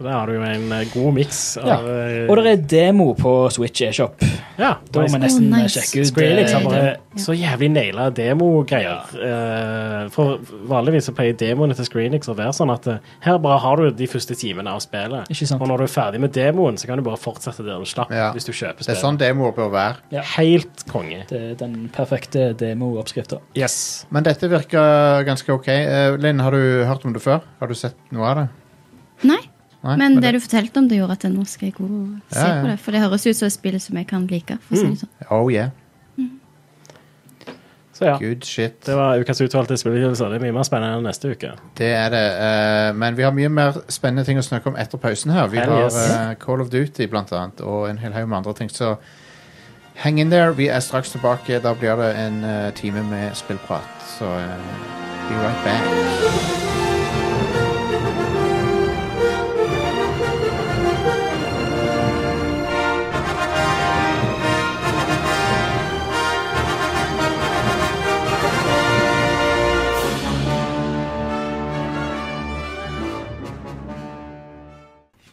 D: Så der har du jo en eh, god miks av
E: Ja.
D: eh,
E: Og det er demo på Switch eShop.
D: ja,
E: Da må jeg
D: nice. liksom,
E: nesten
F: Oh,
E: eh,
F: nice.
E: sjekke ut
D: Square Enix har
E: eh,
D: bare
E: det.
D: så jævlig naila demogreier. Eh, for vanligvis så pleier demoene til Square Enix å være sånn at eh, her bare har du de første timene av spillet.
E: Ikke sant.
D: Og når du er ferdig med demoen, så kan du bare fortsette der du slapp
C: Ja.
D: hvis du kjøper
C: Det er
D: spillet.
C: sånn demoer bør være.
E: Ja.
D: Helt konge.
E: Det er den perfekte demo-oppskrifta.
D: Yes.
C: Men dette virker ganske OK. Eh, Linn, har du hørt om det før? Har du sett noe av det?
F: Nei,
C: Nei?
F: men det du fortalte om det, gjorde at jeg nå skal jeg gå og se
C: Ja, ja.
F: på det. For det høres ut som et spill som jeg kan like. For å si det sånn.
C: Oh yeah.
D: Så ja.
C: Good shit.
D: Det var ukas utvalgte spillutgivelser. Det er mye mer spennende enn neste uke.
C: Det er det. eh, men vi har mye mer spennende ting å snakke om etter pausen her. Vi
D: Hell
C: har
D: yes.
C: eh, Call of Duty blant annet, og en hel haug med andre ting. Så hang in there. Vi er straks tilbake. Da blir det en eh, time med spillprat. Så eh, be right back.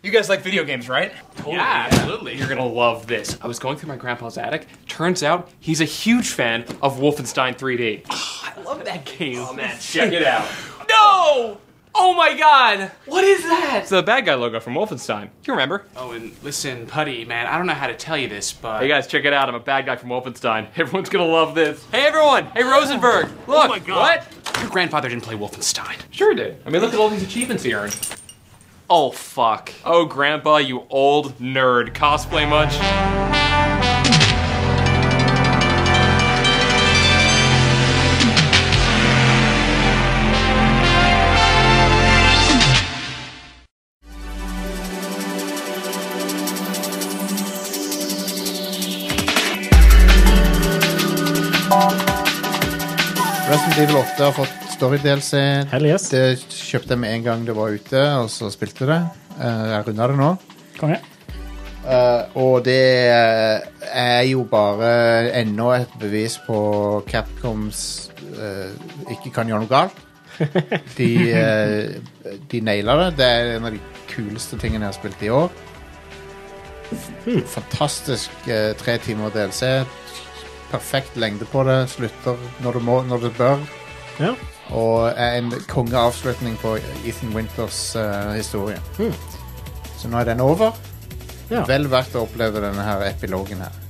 G: You guys like video games, right?
H: yeah, absolutely. You're gonna love this. I was going through my grandpa's attic. Turns out he's a huge fan of Wolfenstein 3D. I love that game. Oh man, check it out. [LAUGHS] No! Oh my god! What is that? It's the bad guy logo from Wolfenstein. You remember?
I: Oh, and listen, Putty, man, I don't know how to tell you this, but
H: Hey guys, check it out. I'm a bad guy from Wolfenstein. [LAUGHS] Everyone's gonna love this. Hey everyone! Hey Rosenberg! Look! Oh my god. What?
I: your grandfather didn't play Wolfenstein.
H: Sure did. I mean, look at all these achievements he earned.
I: Oh, fuck.
H: Oh, Grandpa, you old nerd. Cosplay much?
C: Resident Evil 8 har fått story-DLC.
D: Hell yes.
C: Det kjøpte jeg med en gang det var ute, og så spilte jeg det. Eh, jeg runda det nå.
E: Konge.
C: Eh, og det eh, er jo bare enda et bevis på Capcoms eh, ikke kan gjøre noe galt. De, uh, de naila det. Det er en av de kuleste tingene jeg har spilt i år. Fantastisk eh, tre timer DLC. Perfekt lengde på det. Slutter når du må, når du bør.
D: Ja.
C: Og er en kongeavslutning på Ethan Winters eh, historie.
D: Hmm.
C: Så nå er den over.
D: Ja.
C: Vel verdt å oppleve denne her epilogen her.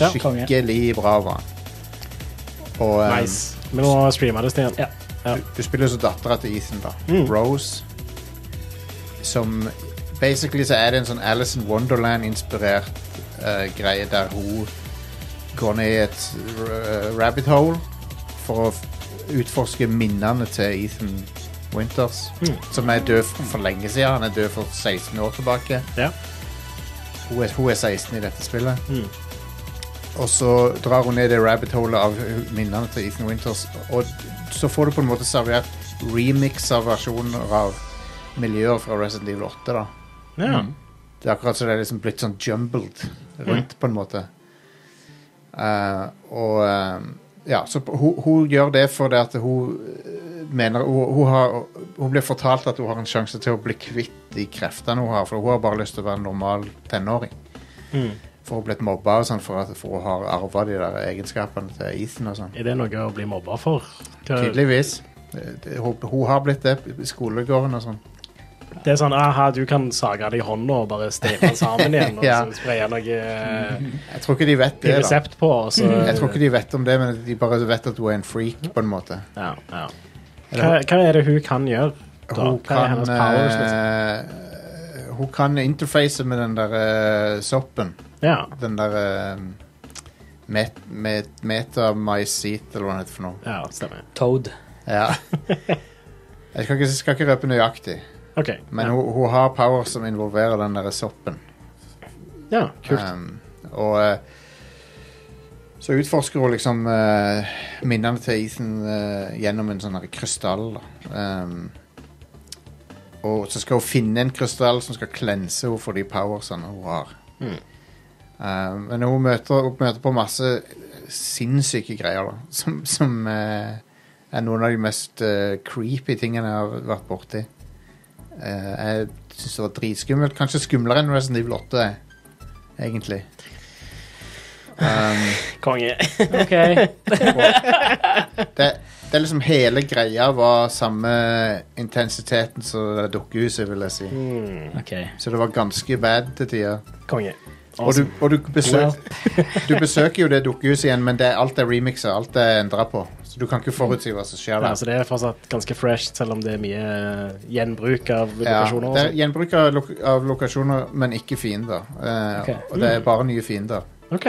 D: Ja,
E: konge.
C: Skikkelig bra var den. Og eh,
D: Nice. Vi må streame det, Stian.
E: Ja.
C: du spiller så dattera til Ethan, da.
D: Mm.
C: Rose. Som Basically så er det en sånn Alice in Wonderland-inspirert eh, greie der hun går ned i et r- rabbit hole for å f- utforske minnene til Ethan Winters, som er død for, for lenge siden. Han er død for 16 år tilbake.
D: Ja.
C: Hun er, hun er 16 i dette spillet. Og så drar hun ned det rabbit holet av minnene til Ethan Winters. Og så får du på en måte servert remix av versjoner av miljøer fra Resident Evil 8. da.
D: Ja.
C: Mm. Det er akkurat som det er liksom blitt sånn jumbled rundt, på en måte. Eh, og eh, ja, så på- hun, hun gjør det fordi at hun eh, mener hun, hun, har, hun blir fortalt at hun har en sjanse til å bli kvitt de kreftene hun har, for hun har bare lyst til å være en normal tenåring.
D: Mm.
C: For hun har blitt mobba og sånn for, at- for hun har arva de der egenskapene til Ethan og sånn.
D: Er det noe å bli mobba for? Hva-
C: Tydeligvis. Eh, Det- det- Hun, hun har blitt det i skolegården og sånn.
D: Det er sånn aha, du kan sage det i hånda og bare
C: [LAUGHS]
D: steke den sammen igjen og
C: Ja.
D: så spraye noe eh,
C: Jeg tror ikke de vet det, da.
D: resept på, og så
C: Jeg tror ikke de vet om det, men de bare vet at hun er en freak, på en måte.
D: ja, ja. Hva, hva er det hun kan gjøre? Da?
C: Hun
D: Hva er
C: kan,
D: hennes powers? Liksom?
C: eh, hun kan interface med den der eh, soppen.
D: Ja.
C: Den der eh, met, met, Metamycete, eller hva den heter for noe.
D: ja, stemmer.
E: Toad.
C: Ja. [LAUGHS] Jeg skal ikke, skal ikke røpe nøyaktig,
D: OK.
C: men
D: ja.
C: hun, hun har power som involverer den der soppen.
D: ja, kult.
C: Um, og eh, så utforsker hun liksom eh, minnene til Ethan eh, gjennom en sånn her krystall. da. Um, og så skal hun finne en krystall som skal klense henne for de powersene hun har. Um, men hun møter, hun møter på masse sinnssyke greier, da. Som, som eh, er noen av de mest eh, creepy tingene jeg har vært borti. Eh, jeg syns det var dritskummelt. Kanskje skumlere enn Resident Evil 8 er egentlig. Um,
D: Konge.
E: OK.
C: det, det er liksom hele greia var samme intensiteten som det dukkehuset, vil jeg si.
E: ok.
C: Så det var ganske bad til tider.
D: [LAUGHS] Konge.
C: Og du, og du, besøk, du besøker jo det dukkehuset igjen, men det, er- alt er remiksa, alt er endra på. Så du kan ikke forutsi hva som skjer
D: Ja,
C: der.
D: så det er fortsatt ganske fresh, selv om det er mye eh, gjenbruk av
C: Ja, det
D: lokasjoner.
C: er
D: og sånt.
C: gjenbruk av, lok av lokasjoner, men ikke fiender. Eh,
E: Ok.
C: Og det er bare nye fiender.
D: OK.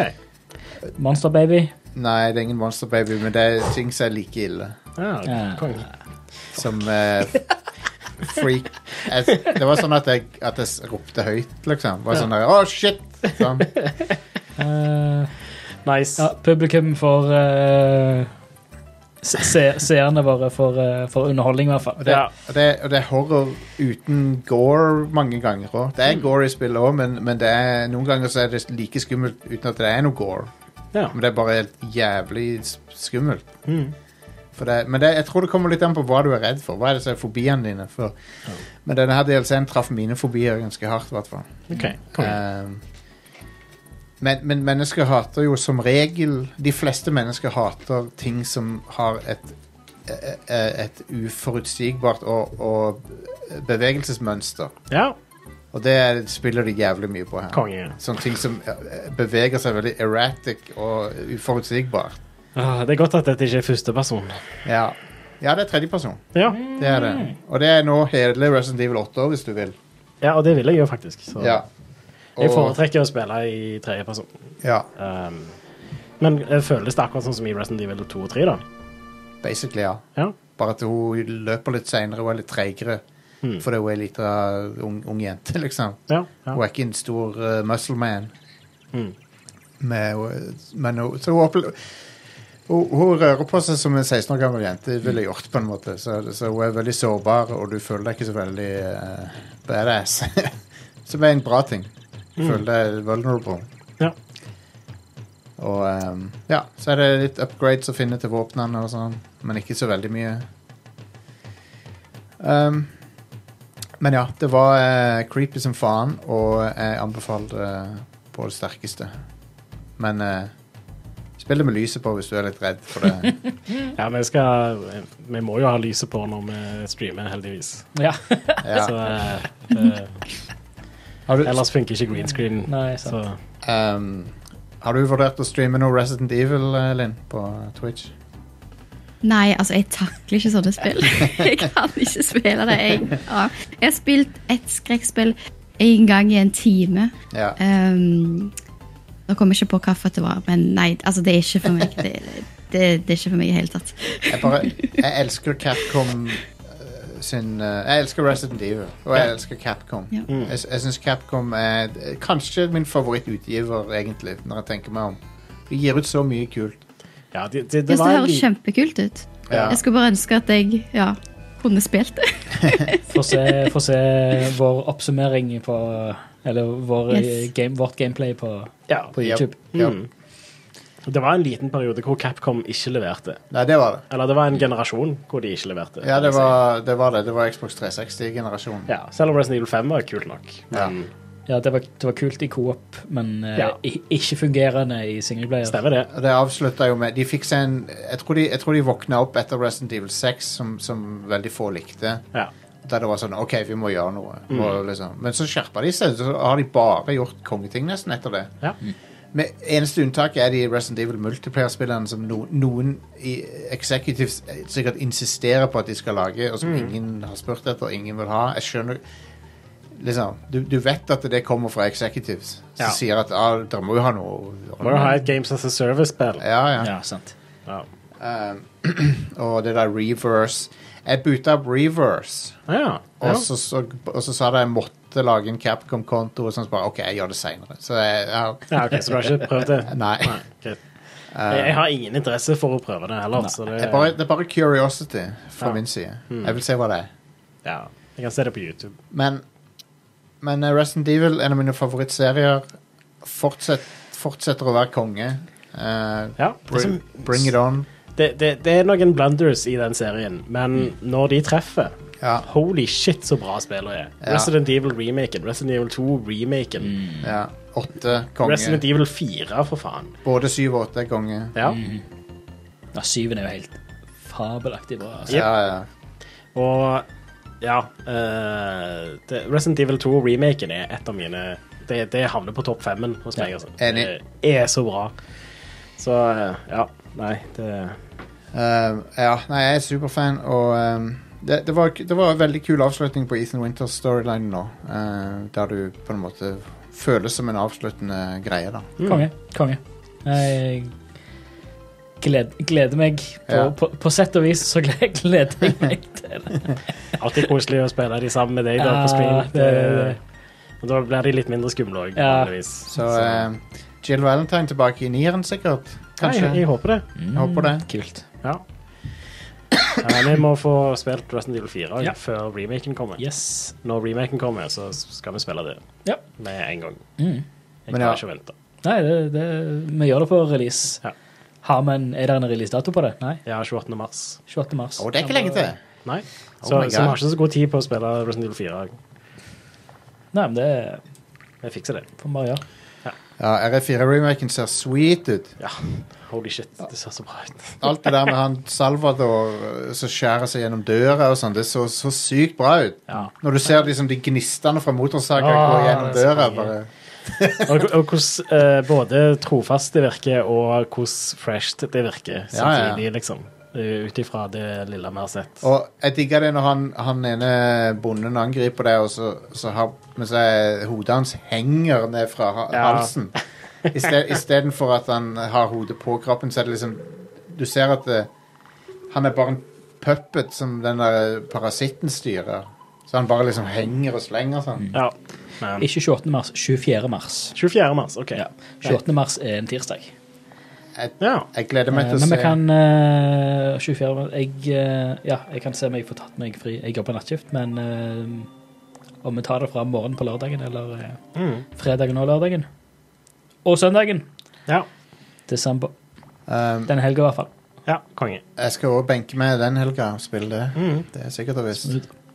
E: Monster Baby.
C: Nei, det er ingen Monster Baby, men det er ting som er like ille.
D: Ja,
E: Ja.
D: konge.
C: Som eh, freak jeg, Det var sånn at jeg, at jeg s- ropte høyt, liksom. Var sånn der, Å, shit! Sånn.
E: Eh,
D: Nice.
E: ja, publikum for eh, se se- seerne våre for, eh, for underholdning, i hvert fall.
C: Og, det,
D: Ja.
C: og, det, og det er horror uten gore mange ganger òg. Det er gore i spillet òg, men, men det er, noen ganger så er det like skummelt uten at det er noe gore.
D: Ja.
C: Men det er bare helt jævlig s- skummelt.
D: Mm.
C: For det, men det, jeg tror det kommer litt an på hva du er redd for. Hva er det som er fobiene dine? For, Men denne her DLC-en traff mine fobier ganske hardt, i hvert fall.
D: OK. Konge.
C: Um, men, men mennesker hater jo som regel De fleste mennesker hater ting som har et, e- e- et uforutsigbart og, og bevegelsesmønster.
D: Ja,
C: Og det er- spiller de jævlig mye på her.
D: konge.
C: Sånne ting som eh, beveger seg veldig erratic og uforutsigbart.
D: Ah, det er godt at dette ikke er første person.
C: Ja, ja det er tredjeperson.
D: Ja.
C: Det er det.
D: Mm.
C: Og det er nå hele Resident Evil 8 også, hvis du vil.
D: ja, og det vil jeg jo faktisk. Så.
C: Ja.
D: Jeg
C: Og,
D: foretrekker å spille i tredje person.
C: ja,
D: Um, men eh, føles det akkurat sånn som i Resident Evil 2 og 3, da?
C: basically, ja.
D: Ja.
C: Bare at hun løper litt seinere og er litt treigere.
D: Hmm.
C: Fordi hun er ei lita ung, ung jente, liksom.
D: Ja, ja.
C: Hun er ikke en stor eh, muscle man.
D: Mm.
C: Men, men hun, så hun, opple- hun, hun rører på seg som en 16 år gammel jente ville gjort, på en måte. Så, så hun er veldig sårbar, og du føler deg ikke så veldig eh, badass. [LAUGHS] som er en bra ting. Du Føler deg vulnerable.
D: Ja.
C: Og ehm, ja, så er det litt upgrades å finne til våpnene og sånn, men ikke så veldig mye. Ehm, men ja, det var eh, creepy som faen, og jeg anbefaler det på det sterkeste. Men eh, spill det med lyset på hvis du er litt redd for det.
D: ja, vi skal Vi må jo ha lyset på når vi streamer, heldigvis.
E: Ja.
C: Ja.
D: Så eh, eh,
C: Har, du,
D: Ellers funker ikke green screen.
E: Nei, sant.
D: så
C: ehm, har du vurdert å streame noe Resident Evil, eh, Linn, på Twitch?
F: Nei, altså, jeg takler ikke sånne spill. jeg kan ikke spille det. Jeg, ja. jeg har spilt ett skrekkspill én gang i en time.
C: Ja.
F: Um, jeg kommer ikke på hvilket det var, men nei, altså, det er ikke for meg. Det, det, det er ikke for meg i det hele tatt.
C: Jeg bare Jeg elsker Capcom eh, sin eh, Jeg elsker Resident Evil, og jeg elsker Capcom.
F: Ja.
C: Jeg, jeg syns Capcom er d- kanskje min favorittutgiver, egentlig, når jeg tenker meg om. De gir ut så mye kult.
D: ja, det, det, det
F: Det, det
D: var
F: høres
D: li-
F: kjempekult ut.
C: Ja.
F: Jeg skulle bare ønske at jeg ja, kunne spilt det.
E: Få se, få se vår oppsummering på Eller vår,
F: Yes.
E: game, vårt gameplay på,
D: ja. Mm.
E: på YouTube.
C: Yep. Yep.
D: Det var en liten periode hvor Capcom ikke leverte.
C: Nei, det var det.
D: Eller det var en generasjon hvor de ikke leverte.
C: Ja,
D: kan
C: det
D: jeg si.
C: var det. var det. Det var Xbox 360-generasjonen.
D: ja, selv om Resident Evil 5 var kult nok.
C: Ja.
E: Ja, det var, det var kult i coop, men eh,
D: Ja.
E: i- ikke fungerende i singleplayer.
D: Stemmer det.
C: Og Det avslutta jo med De fikk seg en Jeg tror de, jeg tror de våkna opp etter Resident Evil 6, som, som veldig få likte.
D: Ja.
C: Der det var sånn OK, vi må gjøre noe.
D: Mm.
C: Og liksom. Men så skjerpa de seg. Så har de bare gjort kongeting nesten etter det.
D: Ja.
C: Med eneste unntak er de Resident Evil multiplayer-spillerne som no, noen i executives eh, sikkert insisterer på at de skal lage, og
D: Mm.
C: som ingen har spurt etter, ingen vil ha. Jeg skjønner liksom, du, du vet at det kommer fra executives som
D: Ja.
C: sier at ah, dere må jo ha noe.
D: Må jo ha et Games as a Service-spill.
C: ja, ja.
E: Ja, sant.
D: Ja.
C: og det der reverse. Jeg bootet opp reverse,
D: Ja.
C: og,
D: Ja.
C: så, så, og så sa de jeg måtte lage en Capcom-konto, og sånn så bare OK, jeg gjør det seinere. Så jeg, jeg
D: ja, ok, Så du har ikke prøvd
C: [LAUGHS]
D: det?
C: Nei. Eh.
D: greit. Jeg, jeg har ingen interesse for å prøve det heller. Så det,
C: jeg bare, det er bare curiosity fra
D: Ja. Mm.
C: min side. Jeg vil se hva det er.
D: ja, jeg kan se det på YouTube.
C: Men, men eh, Resident Evil, en av mine favorittserier, fortsett, fortsetter å være konge. Eh,
D: Ja, det,
C: bring,
D: som,
C: bring it on.
D: det, det, det er noen blunders i den serien,
E: Mm.
D: men når de treffer
C: Ja.
D: Holy shit, så bra spillet er.
C: Ja.
D: Resident Evil-remaken, Resident Evil 2-remaken,
E: Mm.
C: Ja. Åtte
D: Resident
C: konge.
D: Evil 4, for faen.
C: Både syv og åtte er konge.
D: Ja.
E: Mm. Ja, syven er jo helt fabelaktig bra. Altså.
C: Ja, ja.
D: Og ja eh, det, Resident Evil 2-remaken er et av mine Det, det havner på topp femmen hos meg. Altså.
C: Enig.
D: Det er så bra. Så eh, ja. Nei, det
C: Um, ja, nei, jeg er superfan, og um, det, det, var, det var en veldig kul avslutning på Ethan Winters storyline nå. uh, der du på en måte føles som en avsluttende greie, da.
D: mm,
E: Konge. Konge. Jeg gled, gleder meg. På,
C: Ja.
E: på, på sett og vis så gled- gleder jeg
C: [LAUGHS]
E: meg til det.
D: [LAUGHS] Alltid koselig å spille de sammen med deg da,
E: Ja,
D: på screen.
E: det- det-
D: Og da blir de litt mindre skumle òg,
E: Ja.
D: vanligvis.
C: Så um, Jill Valentine tilbake i nieren, sikkert.
D: Nei,
C: Kanskje.
D: jeg, jeg håper
C: [LAUGHS]
D: det.
C: Jeg håper det.
E: Mm, Kult.
D: Ja. Eh, vi må få spilt Resident Evil 4 også,
E: Ja.
D: før remaken kommer.
E: Yes.
D: Når remaken kommer, så skal vi spille det
E: Ja.
D: med en gang.
E: Mm.
D: Jeg
C: Men
D: klarer
C: ja.
D: ikke å vente.
E: Nei, det, det, vi gjør det på release.
D: Ja.
E: Har vi en, er det en releasedato på det? Nei.
D: Ja, 28. mars.
E: 28. mars.
C: Å, det er ikke lenge til.
D: Nei.
C: Oh
D: Så,
C: my
D: så vi
C: God.
D: har ikke så god tid på å spille Resident Evil 4.
E: Nei, men det
D: Vi fikser det.
E: får vi bare gjøre.
C: Ja, RF4-remaken ser sweet ut.
D: Ja. Holy shit, det ser så bra ut.
C: Alt det der med han Salvador uh, som skjærer seg gjennom døra og sånn, det så så sykt bra ut.
D: Ja.
C: Når du ser liksom de gnistene fra motorsaga
D: Ah,
C: gå gjennom
D: det er så
C: døra.
D: konge.
C: bare...
D: Og, og hvordan eh, både trofast det virker, og hvordan fresh det virker
C: ja.
D: samtidig, liksom. Ut ifra det lille vi har sett.
C: Og jeg digger det når han, han ene bonden angriper deg, og så, så har, mens jeg, hodet hans henger ned fra ha
D: Ja.
C: halsen. Istedenfor at han har hodet på kroppen, så er det liksom Du ser at det, han er bare en puppet som den der parasitten styrer. Så han bare liksom henger og slenger sånn.
D: Ja. Men,
E: Ikke 28. mars, 24. mars.
D: 24. mars, OK.
E: Ja. 28. mars er en tirsdag.
C: Jeg,
D: Ja.
C: jeg gleder meg
E: Eh,
C: til å
E: Men vi
C: se.
E: kan eh, 24, mars- jeg, eh, ja, jeg kan se om jeg får tatt meg fri. Jeg jobber nattskift, men eh, om vi tar det fra morgenen på lørdagen, eller eh,
D: Mm.
E: fredagen og lørdagen. Og søndagen.
D: ja.
E: Desember.
C: Um,
E: Den helga, i hvert fall.
D: Ja, konge.
C: jeg skal også benke meg den helga og spille det. Det er sikkert og visst.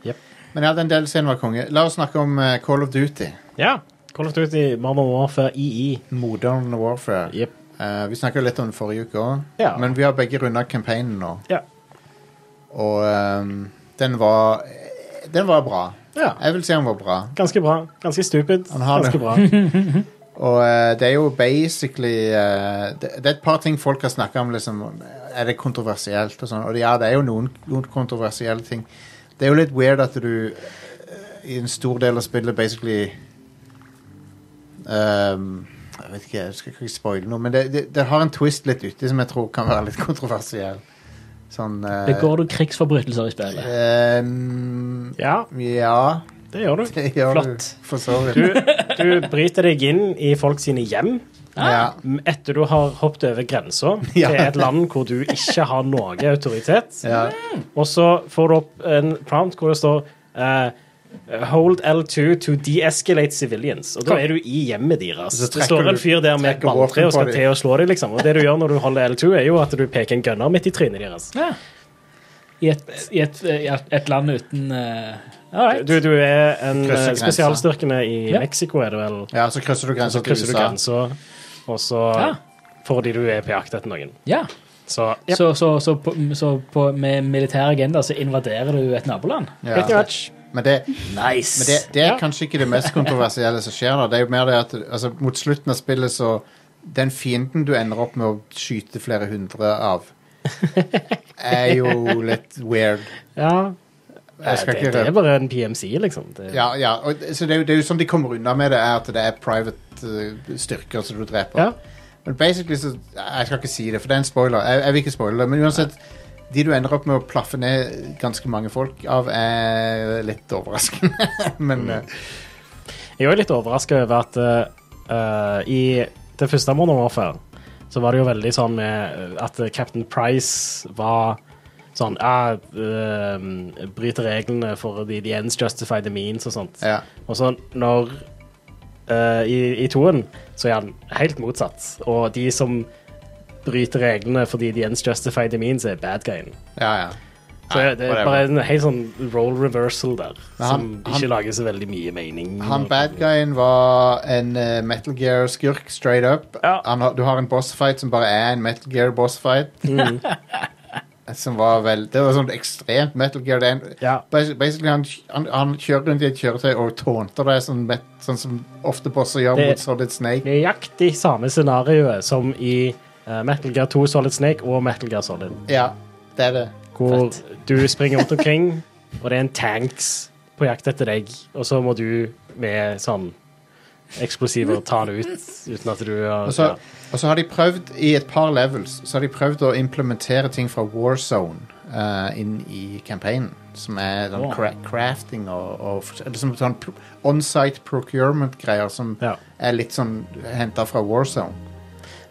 D: Jep.
C: Men ja, den delscenen var konge. La oss snakke om eh, Call of Duty.
D: Ja. Call of Duty Modern Warfare II.
C: Modern Warfare.
D: Jep.
C: Eh, vi snakka litt om det forrige uke òg,
D: Ja.
C: men vi har begge runda campaignen nå.
D: Ja.
C: Og ehm, den var Den var bra.
D: ja.
C: Jeg vil si den var bra.
D: Ganske bra. Ganske stupid.
C: Han har det.
D: Ganske bra.
C: [LAUGHS] Og eh, det er jo basically eh, det, det er et par ting folk har snakka om. Liksom, er det kontroversielt og sånn? Og ja, det er jo noen, noen kontroversielle ting. Det er jo litt weird at du eh, i en stor del av spillet basically ehm, Jeg vet ikke, jeg skal ikke spoile noe, men det, det, det har en twist litt uti som jeg tror kan være litt [LAUGHS] kontroversiell. Sånn eh,
E: Begår du krigsforbrytelser i spillet?
C: ehm,
D: Ja,
C: Ja, [LAUGHS]
D: det gjør du.
C: det gjør
E: Flott.
C: du for så vidt.
D: Du, du bryter deg inn i folk sine hjem Ah.
C: Ja.
D: etter du har hoppet over grensa
C: [LAUGHS] Ja.
D: til et land hvor du ikke har noe autoritet.
C: Ja.
D: Og så får du opp en prompt hvor det står eh, eh, Hold L2 to de-escalate civilians. Og da er du i hjemmet deres.
C: Så
D: Det står
C: trekker
D: en
C: du-
D: fyr der med
C: trekker
D: balltre
C: våpen
D: og skal
C: på
D: til å slå deg, liksom. Og det du gjør når du holder L2, er jo at du peker en gunner midt i trynet deres.
E: I et, i et, eh, i et- et land uten eh, all right.
D: Du, du er en
C: Krysser
D: eh,
C: grensa.
D: spesialstyrkene i
E: Ja.
D: Mexico, er det vel?
C: Ja, så krysser du grensa
D: Så
C: til
D: krysser du
C: USA.
D: grensa, og så
E: Ja.
D: fordi du er på jakt etter noen.
E: Ja.
D: Så
E: Så, så, så, på, så på, med militær agenda så invaderer du et naboland?
C: Ja.
D: pretty much.
C: Men det,
E: Nice!
C: men det, det er
D: Ja.
C: kanskje ikke det mest kontroversielle som skjer. da. Det er jo mer det at altså, mot slutten av spillet så Den fienden du ender opp med å skyte flere hundre av, er jo litt weird.
D: Ja.
C: Jeg skal
D: det,
C: ikke
D: det er
C: røpe
D: bare en PMC, liksom. Det,
C: ja, ja, og, det- så det, er jo- det er jo sånn de kommer unna med det, er at det er private eh, styrker som du dreper.
D: Ja.
C: Men basically så Jeg skal ikke si det, for det er en spoiler. Jeg, jeg vil ikke spoile det, men uansett De du ender opp med å plaffe ned ganske mange folk av, er litt overraskende. [LAUGHS] men eh,
D: Jeg er jo litt overraska over at eh, i det første Modern Warfare så var det jo veldig sånn med at Captain Price var sånn ja, eh, Bryter reglene for the, the ends justify the means og sånt.
C: ja.
D: Og så når eh, i, i toen, så er han helt motsatt. Og de som bryter reglene fordi de ends justify the means, er bad guyen.
C: Ja, ja.
D: Så
C: Nei,
D: det er
C: whatever.
D: bare en helt sånn role reversal der,
C: Men
D: som
C: han-
D: ikke
C: han-
D: lager så veldig mye mening.
C: Han bad guyen var en eh, Metal Gear-skurk straight up.
D: Ja.
C: Han har, du har en bossfight som bare er en Metal Gear-bossfight. [LAUGHS] som var vel Det var sånn ekstremt Metal Gear. Det er en,
D: Ja.
C: basi- Basically, han, han, han kjører rundt i et kjøretøy og tånter deg, sånn, met, sånn som ofte bosser gjør
D: Det-
C: mot Solid Snake.
D: Nøyaktig samme scenario som i eh, Metal Gear 2 Solid Snake og Metal Gear Solid,
C: Ja, det er det.
D: hvor du springer rundt omkring, og det er en tanks på jakt etter deg, og så må du med sånn eksplosiver ta han ut uten at du har
C: Og så,
D: ja.
C: og så har de prøvd i et par levels Så har de prøvd å implementere ting fra Warzone eh, inn i campaignen. Som er sånn cra crafting og, og f- eller som sånn pro- on-site procurement-greier som
D: Ja.
C: er litt sånn henta fra Warzone.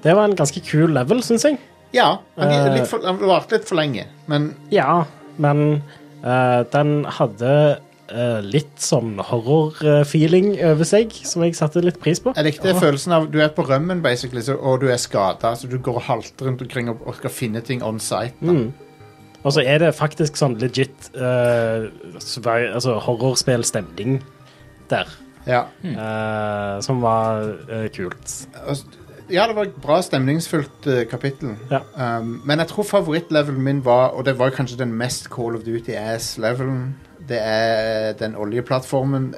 D: Det var en ganske kul level, syns jeg.
C: Ja, han er
D: Eh.
C: litt for- han varte litt for lenge, men
D: Ja, men eh, den hadde eh, litt sånn horror-feeling over seg, som jeg satte litt pris på.
C: jeg likte følelsen av Du er på rømmen, basically, så, og du er skada, så du går og halter rundt omkring og, og skal finne ting on site. da.
D: Og så er det faktisk sånn legit eh, survi- altså horrorspillstemning der,
C: Ja.
D: eh, som var eh,
C: Og
D: kult.
C: s- Altså, Ja, det var et bra stemningsfullt eh, kapittel.
D: Ja.
C: Um, men jeg tror favorittlevelen min var, og det var kanskje den mest Call of Duty-ass-levelen, det er den oljeplattformen.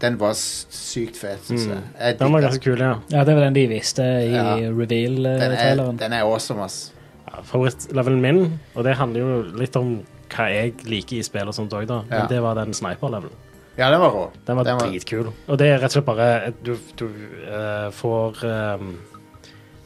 C: Den var s- sykt fet, syns jeg. jeg
D: Mm. Den var
C: digger
D: ganske kul, ja.
E: Ja, det var den de viste i eh,
C: Ja. den, er,
E: reveal-traileren.
C: den er awesome, ass.
D: ja Favorittlevelen min, og det handler jo litt om hva jeg liker i spill og sånt òg, da, men
C: Ja.
D: det var den sniper-levelen.
C: Ja, den var rå.
D: Den var dritkul. Og det er rett og slett bare at Du, du eh, får ehm,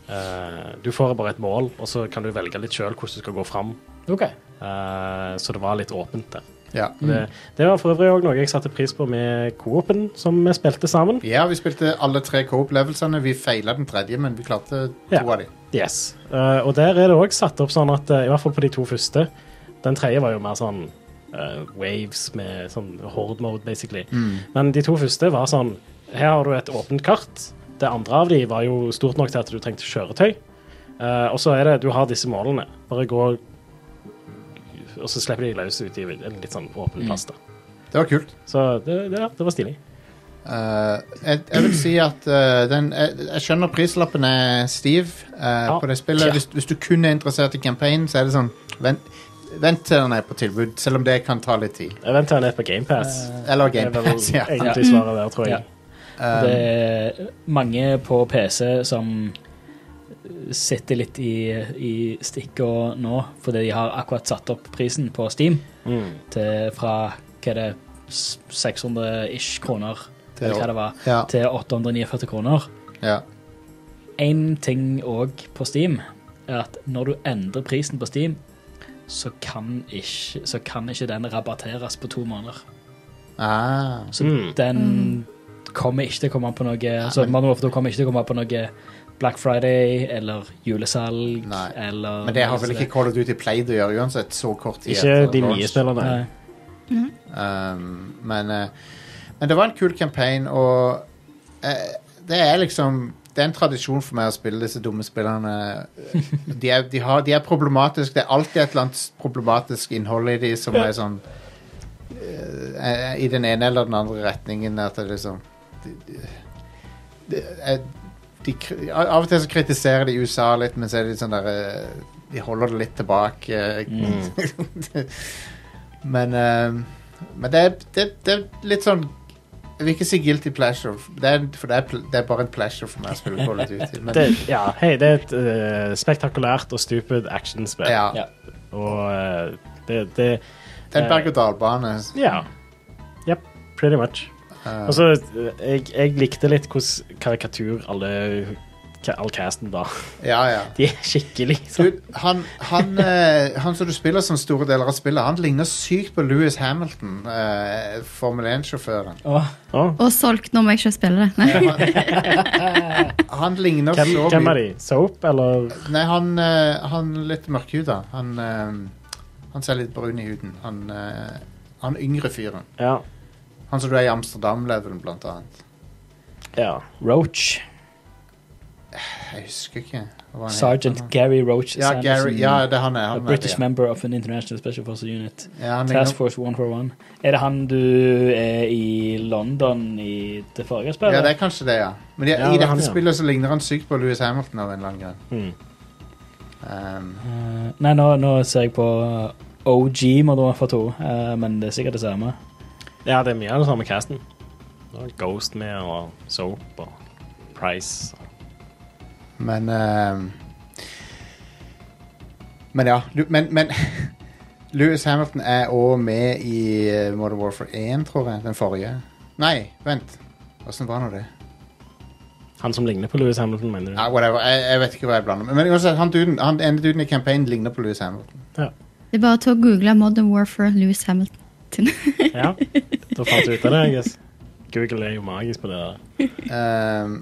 D: eh, Du får bare et mål, og så kan du velge litt sjøl hvordan du skal gå fram.
E: Ok.
D: Eh, så det var litt åpent der.
C: ja.
D: Det, det var for øvrig òg noe jeg satte pris på med Coop-en som vi spilte sammen.
C: ja, vi spilte alle tre co-opplevelsene. Vi feila den tredje, men vi klarte to
D: Ja.
C: av dem.
D: Yes. Eh, og der er det òg satt opp sånn at eh, I hvert fall på de to første. Den tredje var jo mer sånn eh, waves med sånn horde mode, basically.
C: Mm.
D: Men de to første var sånn Her har du et åpent kart. Det andre av de var jo stort nok til at du trengte kjøretøy. Eh, og så er det Du har disse målene. Bare gå Og så slipper de løs ut i en litt sånn åpen plass. da.
C: Det var kult.
D: Så det, det, det var stilig.
C: Eh, jeg, jeg vil si at eh, den, jeg, jeg skjønner prislappen er stiv eh,
D: Ja.
C: på det spillet. Hvis, hvis du kun er interessert i campaign, så er det sånn Vent, vent til den er på tilbud, selv om det kan ta litt tid.
D: Jeg venter ned på GamePass.
C: Eller
D: Det var vel
C: GamePass, Eh, ja. Um,
D: egentlig svaret der, tror jeg.
E: Ja. Det er mange på PC som sitter litt i, i stikka nå, fordi de har akkurat satt opp prisen på Steam
C: Mm.
E: til fra hva er det, s- 600-ish kroner
C: Til
E: eller hva det var,
C: Ja,
E: til 849 kroner.
C: ja.
E: Én ting òg på Steam er at når du endrer prisen på Steam, så kan ikke, så kan ikke den rabatteres på to måneder.
C: Ah,
E: Så den kommer ikke til å komme på noe Så Modern Warfare 2 kommer ikke til å komme på noe Black Friday eller julesalg
C: Nei.
E: eller
C: men det har vel ikke Call of Duty pleid å gjøre uansett, så kort tid.
D: Ikke
C: etter
D: de
E: Eh,
C: launch.
D: nye spillerne.
E: Nei.
C: Um, men, eh, men det var en kul campaign, og eh, det er liksom Det er en tradisjon for meg å spille disse dumme spillerne. De er, de har, de er problematiske. Det er alltid et eller annet problematisk innhold i de som er sånn eh, I den ene eller den andre retningen. At det liksom de, de, de, eh, de, kri- Av og til så kritiserer de USA litt, men så er de sånn der eh, De holder det litt tilbake. [LAUGHS] men eh, men det er, det, det er litt sånn Jeg vil ikke si guilty pleasure, det er, for det er, pl- det er bare en pleasure for meg å spille Call of Duty. Men,
D: [LAUGHS] Det, ja, hei, det er et eh, spektakulært og stupid actionspill.
C: ja,
E: Ja.
D: Og eh, det, det
C: det er en berg-og-dal-bane.
D: Ja. Yep, pretty much. Og så eh, jeg, jeg likte litt hvordan karikatur alle ka- all casten var. [LAUGHS]
C: Ja, ja.
D: De er skikkelig sånn.
C: Du, han, han, eh, han som du spiller som store deler av spillet, han ligner sykt på Louis Hamilton, eh, Formel 1-sjåføren.
E: Åh,
D: Å,
F: Og solgt når jeg ikke spiller det. Nei.
C: Han ligner
D: Hvem,
C: så
D: hvem
C: mye
D: er de? Soap, eller
C: Nei, han, eh, han er litt mørkhuda. Han, eh, han ser litt brun i huden. Han, eh, han yngre fyren.
D: Ja.
C: Han som du er i Amsterdam-levelen, blant annet.
D: ja.
E: Roach.
C: Jeg husker ikke. hva han heter.
E: Sergeant Gary Roach
C: Ja, Gary, ja, det er han er.
E: sånn a
C: Han er
E: British
C: det,
E: member of an international special forces unit.
C: ja. Ja, han ligner,
E: Task Force 141. Er det han du er i London i det forrige spillet?
C: ja, det er kanskje det, ja. Men i-
D: Ja,
C: i
D: det er
C: dette
D: han, ja. Hmm.
C: spillet så ligner han sykt på Louis Hamilton av en eller annen grunn. Um,
E: Eh, Nei, nå, nå ser jeg på eh, OG Modern Warfare 2, eh, men det er sikkert det samme.
D: ja, det er mye av den samme casten. Det var Ghost med, og Soap og Price.
C: men um, Men ja. du- Men, [LAUGHS] men Louis Hamilton er òg med i eh, Modern Warfare 1, tror jeg. Den forrige. Nei, vent. Åssen var nå det?
D: Han som ligner på Louis Hamilton, mener du?
C: Ja, whatever. Jeg, jeg vet ikke hva jeg blander med. Men uansett, han, duden, han ene duden i campaignen ligner på Louis Hamilton.
F: Det er bare til å google Modern Warfare Louis Hamilton. [LAUGHS]
D: Ja. Da fant du ut av det, jeg guess. Google er jo magisk på det der.
C: Um,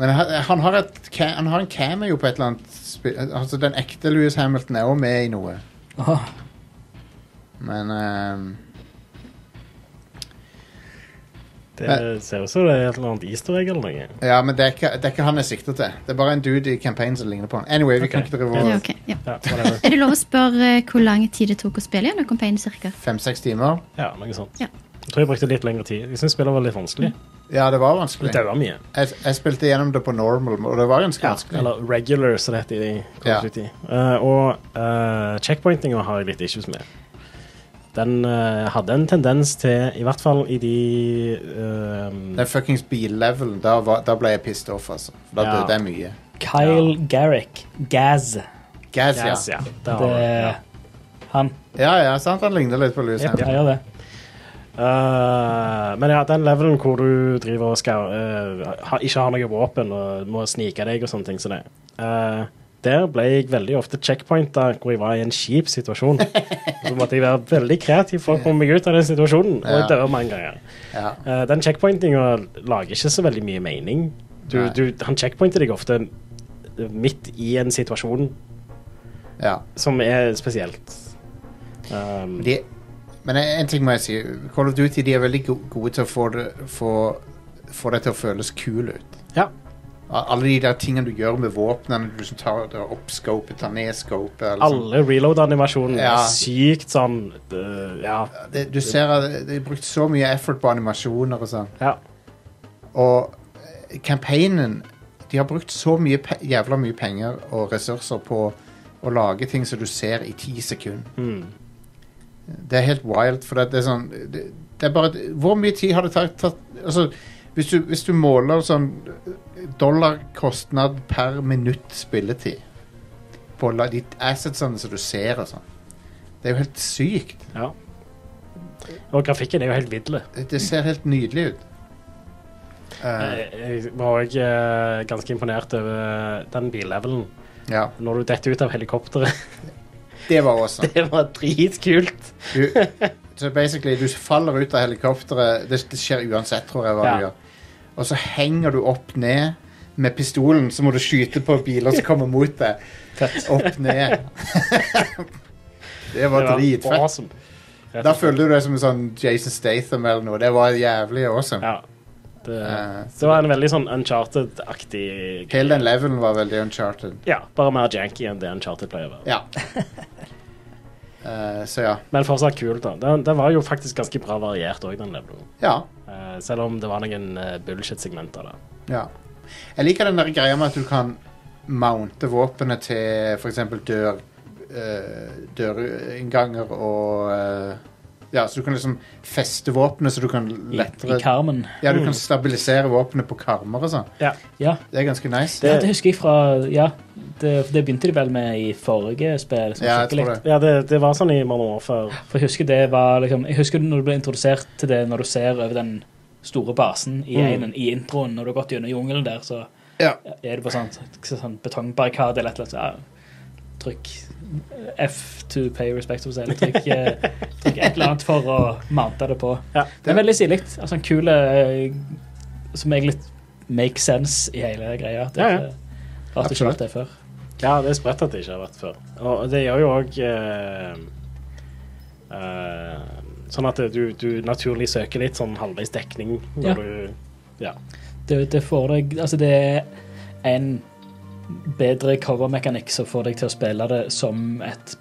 C: men han, han, har et, ca- han har en cameo på et eller annet spi- Altså, den ekte Louis Hamilton er òg med i noe.
E: Åh,
C: Men um,
D: Det ser ut som det er et eller annet easter egg eller noe.
C: Ja, men det er, ikke, det er ikke han jeg sikter til. Det er bare en dude i campaignen som ligner på han. Anyway, vi kan
D: Ok.
C: ikke drive
F: Det
C: over
F: er ok, ja.
D: Ja, whatever.
F: Er det lov å spørre eh, hvor lang tid det tok å spille igjen? Campaign, cirka?
C: fem-seks timer.
D: ja noe sånt.
F: [LAUGHS] Ja.
D: Jeg tror jeg brukte litt lengre tid. Jeg syns spillet var litt vanskelig.
C: Ja, det var vanskelig.
D: Det daua mye.
C: Jeg, jeg spilte gjennom det på normal, og det var ganske vanskelig.
D: Eller regular, som det heter i Call
C: Ja.
D: of Duty. Eh, og eh, checkpointinga har jeg litt issues med. Den eh, hadde en tendens til, i hvert fall i de eh,
C: Den fuckings billevelen, da, var- da ble jeg pissed off, altså. Da
D: Ja.
C: døde jeg mye.
E: Kyle Garrick. Gaz.
C: Gaz,
D: Gas, ja. Der har
E: Det
D: du det, ja.
E: han.
C: ja. Ja, sant, han ligner litt på Louis
D: Yep.
C: Hamilton.
E: Han gjør det.
D: Eh, men ja, den levelen hvor du driver og skal eh, ha, ikke har noe våpen og må snike deg og sånne ting som det. Eh, der ble jeg veldig ofte checkpointa hvor jeg var i en kjip
C: [LAUGHS]
D: situasjon. Så måtte jeg være veldig kreativ for å komme meg ut av den situasjonen, og jeg
C: Ja.
D: dør mange ganger.
C: Ja.
D: Eh, den checkpointinga lager ikke så veldig mye mening. Du,
C: Nei.
D: du, han checkpointer deg ofte midt i en situasjon
C: ja.
D: som er spesielt. Um,
C: De, men en en ting må jeg si. Call of Duty de er veldig go gode til å få det, få, få det til å føles kul ut.
D: ja.
C: Al- Alle de der tingene du gjør med våpnene. Du som tar det opp scopet, tar ned scopet. eller sånn.
D: Alle reload-animasjonene
C: Ja.
D: er sykt sånn øh, Ja.
C: det, du ser at de har brukt så mye effort på animasjoner og sånn.
D: ja.
C: Og eh, campaignen De har brukt så mye pe jævla mye penger og ressurser på å lage ting som du ser i ti sekunder.
D: Mm.
C: Det er helt wild, for det, det er sånn det, det er bare, Hvor mye tid har det tatt, tatt altså, hvis, du, hvis du måler sånn dollarkostnad per minutt spilletid på la- de assetsene som du ser og sånn Det er jo helt sykt.
D: ja. Og grafikken er jo helt vidle.
C: Det det ser helt nydelig ut. Eh,
D: Jeg jeg var òg ganske imponert over den billevelen.
C: ja,
D: Når du detter ut av helikopteret. [LAUGHS]
C: det var awesome.
D: Det var dritkult.
C: Du, så basically, du faller ut av helikopteret. Det, det skjer uansett, tror jeg. hva
D: Ja.
C: du gjør. Og så henger du opp ned med pistolen, så må du skyte på biler som kommer mot
D: [LAUGHS]
C: deg. Opp ned. det var
D: Det var
C: dritfett.
D: awesome. Rett og
C: Da
D: slett.
C: følte du deg som en sånn Jason Statham eller noe. Det var jævlig awesome.
D: Ja. Det,
C: Eh,
D: det var en veldig sånn uncharted-aktig
C: Hele den levelen var veldig uncharted.
D: Ja, bare mer janky enn det uncharted pleier å være. [LAUGHS]
C: Ja. Eh, så ja.
D: Men fortsatt kult, da. Den, den var jo faktisk ganske bra variert òg, den levelen.
C: Ja.
D: Eh, selv om det var noen eh, bullshit-segmenter der.
C: Ja. Jeg liker den der greia med at du kan mounte våpenet til f.eks. dør eh, dørinnganger og eh, Ja, så du kan liksom feste våpenet så du kan
E: I,
C: lettere
E: I Carmen.
C: Ja, du kan stabilisere våpenet på karmer og sånn.
D: Ja.
E: Ja.
C: Det er ganske nice.
E: Det, ja, det husker jeg fra Ja, det, for det begynte de vel med i forrige spill. som
C: ja, jeg
E: skikkelig.
C: tror det.
D: Ja, det, det var sånn i mange år før.
E: For jeg husker det var liksom Jeg husker når du ble introdusert til det når du ser over den store basen i,
D: Mm.
E: einen, i introen, når du har gått gjennom jungelen der, så
C: Ja.
E: er det på sånn, sånn betongbarrikade eller et eller annet. Så, ja, trykk F to pay respect, som sier. Trykk, eh, trykk et eller annet for å mante det på.
D: Ja.
E: Det er veldig stilig. Altså, en kul eh, som egentlig make sense i hele greia. Det,
D: Ja, ja.
E: er- Rart du ikke har hatt det før.
D: Ja, det er spredt at det ikke har vært før. Og det gjør jo òg eh, eh, Sånn at du, du naturlig søker litt sånn halvveis dekning når
E: Ja.
D: du
E: Det, det får deg Altså, det er en bedre covermekanikk som får deg til å spille det som et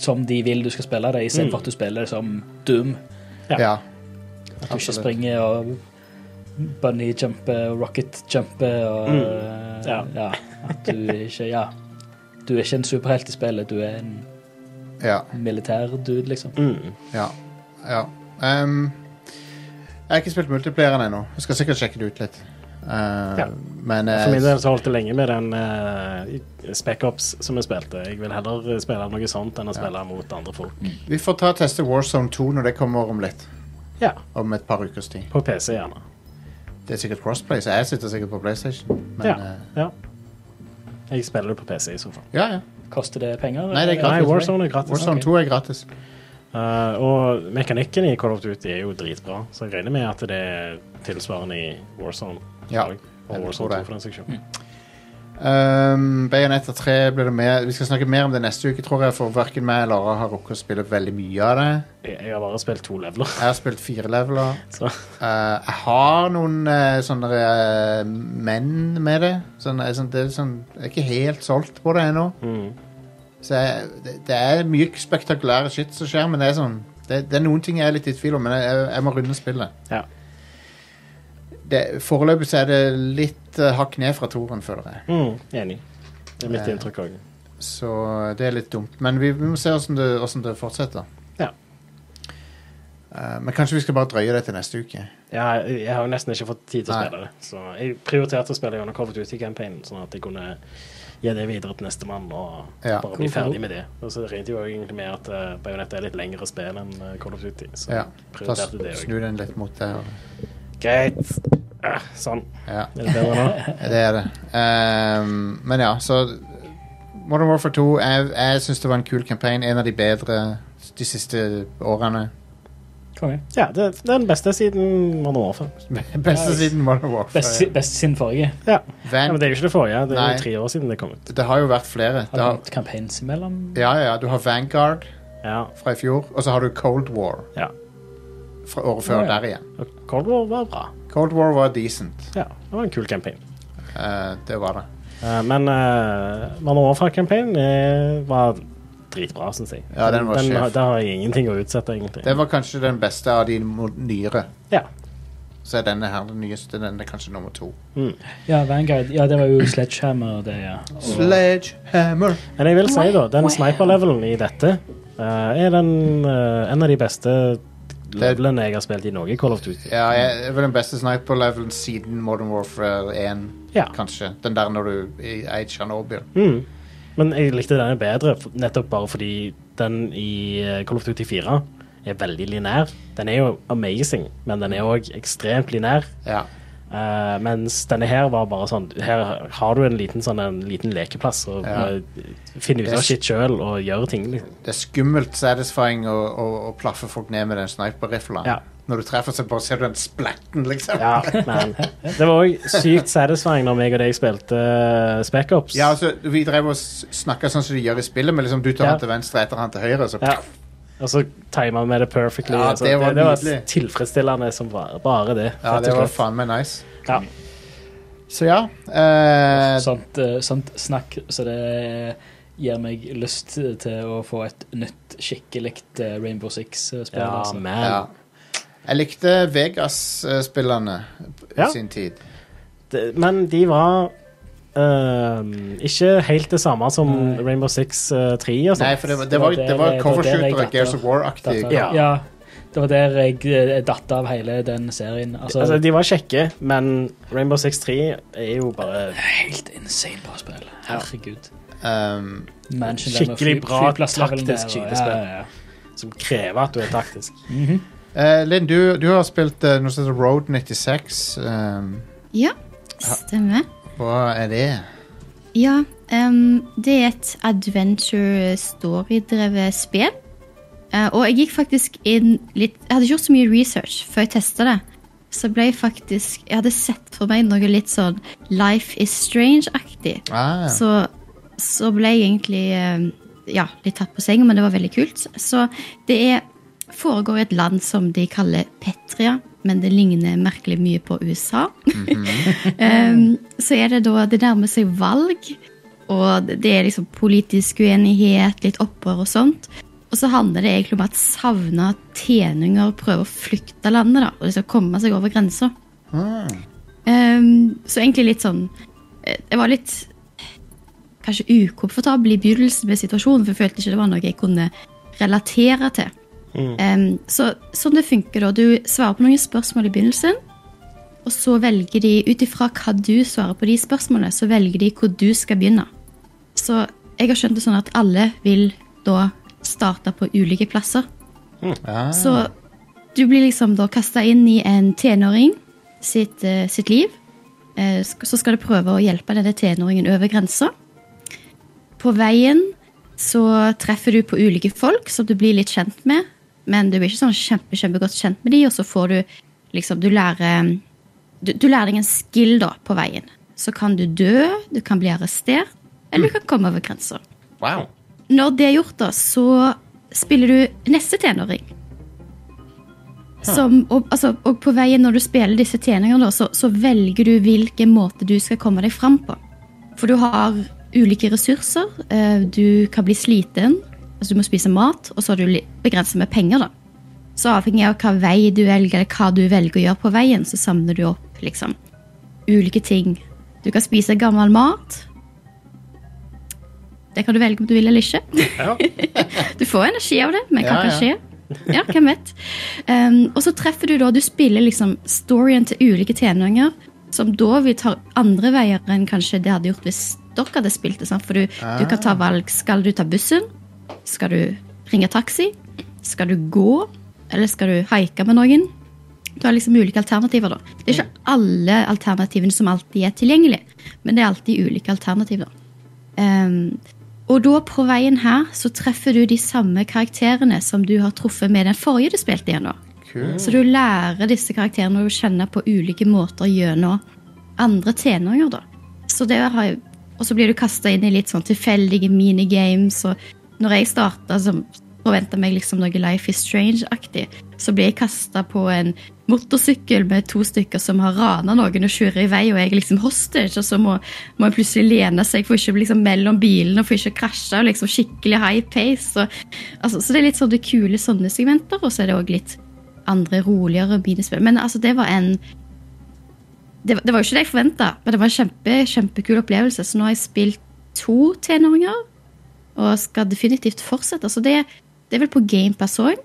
E: Som de vil du skal spille det, istedenfor
D: Mm.
E: at du spiller det som Doom.
D: Ja.
C: ja.
E: At du ikke
C: Absolutt.
E: springer og bunny-jumper og rocket-jumper og
D: Ja.
E: ja. At du ikke Ja. Du er ikke en superhelt i spillet, du er en
C: ja.
E: militær dude, liksom.
D: mm.
C: Ja. ja. Ehm, jeg har ikke spilt multiplieren ennå. Jeg skal sikkert sjekke det ut litt. Eh,
D: Ja.
C: Men eh,
D: For min del så holdt det lenge med den uh, Spec-Ops som jeg spilte. Jeg vil heller spille noe sånt enn å spille mot andre folk.
C: vi får ta og teste Warzone 2 når det kommer om litt.
D: Ja,
C: Om et par ukers tid.
D: på PC gjerne.
C: Det er sikkert crossplay, så jeg sitter sikkert på PlayStation. Men,
D: ja.
C: eh,
D: ja. Jeg spiller det på PC i så fall.
C: ja, ja.
E: Koster det penger?
C: Nei, det er
D: Nei,
C: gratis.
D: Warzone er sånn, gratis.
C: Warzone
E: ok.
C: 2 er gratis.
D: Eh, og mekanikken i Call of Duty er jo dritbra, så jeg regner med at det er tilsvarende i Warzone.
C: Ja, jeg
D: Og
C: tror
D: Warzone
C: det.
D: 2 for den saks skyld.
C: Um, Bayonetta 3 blir det mer Vi skal snakke mer om det neste uke, tror jeg, for verken meg eller Lara har rukket å spille veldig mye av det.
D: Jeg jeg har bare spilt to
C: [LAUGHS]
D: leveler.
C: Jeg har spilt fire leveler.
D: Så.
C: Eh, jeg har noen eh, sånne eh, menn med det. Sånn, eh, sånn, det er sånn, jeg er ikke helt solgt på det ennå. Så jeg, det, det er mye spektakulære shit som skjer, men det er sånn det, det er noen ting jeg er litt i tvil om, men jeg, jeg, jeg må runde spillet.
D: Ja.
C: Det, foreløpig så er det litt eh, hakk ned fra toren, føler jeg.
D: Mm, enig. Det er mitt
C: Eh.
D: inntrykk òg.
C: Så det er litt dumt. Men vi, vi må se åssen det, hvordan det fortsetter.
D: Ja.
C: Eh, men kanskje vi skal bare drøye det til neste uke.
D: Jeg, jeg har jo nesten ikke fått tid til å
C: Nei.
D: spille det. Så jeg prioriterte å spille gjennom Call of Duty-campaignen, sånn at jeg kunne gi det videre til nestemann og
C: Ja.
D: bare bli ferdig med det. Og så regnet jeg jo egentlig med at uh, Bajonetta er litt lengre spill enn eh, Call of Duty, så
C: Ja.
D: jeg
C: Ta,
D: prioriterte det òg.
C: snu den litt mot det. og-
D: Greit. Ah, sånn.
C: Ja,
D: Er det
C: [LAUGHS]
D: bedre nå?
C: det er det. Ehm, men ja, så Modern Warfare 2 Jeg, jeg syns det var en kul campaign. En av de bedre de siste årene. [LAUGHS]
E: Konge.
D: Ja, det, det er den beste siden man har overfor.
C: Beste siden Modern Warfare.
E: Best, best siden forrige.
D: Ja.
C: Van,
D: ja, men det er jo ikke det forrige. Det er
C: Nei.
D: jo tre år siden det kom ut.
C: det har jo vært flere. Det
E: Har
C: har,
E: du hatt campaigns imellom?
C: ja, ja, du har Vanguard
D: Ja.
C: fra i fjor, og så har du Cold War
D: ja.
C: fra året før
E: Ja, ja.
C: der igjen.
D: Og Cold War var bra.
C: Cold War var decent.
D: Ja, det var en kul campaign.
C: Eh, det var det.
D: Eh, men uh, Man Overfra-campaignen eh, var dritbra, syns jeg.
C: Ja, den var sjef.
D: har- Der har jeg ingenting å utsette, egentlig.
C: Den var kanskje den beste av de mo- nyere.
D: Ja.
C: Så er denne her den nyeste. Den er kanskje nummer to.
E: Ja, Vanguard. Ja, det var jo Sledgehammer, det, ja. Og-
C: Sledgehammer.
D: Men jeg vil si, da, den sniper-levelen i dette eh, er den eh, en av de beste levelene jeg har spilt i noe Call of Duty.
C: Ja, jeg det er vel den beste sniper-levelen siden Modern Warfare 1,
D: Ja.
C: kanskje. Den der når du i- er i Tsjernobyl.
D: Mm. Men jeg likte denne bedre, f- nettopp bare fordi den i eh, Call of Duty 4 er veldig linær. Den er jo amazing, men den er òg ekstremt linær.
C: Ja.
D: Eh, mens denne her var bare sånn Her har du en liten, sånn, en liten lekeplass og
C: Ja.
D: bare finne ut av shit sjøl og gjøre ting. Liksom.
C: Det er skummelt satisfying å, å, å plaffe folk ned med den sniper-rifla.
D: Ja.
C: Når du treffer, så bare ser du den splatten, liksom.
D: Ja, men det var òg sykt satisfying når meg og deg spilte uh,
C: altså-
D: Spec-Ops.
C: Ja, altså, Vi drev og s- snakka sånn som de gjør i spillet, men liksom du tar
D: Ja.
C: han til venstre, etter han til høyre, så
D: Ja. Og så timet vi det perfectly.
C: Ja,
D: altså.
C: det var
D: det, det var
C: nydelig.
D: tilfredsstillende som var, bare det.
C: Ja,
D: rett og
C: det var
D: slett.
C: faen meg nice.
D: Ja.
C: Så ja eh,
E: Sånt, eh, sånt snakk, så det gir meg lyst til å få et nytt, skikkelig eh, Rainbow Six-spill.
D: ja,
E: altså.
D: man.
C: ja. Jeg likte Vegas-spillerne i
D: Ja.
C: sin tid.
D: Det- Men de var ehm, ikke helt det samme som
E: Nei.
D: Rainbow Six eh, 3 og sånt.
C: Nei, for det var, det var, det var
E: Det var der jeg-
C: covershooter og
E: datt
C: Gears of
E: av.
C: War-aktig.
E: Datt av.
D: Ja.
E: ja. Det var der jeg eh, datt av hele den serien. Altså,
D: Altså, de var kjekke, men Rainbow Six 3 er jo bare
E: Helt insane bra spill. Herregud.
C: Um,
E: Mansion der med
D: Skikkelig
E: fly-
D: bra
E: flyplassnivelen
D: taktisk
E: der, og-
D: skytespill.
E: ja, ja, ja.
D: som krever at du er taktisk.
C: eh, Linn, du, du har spilt eh, noe som heter Road 96. Um,
F: Ja, stemmer.
C: hva er det?
F: Ja, ehm, det er et adventure story-drevet spill. Eh, og jeg gikk faktisk inn litt Jeg hadde ikke gjort så mye research før jeg testa det. Så ble jeg faktisk Jeg hadde sett for meg noe litt sånn Life is strange-aktig.
C: Ah,
F: Så, så ble jeg egentlig eh, ja, litt tatt på sengen, men det var veldig kult. Så det er, foregår i et land som de kaller Petria, men det ligner merkelig mye på USA. [LAUGHS] Em, så er det da Det nærmer seg valg, og det er liksom politisk uenighet, litt opprør og sånt. Og så handler det egentlig om at savna tjeninger prøver å flykte landet da, og de skal komme seg over grensa. Em, så egentlig litt sånn eh, Jeg var litt kanskje ukomfortabel i begynnelsen med situasjonen, for jeg følte ikke det var noe jeg kunne relatere til. Em, så sånn det funker da, du svarer på noen spørsmål i begynnelsen, og så velger de, ut ifra hva du svarer på de spørsmålene, så velger de hvor du skal begynne. Så jeg har skjønt det sånn at alle vil da starte på ulike plasser.
C: ah.
F: Så du blir liksom da kasta inn i en tenåring sitt, eh, sitt liv. Eh, sk- så skal du prøve å hjelpe denne tenåringen over grensa. På veien så treffer du på ulike folk som du blir litt kjent med. Men du blir ikke sånn kjempe, kjempegodt kjent med de, og så får du liksom Du lærer du, du lærer deg en skill da på veien. Så kan du dø, du kan bli arrestert, eller du kan komme over grensa.
C: Wow.
F: Når det er gjort, da, så spiller du neste tenåring. Som, og, altså, og på veien når du spiller disse tjeningene, da, så, så velger du hvilken måte du skal komme deg fram på. For du har ulike ressurser. eh, Du kan bli sliten, altså du må spise mat, og så har du begrensa med penger. da. Så avhengig av hva vei du velger, eller hva du velger å gjøre på veien, så samler du opp liksom, ulike ting. Du kan spise gammel mat. Det kan du velge om du vil eller ikke. [LAUGHS] du får energi av det, men hva
C: Ja,
F: kan
C: ja.
F: skje? Ja, hvem vet. Um, og så treffer du da, du spiller liksom storyen til ulike tenåringer, som da vil ta andre veier enn kanskje det hadde gjort hvis dere hadde spilt det. Sant? For du, du kan ta
C: Ah.
F: valg. Skal du ta bussen? Skal du ringe taxi? Skal du gå? Eller skal du haike med noen? Du har liksom ulike alternativer, da. Det er ikke alle alternativene som alltid er tilgjengelig, men det er alltid ulike alternativer. Ehm, og da på veien her så treffer du de samme karakterene som du har truffet med den forrige du spilte igjen.
C: Kult.
F: Så du lærer disse karakterene å kjenne på ulike måter gjennom andre tenåringer. da. Så det har jeg, og så blir du kasta inn i litt sånn tilfeldige minigames. og når jeg starta, så forventa meg liksom noe Life is Strange-aktig. Så ble jeg kasta på en motorsykkel med to stykker som har rana noen og kjører i vei, og jeg er liksom hostage, og så må, må jeg plutselig lene seg for ikke å bli liksom mellom bilene og for ikke å krasje. og liksom Skikkelig high pace. Og, altså, så det er litt sånne kule sånne segmenter, og så er det òg litt andre roligere minispill. Men altså, det var en det, var- det var jo ikke det jeg forventa, men det var en kjempe, kjempekul opplevelse. Så nå har jeg spilt to tenåringer og skal definitivt fortsette. Så det, det er vel på GamePass òg.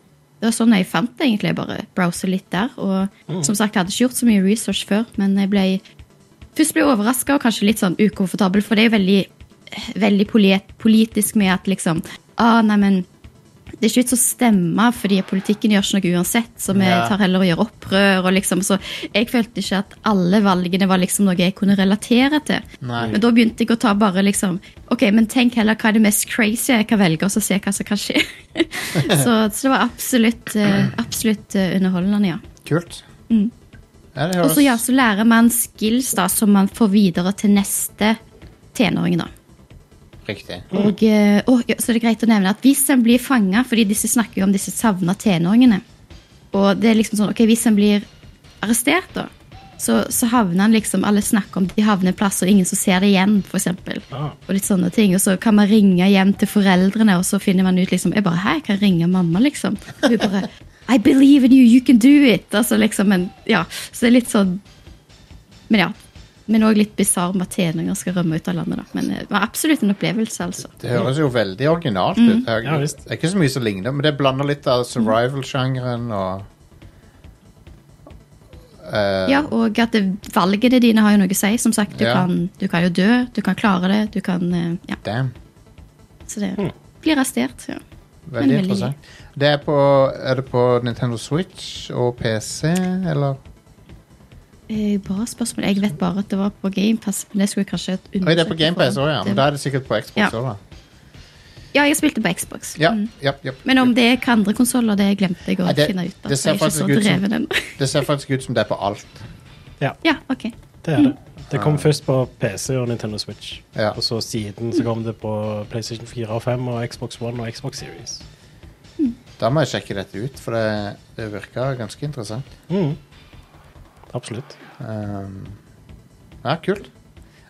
F: Det var sånn jeg fant det, egentlig. Jeg bare browser litt der. Og som sagt, jeg hadde ikke gjort så mye research før, men jeg ble først ble jeg overraska og kanskje litt sånn ukomfortabel, for det er jo veldig, veldig polit, politisk med at liksom ah, nei, men det er ikke vits å stemme, fordi politikken gjør ikke noe uansett, så vi
C: Ja.
F: tar heller og gjør opprør. og liksom, Så jeg følte ikke at alle valgene var liksom noe jeg kunne relatere til.
C: Nei.
F: Men da begynte jeg å ta bare liksom Ok, men tenk heller hva er det mest crazy jeg kan velge, og så se hva som kan skje. [LAUGHS] så, så det var absolutt, eh, absolutt eh, underholdende, ja.
C: Kult. Ja, det
F: Og
C: høres
F: så ja, så lærer man skills da, som man får videre til neste tenåring. da.
C: Riktig.
F: Og, eh, å, ja, så er det greit å nevne at hvis en blir fanga Fordi disse snakker jo om disse savna tenåringene. Og det er liksom sånn, ok, hvis en blir arrestert, da, så, så havner han liksom Alle snakker om de havner i plasser, og ingen som ser det igjen, for eksempel. Og litt sånne ting. Og så kan man ringe hjem til foreldrene, og så finner man ut liksom Jeg bare Hæ, jeg kan ringe mamma, liksom. Og hun bare I believe in you, you can do it! Altså liksom, men ja. Så det er litt sånn Men ja. Men òg litt bisarr med at tenåringer skal rømme ut av landet, da. Men eh, det var absolutt en opplevelse, altså.
C: Det høres jo veldig originalt ut. Det er,
D: Ja, visst.
C: det er ikke så mye som ligner, men det blander litt av survival-sjangeren og eh,
F: Ja, og at det, valgene dine har jo noe å si. Som sagt, du,
C: Ja.
F: kan, du kan jo dø, du kan klare det, du kan eh, Ja,
C: Damn.
F: så det
C: Mm.
F: blir arrestert. Ja. Men
C: Veldig
F: veldig
C: interessant. Det er, på, er det på Nintendo Switch og PC, eller?
F: Eh, bra spørsmål. Jeg vet bare at det var på GamePass, men det skulle jeg kanskje
C: Oi, det er på GamePass òg, ja. Men da
F: Det-
C: er det sikkert på Xbox
F: Ja.
C: også, da.
F: Ja, jeg spilte på Xbox.
C: Ja,
F: Mm.
C: ja, ja.
F: Men om det er hva andre konsoller, det glemte jeg å
C: Nei, det-
F: finne ut av.
C: det
F: så
C: ser
F: jeg er ikke så
C: faktisk ut som-
F: dreven ennå. [LAUGHS]
C: Det ser faktisk ut som det er på alt.
F: ja, ok.
D: Det er det. Det kom først på PC og Nintendo Switch.
C: Ah. Ja.
D: Og så siden så kom det på PlayStation 4 og 5 og Xbox One og Xbox Series.
C: Da må jeg sjekke dette ut, for det, det virker ganske interessant.
D: Mm. Absolutt.
C: Um, ja, kult.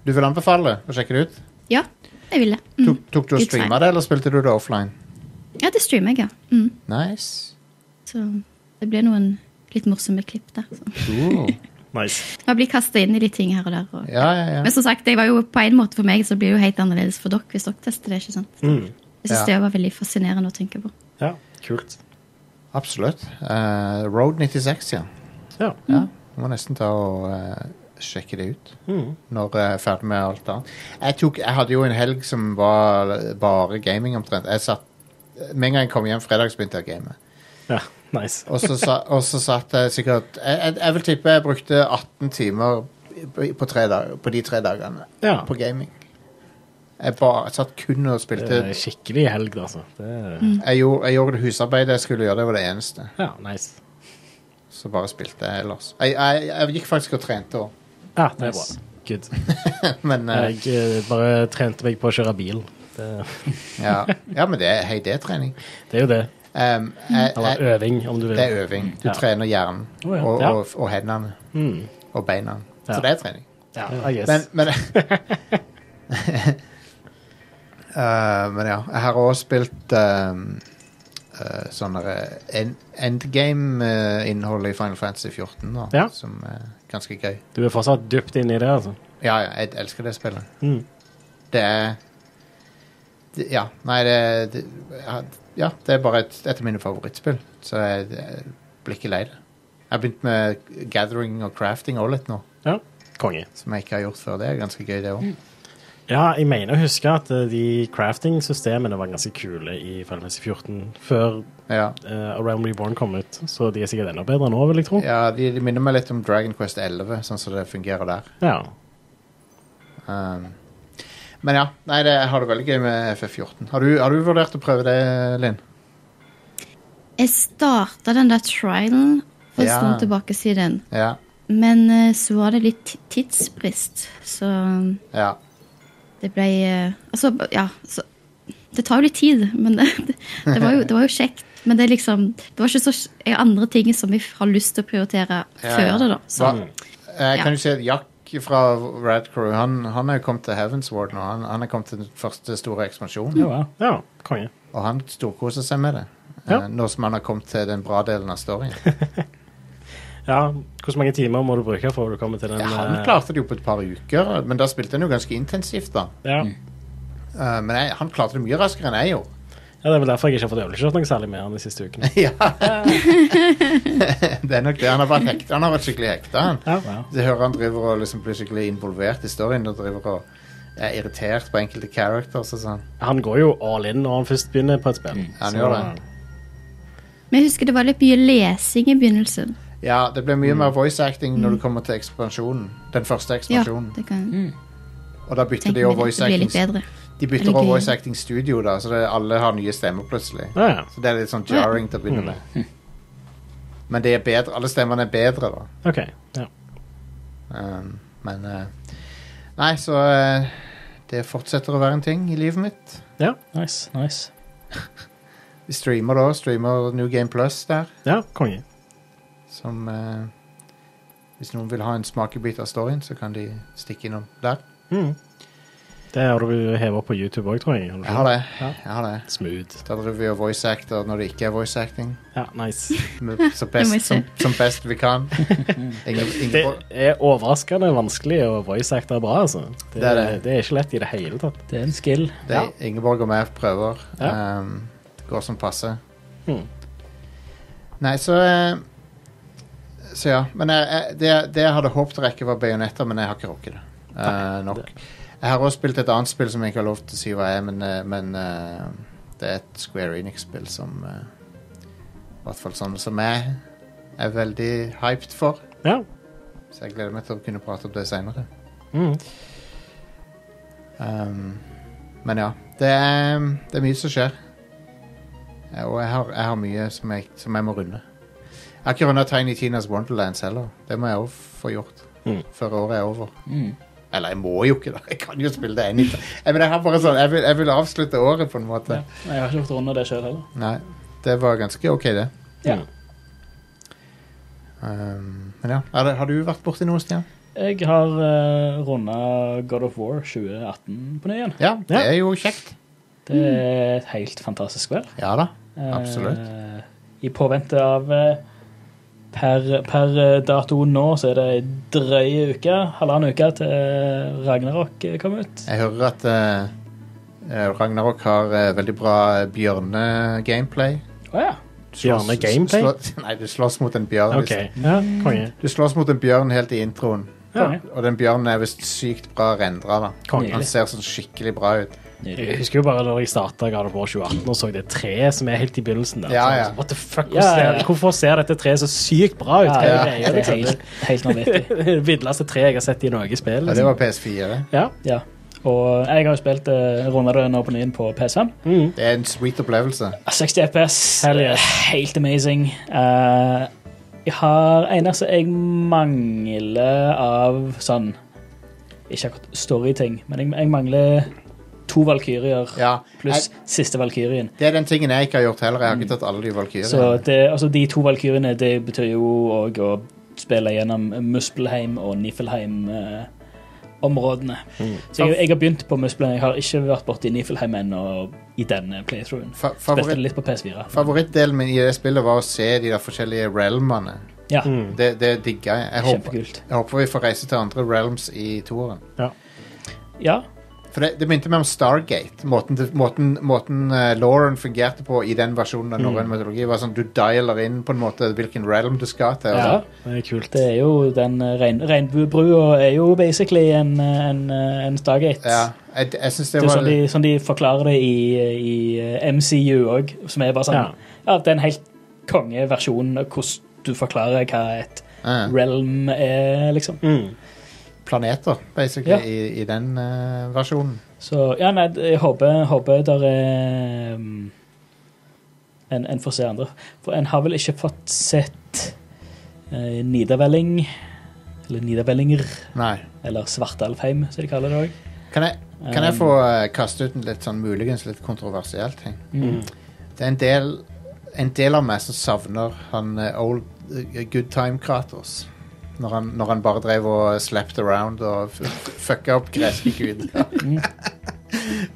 C: Du vil anbefale å sjekke det ut?
F: Ja, jeg ville. Mm.
C: Tok, tok du og
F: Good
C: streama
F: time.
C: det, eller spilte du det offline?
F: Ja, det streamer jeg, ja. Mm.
C: Nice.
F: Så det blir noen litt morsomme klipp der. Så.
C: Cool.
D: Nice.
F: Man blir kasta inn i de ting her og der. Og,
C: Ja, ja, ja.
F: Men som sagt, det var jo på en måte for meg, så blir det jo helt annerledes for dere hvis dere tester det. ikke sant? Jeg synes
C: Mm. Ja.
F: det var veldig fascinerende å tenke på.
D: Ja, kult.
C: Absolutt. Eh, Road 96, ja.
D: Ja.
C: ja. Må nesten ta og eh, sjekke det ut når jeg er ferdig med alt annet. Jeg, tok, jeg hadde jo en helg som var bare gaming omtrent. Jeg satt, med en gang jeg kom hjem fredag, så begynte jeg å game.
D: Ja, nice.
C: Og så,
F: [LAUGHS]
C: sa, og så satt jeg sikkert jeg, jeg, jeg vil tippe jeg brukte 18 timer på, på, tre dag, på de tre dagene
D: Ja.
C: på gaming. Jeg bare jeg satt kun og
D: Det er
C: spilte.
D: skikkelig helg, altså. Det er,
C: Jeg gjorde, jeg gjorde det husarbeidet jeg skulle gjøre, det var det eneste.
D: ja, nice.
C: Så bare spilte jeg ellers. Jeg, jeg, jeg gikk faktisk og trente òg,
D: Ja, det er bra.
E: Nice.
C: [LAUGHS]
D: Good. [LAUGHS]
C: men eh,
D: Jeg eh, bare trente meg på å kjøre bil. Det,
C: ja. ja, men det er, hei, det er trening.
D: det er jo det.
C: Um, jeg,
D: Eller
C: jeg,
D: øving, om du vil.
C: det er øving. Du
D: Ja.
C: trener hjernen
D: Å, ja.
C: og,
D: Ja.
C: og, og hendene og beina. Så
D: Ja.
C: det er trening.
D: Ja, I guess.
C: Men, men
D: [LAUGHS]
C: Eh, Men ja, jeg har også spilt um, eh, sånne eh, en- endgame-innhold i Final Fantasy 14, da,
D: Ja.
C: som er ganske gøy.
D: du er fortsatt dypt inne i det, altså.
C: Ja, ja, jeg elsker det spillet.
D: Mm.
C: Det er det, Ja, nei, det, det ja, Ja, det er bare et, et av mine favorittspill, så jeg, jeg blir ikke lei det. Jeg har begynt med gathering og crafting òg litt nå,
D: Ja. Konge.
C: som jeg ikke har gjort før. Det er ganske gøy, det òg.
D: Mm. Ja, jeg mener å huske at eh, de crafting-systemene var ganske kule i Final Fantasy 14 før
C: Ja.
D: uh, Around Reborn kom ut, så de er sikkert enda bedre nå, vil jeg tro.
C: ja, de, de minner meg litt om Dragon Quest 11, sånn som det fungerer der.
D: Ja.
C: Um, men ja, nei, det, jeg har det veldig gøy med FF14. Har du, har du vurdert å prøve det, Linn?
F: Jeg starta den der trialen for en
C: Ja.
F: stund tilbake siden,
C: Ja.
F: men eh, så var det litt ti- tidsbrist, så
C: ja.
F: det ble eh, Altså, ja så, Det tar jo litt tid, men [LAUGHS] det, det, det, var, jo, det var jo kjekt. Men det er liksom Det var ikke så jeg har andre ting som jeg har lyst til å prioritere
C: Ja,
F: før
C: ja.
F: det, da. Så
C: Hva- Jeg
F: Ja.
C: kan jo si at Jack fra Rad Crew han, han er jo kommet til Heavensward nå. Han, han er kommet til den første store ekspansjonen,
E: Ja, wow.
D: ja, konge.
C: og han storkoser seg med det.
D: Ja.
C: Eh, Nå som han har kommet til den bra delen av storyen.
D: Ja, Hvor mange timer må du bruke for å komme til den
C: Ja, han
D: eh,
C: klarte det jo på et par uker, men da spilte han jo ganske intensivt, da.
D: Ja.
C: Eh, Men jeg, han klarte det mye raskere enn jeg gjorde.
D: ja, Det er vel derfor jeg ikke har fått øvelseskjørt noe særlig med han de siste
C: [LAUGHS]
D: ukene.
C: Ja. det er nok det. Han har vært, hekta. Han har vært skikkelig hekta, han.
D: Ja.
C: Jeg hører han driver og liksom blir skikkelig involvert i storyen og driver og er irritert på enkelte characters og sånn.
D: Han går jo all in når han først begynner på et spill.
C: Han
D: Så-
C: gjør det.
F: Men jeg husker det var litt mye lesing i begynnelsen.
C: Ja, det blir mye mer voice acting når du kommer til ekspansjonen. Den første
F: Mm. Ja,
C: ekspansjonen.
F: det kan
C: og da bytter de
F: tenke
C: jo
F: meg.
C: voice
F: Det blir litt
C: acting.
F: bedre.
C: De bytter
F: Eller
C: over
F: gøy.
C: voice acting studio, da, så det, alle har nye stemmer plutselig.
D: Ja, ja.
C: Så det er litt sånn jarring til å begynne
F: Mm.
C: med. Men det er bedre, alle stemmene er bedre, da.
D: OK. Ja.
C: Ehm, Um, men eh, Nei, så eh, Det fortsetter å være en ting i livet mitt.
D: Ja.
E: Nice, nice.
C: Vi streamer da, streamer New Game Plus der,
D: ja, konge.
C: som eh, Hvis noen vil ha en smakebit av storyen, så kan de stikke innom der.
D: Mm. Det har du hevet opp på YouTube òg, tror jeg.
C: Jeg har det.
D: Ja.
C: jeg har det.
D: Smooth.
C: Da driver vi og voice actor når det ikke er voice
F: [LAUGHS]
C: acting.
D: Ja,
C: [LAUGHS]
D: nice.
C: Men Så
F: må jeg
C: best,
F: se.
C: som, som best vi
F: [LAUGHS]
C: kan. Ingen, ingen,
D: Det er overraskende vanskelig å voice acte bra, altså. Det,
C: Det er det.
D: det er ikke lett i det hele tatt.
E: Det er en skill.
C: Det er Ingeborg og meg prøver.
D: Ja.
C: Um, går som passe.
D: Hmm.
C: Nei, så eh, Så ja. Men jeg, jeg, det, det jeg hadde håpet å rekke, var bajonetter, men jeg har ikke rukket det. eh, nok. Jeg har også spilt et annet spill som jeg ikke har lov til å si hva er, men, eh, men eh, det er et Square Enix-spill som eh, I hvert fall sånn som jeg er veldig hyped for.
D: Ja.
C: Så jeg gleder meg til å kunne prate om det seinere.
D: Mm.
C: Um, men ja, det er, det er mye som skjer. Eh, Og jeg har, jeg har mye som jeg, som jeg må runde. Jeg har ikke runda Tiny Tinas Wonderlands heller. Det må jeg òg få gjort
D: Mm.
C: før året er over.
E: Mm.
C: Eller jeg må jo ikke, da. Jeg kan jo spille det anytime. Jeg, men jeg, har bare sånn, jeg, vil, jeg vil avslutte året, på en måte.
E: Ja. Nei, Jeg har ikke fått runde det sjøl heller.
C: Nei, det var ganske OK, det.
E: Ja.
C: Um, men ja. Har, har du vært borti noe, Stian?
E: Jeg har uh, runda God of War 2018 på ny igjen.
C: Ja, det
D: Ja.
C: er jo kjekt.
E: Det er et helt fantastisk spill.
C: Ja da.
E: Eh,
C: Absolutt.
E: I påvente av eh, per, per eh, dato nå så er det ei drøy uke, halvannen uke, til eh, Ragnarok eh, kom ut.
C: Jeg hører at eh, eh, Ragnarok har eh, veldig bra bjørne-gameplay.
E: Å ja.
D: Bjørne-gameplay?
C: [LAUGHS] Nei, du slåss mot en bjørn.
D: OK. Ja, konge.
C: Du slåss mot en bjørn helt i introen.
D: Ja.
C: Og den bjørnen er visst sykt bra rendra. da.
D: Konge.
C: Han ser sånn skikkelig bra ut.
D: Jeg husker jo bare da jeg starta God of War 2018 og så det treet som er helt i begynnelsen der.
C: Ja,
D: Så jeg
C: ja.
D: sånn, What the fuck,
E: Ja,
D: hvorfor
E: ja,
D: ser-
E: ja.
D: Hvorfor ser dette treet så sykt bra ut?
E: Ja,
D: Hva
E: det,
D: er
E: er-
D: greia, [LAUGHS]
E: det er
D: liksom?
E: helt, helt vanvittig.
D: Det er det villeste treet jeg har sett i noe spill.
C: Ja, det var PS4.
D: Ja.
E: Ja. Og jeg har jo spilt uh, runda det nå på nyen på PS5.
C: Det er en sweet opplevelse.
E: 60 FPS.
D: Hell yes.
E: E Helt amazing. Eh, jeg har eneste jeg mangler av sånn Ikke akkurat storyting, men jeg, jeg mangler to valkyrjer
C: Ja,
E: pluss
C: jeg,
E: siste valkyrien.
C: Det er den tingen jeg ikke har gjort heller. Jeg har ikke tatt alle de
E: Så
C: valkyrene.
E: det, altså de to valkyriene det betyr jo òg å spille gjennom Muspelheim og Niflheim-områdene. Så jeg, jeg har begynt på Muspelheim. Jeg har ikke vært borti Niflheim ennå i denne playthroughen.
C: Fa
E: Spilte det
C: favoritt,
E: litt på PS4.
C: favorittdelen min i det spillet var å se de der forskjellige realmene.
E: Ja,
C: Det, det digga jeg. Jeg håper,
E: kjempekult.
C: jeg håper vi får reise til andre realms i toeren.
E: Ja,
C: For det, det begynte med om Stargate. Måten, det- måten, måten eh, Lauren fungerte på i den versjonen
E: Mm.
C: av norrøn mytologi, var sånn du dialer inn på en måte hvilken realm du skal til. sånn.
E: ja.
D: Det er kult.
E: Det er jo den eh, rein, regnbuebrua er jo basically en, eh, en, eh, en Stargate.
C: Ja, jeg jeg syns det,
E: Det er
C: var
E: sånn de, sånn de forklarer det i, i eh, MCU òg, som er bare sånn
D: Ja.
E: ja. Det er en helt konge versjon av hvordan du forklarer hva et
C: eh,
E: realm er, liksom.
D: Mm.
C: planeter, basically,
E: Ja.
C: i, i den eh, versjonen.
E: Så ja, nei, jeg håper, håper der er mm, en, en får se andre. For en har vel ikke fått sett eh, Nidavelling, eller Nidavellinger,
C: Nei.
E: eller Svartalfheim, som de kaller det òg.
C: Kan jeg, kan
E: Um.
C: jeg få eh, kaste ut en litt sånn muligens litt kontroversiell ting?
E: Mm.
C: Det er en del, en del av meg som savner han eh, old eh, good time Kratos. Når han, når han bare drev og slapped around og f- f- fucka opp
D: [LAUGHS]
C: greske guder.
D: Mm.
C: [LAUGHS]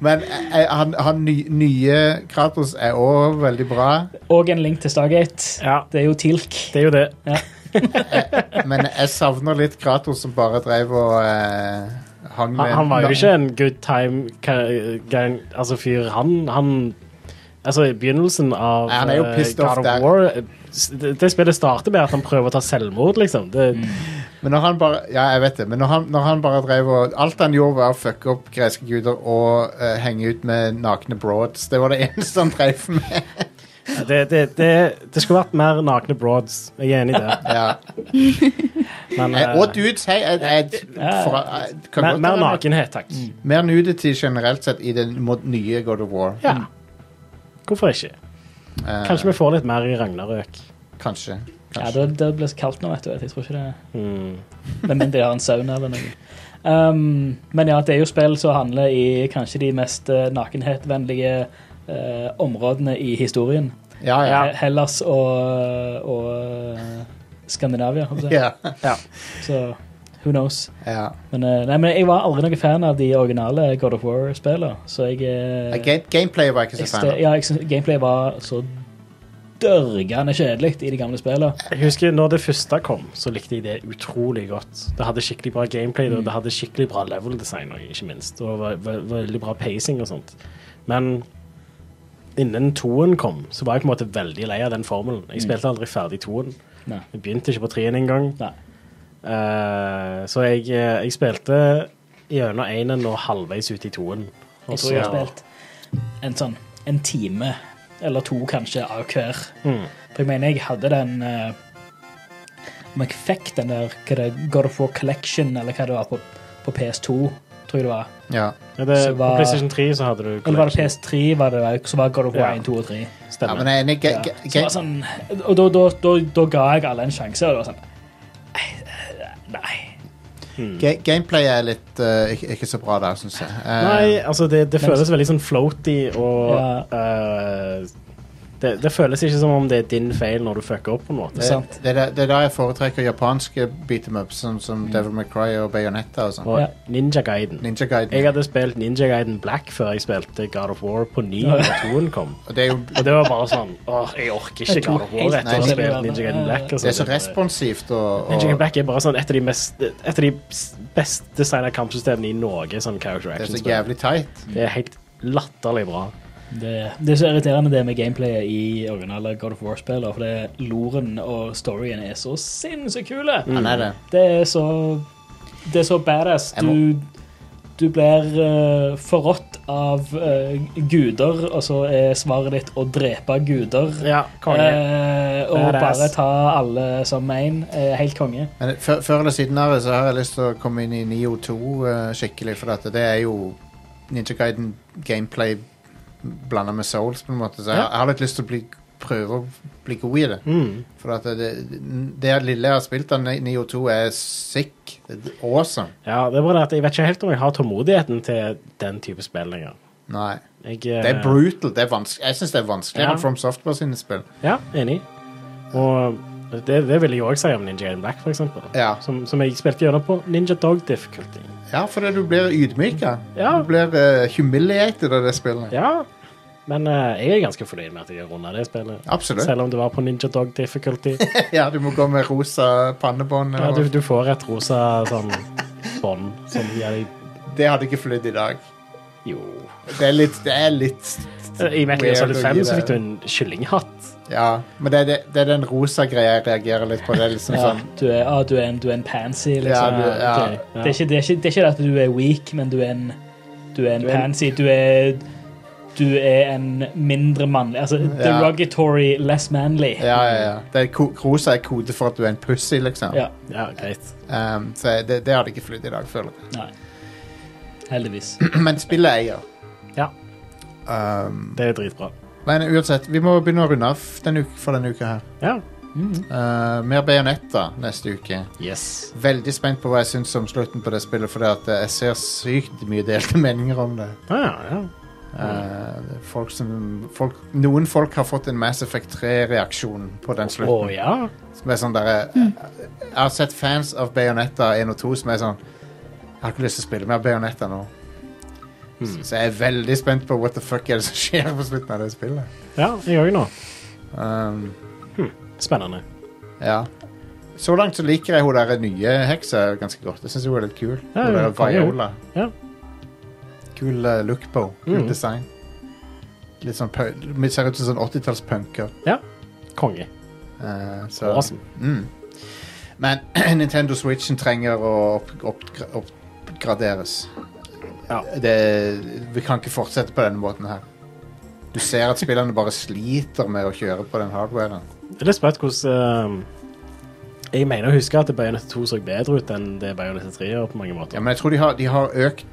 C: Men eh, han, han ny, nye Kratos er òg veldig bra.
E: Og en link til Stargate.
D: Ja,
E: Det er jo TILK.
D: det er jo det.
C: Men jeg savner litt Kratos som bare drev og eh, hang med
D: Han, han var jo ikke en good time ka- gang, altså fyr. Han, han Altså, i begynnelsen av
C: Ja, han er jo
D: eh,
C: pissed off
D: God
C: der.
D: of War eh, s- det, det spillet starter med at han prøver å ta selvmord, liksom. Det,
C: Mm. Men når han bare Ja, jeg vet det. Men når han, når han bare drev og Alt han gjorde, var å fucke opp greske guder og eh, henge ut med nakne broads. Det [LAUGHS] var det eneste han drev med.
D: det, det, det, det skulle vært mer nakne broads. Jeg er enig
C: [LAUGHS]
D: i det.
C: Ja.
D: Men,
C: Eh,
D: eh,
C: og dudes, hei. Jeg, jeg, fra, jeg, kan
D: mer,
C: godt
D: mer
C: være-
D: nakenhet, takk.
C: Mer nudity generelt sett i den mo- nye God of War.
D: Ja. Hvorfor ikke?
C: Eh,
D: Kanskje vi får litt mer i Ragnarøk.
C: kanskje. kanskje.
E: Ja,
D: Mm.
E: det, det blir så kaldt nå, vet du. Jeg tror ikke det Men mindre de har en sauna eller noe. Um, men ja, det er jo spill som handler i kanskje de mest eh, nakenhetvennlige eh, områdene i historien.
C: Ja, Ah, ja.
E: Eh, Hellas og, og eh, Skandinavia. holdt jeg på å si.
C: Ja. ja.
E: Så who knows.
C: [LAUGHS] ja.
E: Men, eh, nei, men jeg var aldri noen fan av de originale God of War-spillene, så jeg eh,
C: Ga- Gameplay var jeg ikke
E: jeg
C: så fan
E: ste-
C: av.
E: ja, jeg syns gameplay var så dørgende kjedelig i de gamle spillene.
D: Jeg husker når det første kom, så likte jeg det utrolig godt. Det hadde skikkelig bra gameplay,
E: Mm.
D: og det hadde skikkelig bra level design, og ikke minst. Og ve ve veldig bra pacing og sånt. Men innen toen kom, så var jeg på en måte veldig lei av den formelen. Jeg spilte aldri ferdig toen.
E: Mm. Nei.
D: Jeg begynte ikke på treen engang.
E: Nei.
D: Eh, så jeg, eh, jeg spilte gjennom enen og halvveis ut i toen.
E: Jeg tror jeg har spilt en sånn en time eller to kanskje av hver.
D: Hmm.
E: For jeg mener jeg hadde den eh, Om jeg fikk den der hva det, God of War Collection eller hva det var på, på PS2, tror jeg det var.
C: Ja.
D: Ja, det,
E: så var-
D: på PlayStation 3 så hadde du
E: Eller var det
D: collection.
E: PS3, var det, så var God of War
D: Ja.
E: 1, 2 og 3.
C: ja,
D: Stemmer.
C: men jeg er enig. Ga-
E: Ja.
C: ga-
E: Så det var sånn, og da, da, da, da ga jeg alle en sjanse, og det var sånn Nei. eh, nei.
C: ga- Gameplay er litt eh, ikke, ikke så bra der, syns jeg. Eh,
D: Nei, altså det, det
E: men-
D: føles veldig sånn floaty og eh, det, det føles ikke som om det er din feil når du fucker opp på en måte.
C: det,
E: sant.
C: det, er der- det er da jeg foretrekker japanske beat em ups, som, som Devil May Cry og Bayonetta og sånn.
D: Og
E: Ja.
D: Ninja Guiden.
C: Ninja
D: Jeg
C: Guiden.
D: hadde spilt Ninja Guiden Black før jeg spilte God of War på ny når toen kom.
C: Og det er jo
D: Og det var bare sånn Åh, jeg orker
E: Jeg
D: ikke
E: tror
D: God of
E: helt
D: War etter
C: forskjellig
D: å ha spilt
E: verden.
D: Ninja Guiden Black. og
C: det er så
D: [LAUGHS] sånn.
C: responsivt og,
D: Ninja Guiden
C: og
D: Black er bare sånn et av de, mest, et av de best designa kampsystemene i Norge. Sånn character
C: det er så
D: action-spill.
C: jævlig tight.
D: Det er helt latterlig bra.
E: Det, det er så irriterende det med gameplayet i originale God of War-spiller, for det, loren og storyen er så sinnssykt kule.
C: Han er det.
E: Det er så Det er så badass.
C: Jeg
E: Du, du blir eh, forrådt av eh, guder, og så er svaret ditt å drepe guder.
D: Ja, konge.
E: Eh, og
D: Badass.
E: bare ta alle som én. Eh, helt konge.
C: Men før, før eller siden av det så har jeg lyst til å komme inn i Nio 2 eh, skikkelig, for at det er jo Ninja Gaiden gameplay blanda med Souls, på en måte. Så jeg, jeg har litt lyst til å bli, prøve å bli god i det.
D: Mm.
C: For at det, det lille jeg har spilt av Nio 2, er sick. Det er Awesome.
D: Ja, det er bare det at Jeg vet ikke helt om jeg har tålmodigheten til den type spill lenger.
C: Nei.
D: Jeg,
C: Det er
D: eh,
C: brutal. Det er vans- jeg syns det er vanskeligere
D: Ja.
C: enn From Software sine spill.
D: Ja, enig. Og det, det vil jeg òg si om Ninja Game Black, for eksempel.
C: Ja.
D: Som, som jeg spilte gjennom på Ninja Dog Difficulty.
C: Ja, fordi du blir ydmyka.
D: Ja.
C: Du blir eh, humiliated av det spillet.
D: Ja, men eh, jeg er ganske fornøyd med at jeg har runda det spillet.
C: Absolutt.
D: Selv om det var på Ninja Dog Difficulty.
C: [LAUGHS] [LAUGHS] Ja, du må gå med rosa pannebånd.
D: Ja,
C: og-
D: du, du får et rosa sånn bånd som gir deg
C: Det hadde ikke flydd i dag.
D: Jo.
C: Det er litt, det er litt
D: I Metal Gear
C: Weird
D: Solid
C: å
D: 5
C: gi
D: så
C: det.
D: fikk du en kyllinghatt.
C: Ja, men det er, det, det er den rosa greia jeg reagerer litt på. Det er liksom
E: Ja,
C: sånn
E: du, er, ah, du, er en, du er en pansy, liksom.
C: Ja, du- ja.
E: Det, det, er ikke, det, er ikke, det er ikke det at du er weak, men du er en, du er en
D: er en-
E: pansy. Du er, du er en mindre mannlig Altså derogatory, less manly.
C: Ja, ja, ja. Det er, ko- rosa er kode for at du er en pussy, liksom.
E: Ja,
D: Ja, greit.
C: Um, så det, det hadde ikke flydd i dag, føler jeg. [CLEARS THROAT]
E: Nei. Heldigvis.
C: Men spillet er jo.
D: Ja,
C: Um,
D: det er dritbra.
C: men uansett, vi må begynne å runde av denne uke, for denne uka her.
D: Ja.
C: Uh, mer Bayonetta neste uke.
D: Yes.
C: Veldig spent på hva jeg syns om slutten på det spillet, for jeg ser sykt mye delte meninger om det.
D: Ah, ja, ja.
E: Mm.
C: Eh, det er folk som, folk, noen folk har fått en Mass Effect 3-reaksjon på den
D: Å
C: slutten.
D: ja.
C: Som er sånn der, Jeg har sett fans av Bayonetta 1 og 2 som er sånn Jeg har ikke lyst til å spille mer Bayonetta nå.
D: Mm.
C: Så jeg er veldig spent på what the fuck er det som skjer på slutten av det spillet.
D: Ja, jeg òg nå.
C: Um,
D: Spennende.
C: ja. Så langt så liker jeg hun der nye heksa ganske godt. Jeg syns hun er litt kul.
D: Ja,
C: hun der
D: hun er kul.
C: Viola.
D: Ja.
C: Kul eh, look på henne. Kul
D: Mm.
C: design. Litt sånn punk- Ser ut som sånn 80-tallspunker.
D: Konge.
C: Eh, så-
D: Awesome.
C: Mm. Men [CLEARS THROAT] Nintendo Switchen trenger å opp, oppgra- oppgraderes.
D: Ja.
C: Det, vi kan ikke fortsette på denne måten her. Du ser at spillerne bare sliter med å kjøre på den hardwaren.
D: Det er litt sprøtt hvordan eh, Jeg mener å huske at Bayonetta 2 så bedre ut enn det Bayonetta 3 gjør på mange
C: Ja,
D: måter.
C: men jeg tror de har, de har økt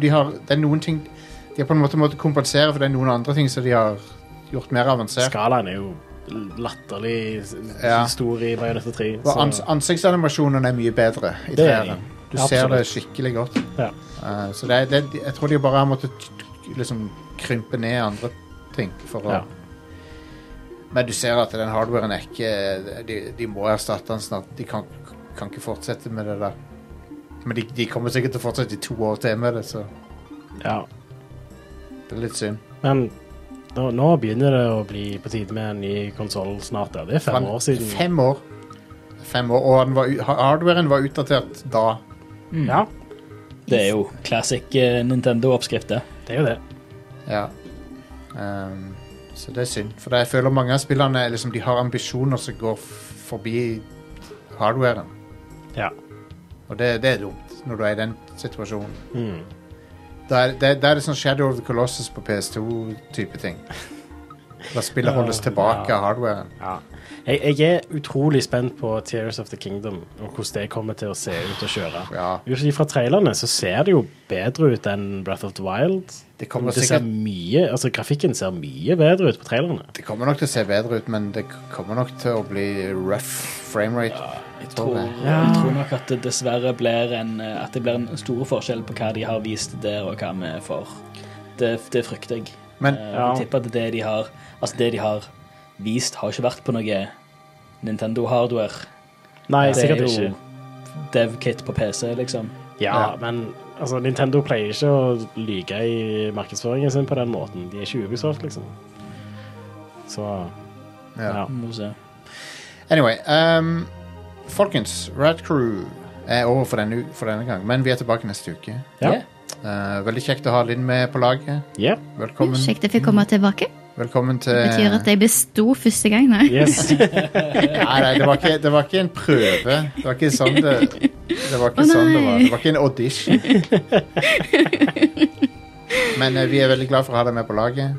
C: de har, Det er noen ting De har på en måte måttet kompensere for det er noen andre ting som de har gjort mer avansert.
D: Skalaen er jo latterlig s-
C: Ja.
D: stor i Bayonetta 3.
C: Og ans, ansiktsanimasjonene er mye bedre i
D: eh, det er
C: treeren.
D: den.
C: Du ser
D: Absolutt.
C: det skikkelig godt.
D: Ja.
C: Eh, så det, er- det, jeg tror de bare har måttet t- liksom krympe ned andre ting for å
D: Ja.
C: Men du ser at den hardwaren er ikke De, de må erstatte den snart. De kan, kan ikke fortsette med det der. Men de, de kommer sikkert til å fortsette i to år til med det, så
D: ja.
C: det er litt synd.
D: Men nå, nå begynner det å bli på tide med en ny konsoll snart. Der. Det er fem
C: Han-
D: år siden.
C: Fem år. Fem år. Og han var, u- hardwaren var utdatert da.
D: Ja,
E: Det er jo classic eh, Nintendo-oppskrift, det.
D: det er jo det.
C: Ja. Ehm, så det er synd. For jeg føler mange av spillerne liksom, de har ambisjoner som går f- forbi hardwaren.
D: Ja.
C: Og det, det er dumt, når du er i den situasjonen.
D: Mm.
C: Da er det, da er det sånn Shadow of the Colossus på PS2-type ting. Da spillet holdes tilbake av hardwaren.
D: Ja. Jeg, jeg er utrolig spent på Tears of the Kingdom og hvordan det kommer til å se ut og kjøre.
C: Ja.
D: Ut fra trailerne så ser det jo bedre ut enn Breath of the Wild.
C: Det kommer
D: det ser
C: sikkert-
D: mye, altså Grafikken ser mye bedre ut på trailerne.
C: Det kommer nok til å se bedre ut, men det k- kommer nok til å bli rough framerate.
E: Jeg
C: tror
E: tror,
C: det.
E: jeg tror nok at det dessverre blir en, eh, at det blir en stor forskjell på hva de har vist der, og hva vi får. Det, det frykter jeg.
C: Men-
E: Eh,
D: Ja.
E: Jeg tipper at det de har Altså det de har vist, har ikke vært på noe Nintendo-hardware.
D: Nei,
E: Det er
D: sikkert
E: jo
D: ikke.
E: dev-kit på PC, liksom.
D: Ja, men altså, Nintendo pleier ikke å lyge i markedsføringen sin på den måten. De er ikke Ubisoft, liksom. Så
C: Ja.
D: ja.
E: Må vi se.
C: Anyway, ehm, folkens, Rad Crew er over for denne, u- for denne gang, men vi er tilbake neste uke.
D: Ja.
E: Yeah.
C: Eh, veldig kjekt å ha Linn med på laget.
D: Yep.
C: Velkommen,
F: Kjekt jeg fikk komme tilbake.
C: velkommen til
F: Det betyr at jeg besto første gang. Nei.
D: Yes.
C: Nei, nei, det var, ikke, det var ikke en prøve. Det var ikke sånn det, det, var, ikke
F: Å,
C: sånn det var.
F: nei.
C: Det var ikke en audition. Men eh, vi er veldig glad for å ha deg med på laget,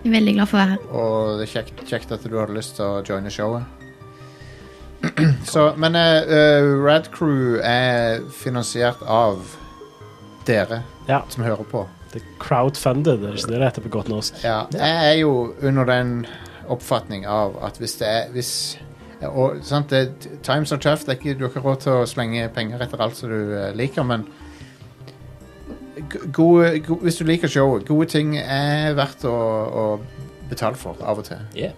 F: Jeg er veldig glad for å være her.
C: og det er kjekt, kjekt at du hadde lyst til å joine showet. [CLEARS THROAT] Så, men eh, eh, Rad Crew er finansiert av dere
D: Ja.
C: som hører på.
D: Det er crowdfunded, er det ikke det det heter på godt norsk?
C: Ja, jeg er jo under den oppfatning av at hvis det er hvis, og, sant, det, Times are tough. Det er ikke, du har ikke råd til å slenge penger etter alt som du eh, liker, men g- gode, go- hvis du liker showet, gode ting er verdt å, å betale for av og til.
E: Yeah.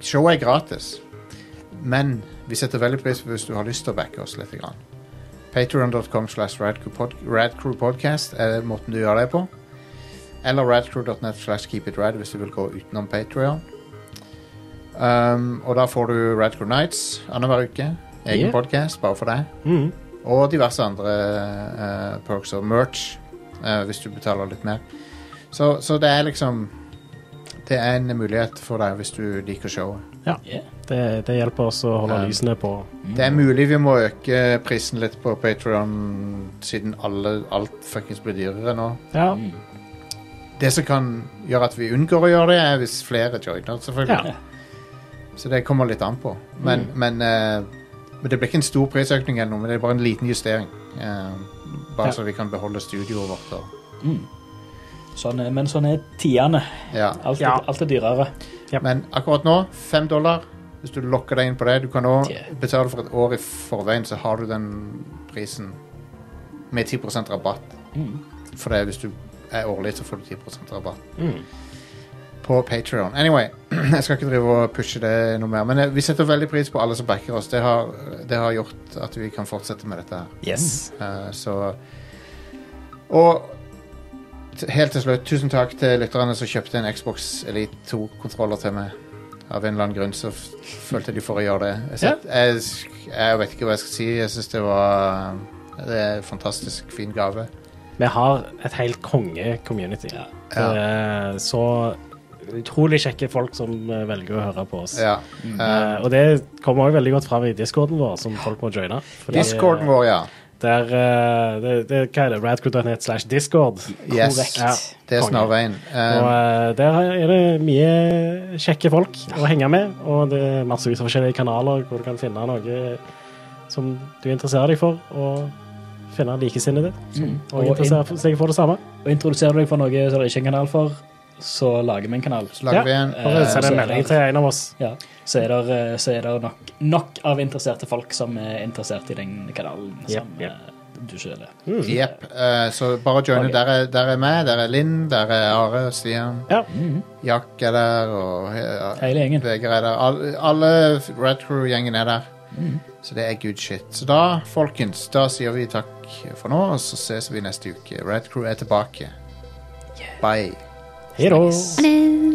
C: Showet er gratis, men vi setter veldig pris på hvis du har lyst til å backe oss litt. grann. Patreon.com slash radcrewpod- radcrewpodcast er måten du gjør det på. Eller radcrew.net slash keepitrad hvis du vil gå utenom Patreon. Um, og da får du Radcrew Nights annenhver uke. Egen
D: Yeah.
C: podcast bare for deg.
D: Mhm.
C: Og diverse andre eh, perks og merch, eh, hvis du betaler litt mer. Så, så det er liksom Det er en mulighet for deg hvis du liker showet.
E: Yeah.
D: Det, det hjelper oss å holde
C: Ja.
D: lysene på.
C: Det er mulig vi må øke prisen litt på Patreon siden alle, alt fuckings blir dyrere nå.
D: Ja.
E: Mm.
C: Det som kan gjøre at vi unngår å gjøre det, er hvis flere joiner, selvfølgelig.
D: Ja. Mm.
C: Så det kommer litt an på. Men, men, eh, men det blir ikke en stor prisøkning eller noe, men det er bare en liten justering. Eh, bare
D: Ja.
C: så vi kan beholde studioet vårt. Og,
E: Sånn er, men sånn er tidene.
C: ja.
E: Alt, er-
D: Ja.
E: alt er dyrere.
C: Men akkurat nå, fem dollar. Hvis du lokker deg inn på det. Du kan òg
E: Yeah.
C: betale for et år i forveien, så har du den prisen med 10 rabatt.
D: Mm,
C: For det, er hvis du er årlig, så får du 10 rabatt. På Patreon. Anyway, [CLEARS THROAT] jeg skal ikke drive og pushe det noe mer. Men eh, vi setter veldig pris på alle som backer oss. Det har, det har gjort at vi kan fortsette med dette her.
D: Mm.
E: Yes.
C: Eh, så Og t helt til slutt, tusen takk til lytterne som kjøpte en Xbox Elite 2-kontroller til meg. Av en eller annen grunn så f følte de for å gjøre det. Jeg, set, jeg, sk- jeg vet ikke hva jeg skal si. Jeg syns det var eh, det er en fantastisk fin gave.
D: Vi har et helt konge-community. Det
C: Ja.
D: er Så utrolig kjekke folk som eh, velger å høre på oss.
C: Ja. Eh,
D: Eh, og det kommer også veldig godt fram i discorden vår, som folk må joine. Fordi,
C: Discorden vår, ja.
D: eh, Der, eh, det, det, hva er det? Radcrew.net slash discord.
C: Yes.
E: Korrekt.
D: Ja.
C: Det er
D: Konge.
C: snarveien. Eh,
D: Og eh, der er det mye kjekke folk å henge med, og det er massevis av forskjellige kanaler hvor du kan finne noe som du interesserer deg for, og finne likesinnede som
E: Mm. Og
D: også interesserer seg for det samme.
E: Og introduserer du deg for noe som det ikke er en kanal for, så lager vi en kanal.
C: Så lager
D: Ja.
C: vi en
D: Bare send en
E: Eh,
D: melding til en av oss.
E: Ja, så er det, eh, så er det nok, nok av interesserte folk som er interessert i den kanalen som
D: Jep, jep.
E: eh, du selv er.
C: Jepp. eh, så bare joine.
E: Ok.
C: Der, er, der er meg, der er Linn, der er Are, Stian,
D: Ja.
C: Jack er der, og eh,
E: Hele gjengen.
C: Vegard er der. Alle, alle Red Crew-gjengen er der. Så det er good shit. Så da, folkens, da sier vi takk for nå, og så ses vi neste uke. Red Crew er tilbake. Bye.
D: Hei da.
F: Ha det.